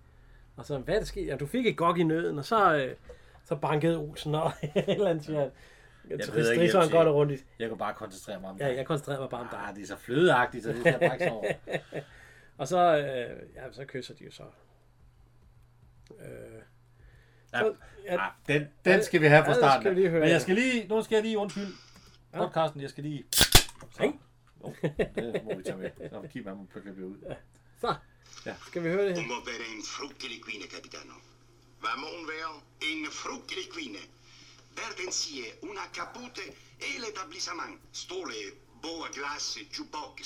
Speaker 1: Og så, hvad er der sket? Jamen, du fik et gok i nøden, og så, øh, så bankede Olsen, og et eller andet, siger han. Jeg
Speaker 2: ved
Speaker 1: tror,
Speaker 2: ikke,
Speaker 1: ikke,
Speaker 2: jeg vil
Speaker 1: godt
Speaker 2: sige.
Speaker 1: og rundt i.
Speaker 2: Jeg kan bare koncentrere mig om
Speaker 1: Ja,
Speaker 2: det.
Speaker 1: jeg koncentrerede mig bare om dig.
Speaker 2: Ah, det er så flødeagtigt, så det skal jeg bare ikke sove.
Speaker 1: Og så, øh, ja, så kysser de jo så. Øh,
Speaker 2: Ja,
Speaker 1: Så- ja.
Speaker 2: ah, den, den skal vi have fra
Speaker 1: Ja, det
Speaker 2: starten.
Speaker 1: skal vi lige høre,
Speaker 2: Men jeg
Speaker 1: ja.
Speaker 2: skal lige... Nu skal jeg lige undskylde. Podcasten, jeg skal lige... Så.
Speaker 1: Ring.
Speaker 2: Jo, det må vi tage med. Så kigger man på klippe ud.
Speaker 1: så,
Speaker 2: Ja.
Speaker 1: skal vi høre det
Speaker 6: Hun
Speaker 1: her?
Speaker 6: må være en frugtelig kvinde, capitano. Hvad må hun være? En frugtelig kvinde. Verden siger, hun har kapute hele etablissement. Stole, boa, glas, jukebox.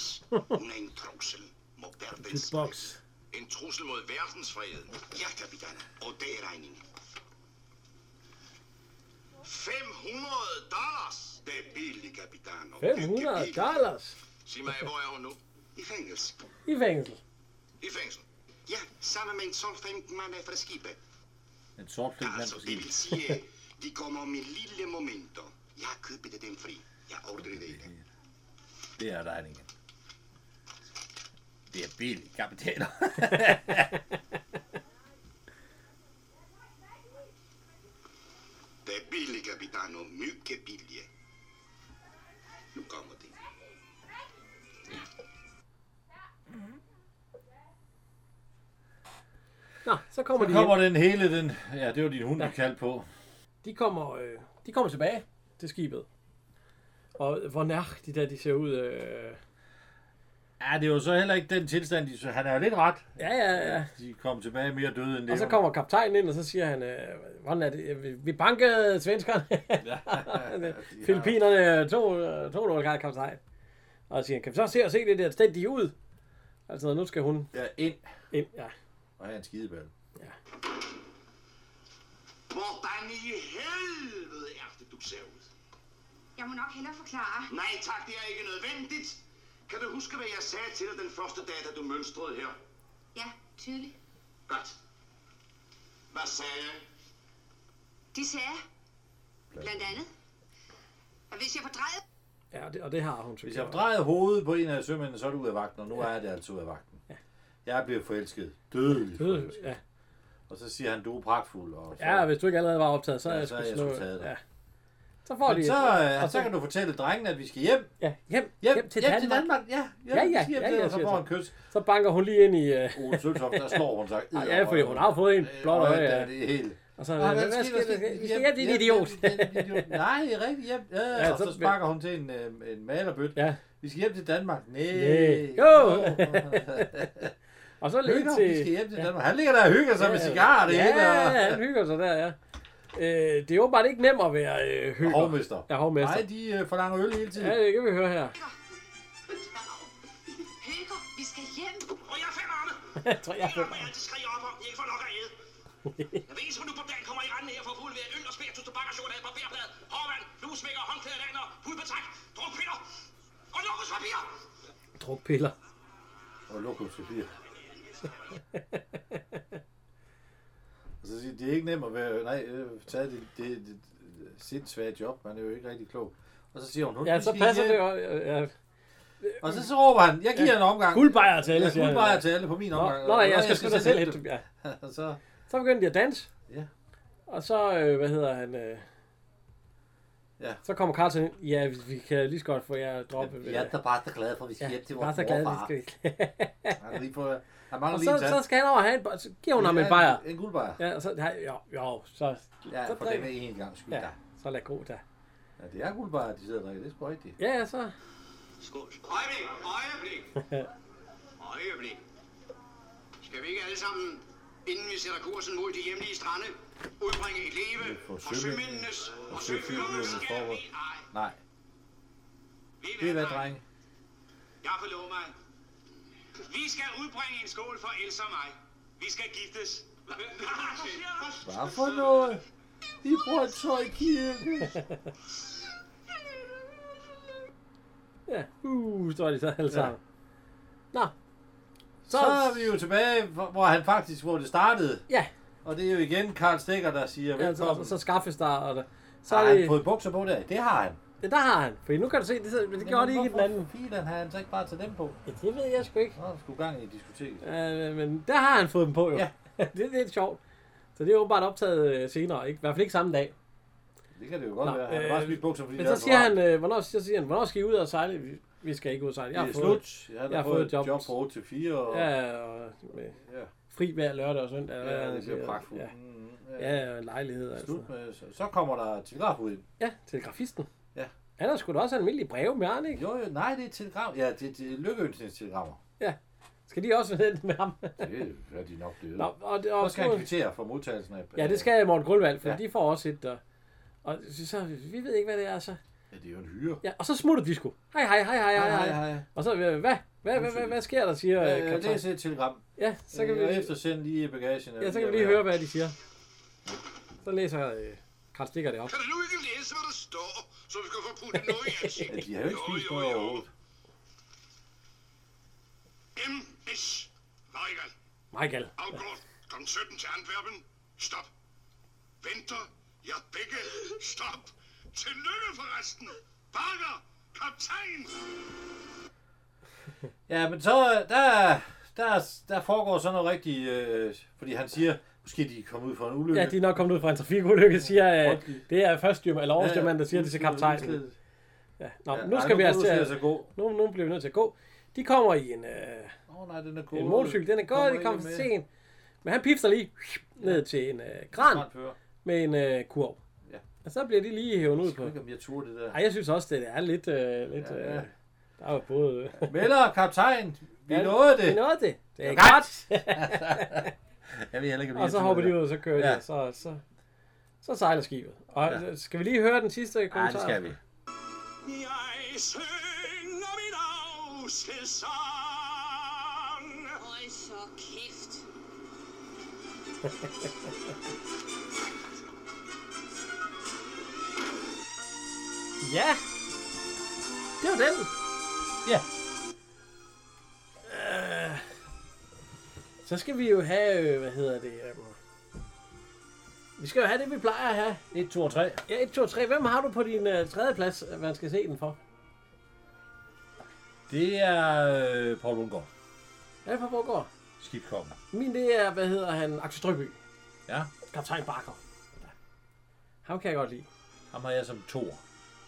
Speaker 6: Hun er en trussel mod verdens
Speaker 1: Box.
Speaker 6: En trussel mod verdensfreden. Ja, capitano. Og det er regningen. 500 dollars. Det er billigt, capitano.
Speaker 1: 500 dollars
Speaker 6: Sig mig, hvor er hun nu? I fængsel.
Speaker 1: i fængsel.
Speaker 6: I fængsel? Ja, sammen med en solfængt mand fra skibet.
Speaker 2: En sort flink mand
Speaker 6: Altså,
Speaker 2: på
Speaker 6: det
Speaker 2: skibet.
Speaker 6: vil sige, de kommer om et lille momento. Jeg har købt den fri. Jeg overdriver det ikke.
Speaker 2: Det er dig igen. Det er billig kapitaler.
Speaker 6: Det är billiga Bitano, mycket billiga. Nu kommer det.
Speaker 1: Nå, så kommer
Speaker 2: Så
Speaker 1: de
Speaker 2: kommer
Speaker 1: hjem.
Speaker 2: den hele den... Ja, det var din hund, der kaldte på.
Speaker 1: De kommer, øh, de kommer tilbage til skibet. Og hvor nær de der, de ser ud. Øh...
Speaker 2: Ja, det var så heller ikke den tilstand, de... så Han er jo lidt ret.
Speaker 1: Ja, ja, ja.
Speaker 2: De kom tilbage mere døde end det.
Speaker 1: Og så kommer kaptajnen ind, og så siger han, øh, hvordan er det? Vi- Vi bankede svenskerne. Ja, Filippinerne to, øh, to nul gange kaptajn. Og så siger han, kan vi så se og se det der sted, de er ud? Altså, nu skal hun
Speaker 2: Ja, ind
Speaker 1: ind. Ja.
Speaker 2: og have en skideball.
Speaker 6: Hvordan i helvede er det, du ser ud?
Speaker 4: Jeg må nok hellere forklare.
Speaker 6: Nej tak, det er ikke nødvendigt. Kan du huske, hvad jeg sagde til dig den første dag, da du mønstrede her?
Speaker 4: Ja, tydeligt.
Speaker 6: Godt. Hvad sagde jeg?
Speaker 4: De sagde, blandt andet, at hvis jeg fordrejede
Speaker 1: ja, og det, og det har hun så
Speaker 2: Hvis jeg
Speaker 1: gjort.
Speaker 2: drejede hovedet på en af sømændene, så er du ud af vagten, og nu er det altså ud af vagten. Jeg bliver forelsket. Dødelig
Speaker 1: Øh,
Speaker 2: forelsket.
Speaker 1: Ja.
Speaker 2: Og så siger han, du er pragtfuld. Og så,
Speaker 1: ja, hvis du ikke allerede var optaget, så er
Speaker 2: Ja,
Speaker 1: jeg
Speaker 2: så er
Speaker 1: skulle
Speaker 2: jeg
Speaker 1: slå.
Speaker 2: sgu taget dig.
Speaker 1: Ja. Så får de...
Speaker 2: Men så, øh,
Speaker 1: og
Speaker 2: så kan du fortælle drengen, at vi skal hjem.
Speaker 1: Ja, hjem,
Speaker 2: Hjem,
Speaker 1: hjem, hjem til Danmark.
Speaker 2: Ja,
Speaker 1: Ja, ja,
Speaker 2: siger
Speaker 1: ja,
Speaker 2: det,
Speaker 1: ja,
Speaker 2: og så
Speaker 1: siger
Speaker 2: får
Speaker 1: jeg
Speaker 2: han kys.
Speaker 1: Så banker hun lige ind i... Øh,
Speaker 2: Ole Søltoft, der slår hun sig.
Speaker 1: Ej, ja, fordi hun har fået en blot øje.
Speaker 2: Ja,
Speaker 1: Ja.
Speaker 2: det Øh, er helt...
Speaker 1: Og så,
Speaker 2: Ej,
Speaker 1: hvad, hvad sker der? Vi skal hjem, din idiot.
Speaker 2: Nej, det er rigtigt hjem. Ja,
Speaker 1: Ja,
Speaker 2: og så
Speaker 1: så-
Speaker 2: sparker hun til en, øh, en malerbøt.
Speaker 1: Ja.
Speaker 2: Vi skal hjem til Danmark. Nej.
Speaker 1: Næh. Jo. Og så lidt
Speaker 2: Hygger,
Speaker 1: til...
Speaker 2: vi skal hjem til Danmark. Han ligger der og hygger sig med cigarer. Det
Speaker 1: ja,
Speaker 2: hele, og-
Speaker 1: ja, han hygger sig der, ja. Øh, det er åbenbart ikke nemt at være øh, hygger.
Speaker 2: Hovmester.
Speaker 1: Ja, hovmester.
Speaker 2: Nej, de øh, forlanger øl hele tiden.
Speaker 1: Ja, det kan vi høre her.
Speaker 4: Høger, vi skal hjem.
Speaker 6: Og jeg fandt Arne.
Speaker 1: Jeg tror, jeg
Speaker 6: Det er mig altid skriger op om, jeg ikke får nok at æde. Jeg ved, som du på dagen kommer i randen her for fuld ved øl og spiritus, tobak og chokolade, barberblad, hårvand, fluesmækker, håndklæder, laner, hudbetræk, drukpiller og lokuspapir.
Speaker 1: drukpiller.
Speaker 2: Og lokum Sofia. og så siger de, det er ikke nemt at være, nej, øh, taget det, det, det, det sindssvage job, man er jo ikke rigtig klog. Og så siger hun, hun
Speaker 1: Ja,
Speaker 2: vi
Speaker 1: så
Speaker 2: skal
Speaker 1: passer
Speaker 2: hjem.
Speaker 1: det jo. Ja.
Speaker 2: Og så, så råber han, jeg giver ja. en omgang.
Speaker 1: Guldbejer til alle,
Speaker 2: Ja,
Speaker 1: siger han.
Speaker 2: guldbejer til alle på min
Speaker 1: Nå,
Speaker 2: omgang.
Speaker 1: nå, nej,
Speaker 2: Og
Speaker 1: jeg skal sgu da selv hente dem. Ja.
Speaker 2: dem. Og så,
Speaker 1: Så begyndte de at danse.
Speaker 2: Ja.
Speaker 1: Og så, øh, hvad hedder han? Øh,
Speaker 2: Ja.
Speaker 1: Så kommer Carlsen ind. Ja, vi, vi kan lige så godt få jer øh, droppet.
Speaker 2: jeg er da bare så glad for, at vi skal
Speaker 1: ja,
Speaker 2: hjem til
Speaker 1: bare
Speaker 2: vores
Speaker 1: så glad,
Speaker 2: morfar.
Speaker 1: vi skal.
Speaker 2: Han, er lige på, han mangler
Speaker 1: og
Speaker 2: lige en
Speaker 1: så,
Speaker 2: tand.
Speaker 1: så skal han over have en, ba- så giver hun ham en bajer.
Speaker 2: En, en guldbejer.
Speaker 1: Ja, og så, ja, jo, jo, så,
Speaker 2: Ja,
Speaker 1: så
Speaker 2: for
Speaker 1: drikker-
Speaker 2: den er en gang skyld.
Speaker 1: ja,
Speaker 2: Ja.
Speaker 1: så lad gå der.
Speaker 2: ja, det er guldbejer, de sidder og drikker. Det er sgu rigtigt.
Speaker 1: Ja, ja, så.
Speaker 3: Skål.
Speaker 6: Øjeblik, øjeblik. øjeblik. Skal vi ikke alle sammen, inden vi sætter kursen mod de hjemlige strande, udbringe et leve
Speaker 2: for
Speaker 6: for sømændenes og
Speaker 2: søfyrernes
Speaker 6: søfyrernes skal
Speaker 2: forhold.
Speaker 6: vi ej.
Speaker 2: Nej, det
Speaker 6: Ved
Speaker 2: er
Speaker 6: I
Speaker 2: hvad, dreng.
Speaker 6: Jeg forlover mig. Vi skal udbringe en skål for Elsa og mig. Vi skal giftes.
Speaker 2: Hvad for noget? De bruger en tøj i kirke.
Speaker 1: Ja, uh, står de så alle sammen. Nå,
Speaker 2: Så er vi jo tilbage, hvor hvor han faktisk, hvor det startede.
Speaker 1: ja,
Speaker 2: Og det er jo igen Karl Stikker, der siger,
Speaker 1: altså,
Speaker 2: velkommen.
Speaker 1: og så, så skaffes der, og der. Så
Speaker 2: så
Speaker 1: er
Speaker 2: har han
Speaker 1: det,
Speaker 2: fået bukser på der? Det har han.
Speaker 1: ja, der har han, for nu kan du se, det, sidder- men det gjorde de ikke i den anden.
Speaker 2: Filen har han så ikke bare taget dem på.
Speaker 1: Ja, det ved jeg sgu ikke.
Speaker 2: Nå, der skulle gang i diskoteket.
Speaker 1: Uh, men der har han fået dem på jo.
Speaker 2: Ja.
Speaker 1: det er lidt sjovt. Så det er åbenbart optaget øh, senere, ikke? i hvert fald ikke samme dag.
Speaker 2: Det kan det jo godt
Speaker 1: Nå,
Speaker 2: være. Han har
Speaker 1: øh,
Speaker 2: bare smidt bukser, fordi
Speaker 1: Men
Speaker 2: der
Speaker 1: så
Speaker 2: er
Speaker 1: siger
Speaker 2: altså for
Speaker 1: han,
Speaker 2: varmt.
Speaker 1: øh, hvornår, så siger han, hvornår skal I ud og sejle? Vi, vi skal ikke ud og sejle. Jeg
Speaker 2: det
Speaker 1: har
Speaker 2: er
Speaker 1: fået,
Speaker 2: slut. Han har fået et job, job fra 8 til 4, og ja,
Speaker 1: Ja, og med
Speaker 2: Ja.
Speaker 1: fri hver lørdag og søndag. eller hvad
Speaker 2: ja,
Speaker 1: han
Speaker 2: det
Speaker 1: siger.
Speaker 2: bliver pragtfuldt.
Speaker 1: Ja,
Speaker 2: Mm,
Speaker 1: ja og en lejlighed. Altså.
Speaker 2: Slut med, så, så kommer der telegraf ud.
Speaker 1: Ja, til grafisten.
Speaker 2: Ja.
Speaker 1: Han har sgu da også almindelige breve med Arne, ikke?
Speaker 2: Jo, jo, nej, det er telegram. Ja, det, det er lykkeønsningstelegrammer.
Speaker 1: Skal de også have den med ham?
Speaker 2: Det er de nok blevet.
Speaker 1: Nå, og, det, og,
Speaker 2: Så skal han kvittere for modtagelsen af...
Speaker 1: Ja, det skal Morten Grundvald, for
Speaker 2: Ja.
Speaker 1: ja. de får også et der. Og så, så, vi ved ikke, hvad det er, så.
Speaker 2: Ja, det er jo en hyre.
Speaker 1: Ja, og så smutter de sgu. Hej, hej, hej, hej, hej, hej. Og så, øh, hvad? Hvad, hvad, hvad, hvad, hvad sker der, siger
Speaker 2: Ja,
Speaker 1: øh,
Speaker 2: ja,
Speaker 1: kaptajn?
Speaker 2: læs Øh, et telegram.
Speaker 1: Ja, så kan vi,
Speaker 2: Og eftersend lige i bagagen.
Speaker 1: ja, så kan vi lige høre, hvad de siger. Så læser øh, Karl Stikker det op.
Speaker 6: Kan du nu ikke læse, hvad der står, så vi skal få puttet noget i
Speaker 2: Ja,
Speaker 6: ansigtet?
Speaker 2: de har jo ikke spist noget overhovedet.
Speaker 6: M.S. Weigel,
Speaker 1: Michael.
Speaker 6: afgået, kom 17 til Antwerpen. Stop. Venter, jeg begge. Stop. Tillykke forresten. Bakker! Kaptajn!
Speaker 2: Ja, men så øh, der, der, der foregår sådan noget rigtigt, øh, fordi han siger, måske de er kommet ud for en ulykke.
Speaker 1: Ja, de er nok kommet ud fra en trafikulykke, siger øh,
Speaker 2: Frygteligt.
Speaker 1: det er første eller overstyrmand, der siger det til kaptajnen. Ja. Nå,
Speaker 2: Ja,
Speaker 1: nu
Speaker 2: ej,
Speaker 1: skal vi altså til
Speaker 2: Nu,
Speaker 1: at,
Speaker 2: gå.
Speaker 1: nu, nu bliver vi nødt til at gå. De kommer i en, øh,
Speaker 2: Åh oh, nej, den er god.
Speaker 1: en motorcykel, den er god, de kommer for sent. Men han pifter lige ned til en øh, kran med en øh, kurv.
Speaker 2: Ja.
Speaker 1: Og så bliver de lige hævet ud
Speaker 2: Jeg ved
Speaker 1: på.
Speaker 2: ikke, om jeg turde det der.
Speaker 1: Ej, jeg synes også, det er lidt... Øh, lidt
Speaker 2: Ja, ja.
Speaker 1: øh, der er jo både...
Speaker 2: Melder, kaptajn, vi
Speaker 1: Ja,
Speaker 2: nåede det.
Speaker 1: Vi nåede det. Det er
Speaker 2: Godt.
Speaker 1: godt.
Speaker 2: Jeg ved heller ikke, om
Speaker 1: Og så hopper de ud, og så kører ja. de,
Speaker 2: Ja.
Speaker 1: og så, så, så sejler skibet. Og ja. skal vi lige høre den sidste kommentar?
Speaker 2: Nej, det skal vi.
Speaker 6: Jeg synger min afskedssang.
Speaker 4: Hold så kæft.
Speaker 1: Ja. Det var den.
Speaker 2: Ja.
Speaker 1: Så skal vi jo have, øh, hvad hedder det? Øh, vi skal jo have det, vi plejer at have.
Speaker 2: 1, 2 og 3.
Speaker 1: Ja, 1, 2, 3. Hvem har du på din øh, tredje plads, øh, man skal se den for?
Speaker 2: Det er øh, Paul Lundgaard.
Speaker 1: Ja, for Borgård.
Speaker 2: Skibkongen.
Speaker 1: Min det er, hvad hedder han? Axel Strøby.
Speaker 2: Ja.
Speaker 1: Kaptajn Barker. Ham kan jeg godt lide.
Speaker 2: Ham har jeg som toer.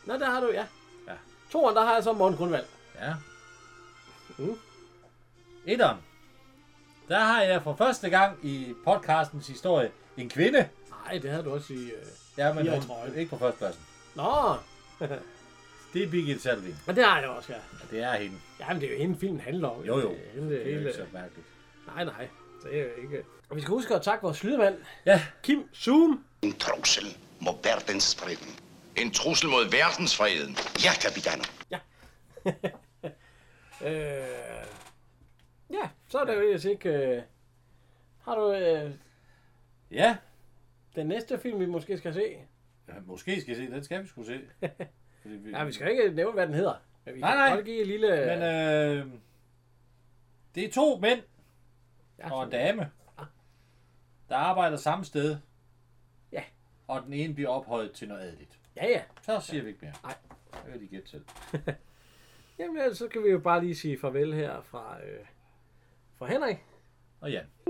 Speaker 1: Nå, der har du, ja.
Speaker 2: Ja.
Speaker 1: Toren, der har jeg så Morten Grundvald.
Speaker 2: Ja.
Speaker 1: Mm.
Speaker 2: Etteren. Der har jeg for første gang i podcastens historie en kvinde.
Speaker 1: Nej, det havde du også i... Øh...
Speaker 2: Ja, men
Speaker 1: Ja,
Speaker 2: hun,
Speaker 1: jeg tror ikke.
Speaker 2: ikke på førstepladsen.
Speaker 1: Nå,
Speaker 2: Det er Birgit Salvin.
Speaker 1: men det har jeg også, ja.
Speaker 2: Ja, det er hende.
Speaker 1: Jamen, det er jo hende, filmen handler om.
Speaker 2: Jo, jo.
Speaker 1: Det er hende,
Speaker 2: Det er jo
Speaker 1: hele...
Speaker 2: ikke så mærkeligt.
Speaker 1: Nej, nej. Det er jo ikke... Og vi skal huske at takke vores lydmand,
Speaker 2: Ja,
Speaker 1: Kim Zoom.
Speaker 9: En trussel mod verdensfreden.
Speaker 6: En trussel mod verdensfreden.
Speaker 9: Ja, kapitan.
Speaker 1: Øh... Ja, så er det jo ellers ikke... Øh... Har du øh...
Speaker 2: ja.
Speaker 1: den næste film, vi måske skal se?
Speaker 2: ja måske skal jeg se. Den skal vi skulle se. Fordi vi...
Speaker 1: Ja, vi skal ikke nævne, hvad den hedder. Men vi
Speaker 2: Nej,
Speaker 1: kan
Speaker 2: nej.
Speaker 1: godt give en lille...
Speaker 2: Men øh, det er to mænd
Speaker 1: ja,
Speaker 2: og en dame, der arbejder samme sted.
Speaker 1: Ja.
Speaker 2: Og den ene bliver ophøjet til noget adeligt.
Speaker 1: Ja, ja.
Speaker 2: Så siger vi ikke mere.
Speaker 1: Nej.
Speaker 2: Det vil de gætte selv.
Speaker 1: Jamen, ellers så kan vi jo bare lige sige farvel her fra, øh... fra øh, Henrik.
Speaker 2: Og Jan.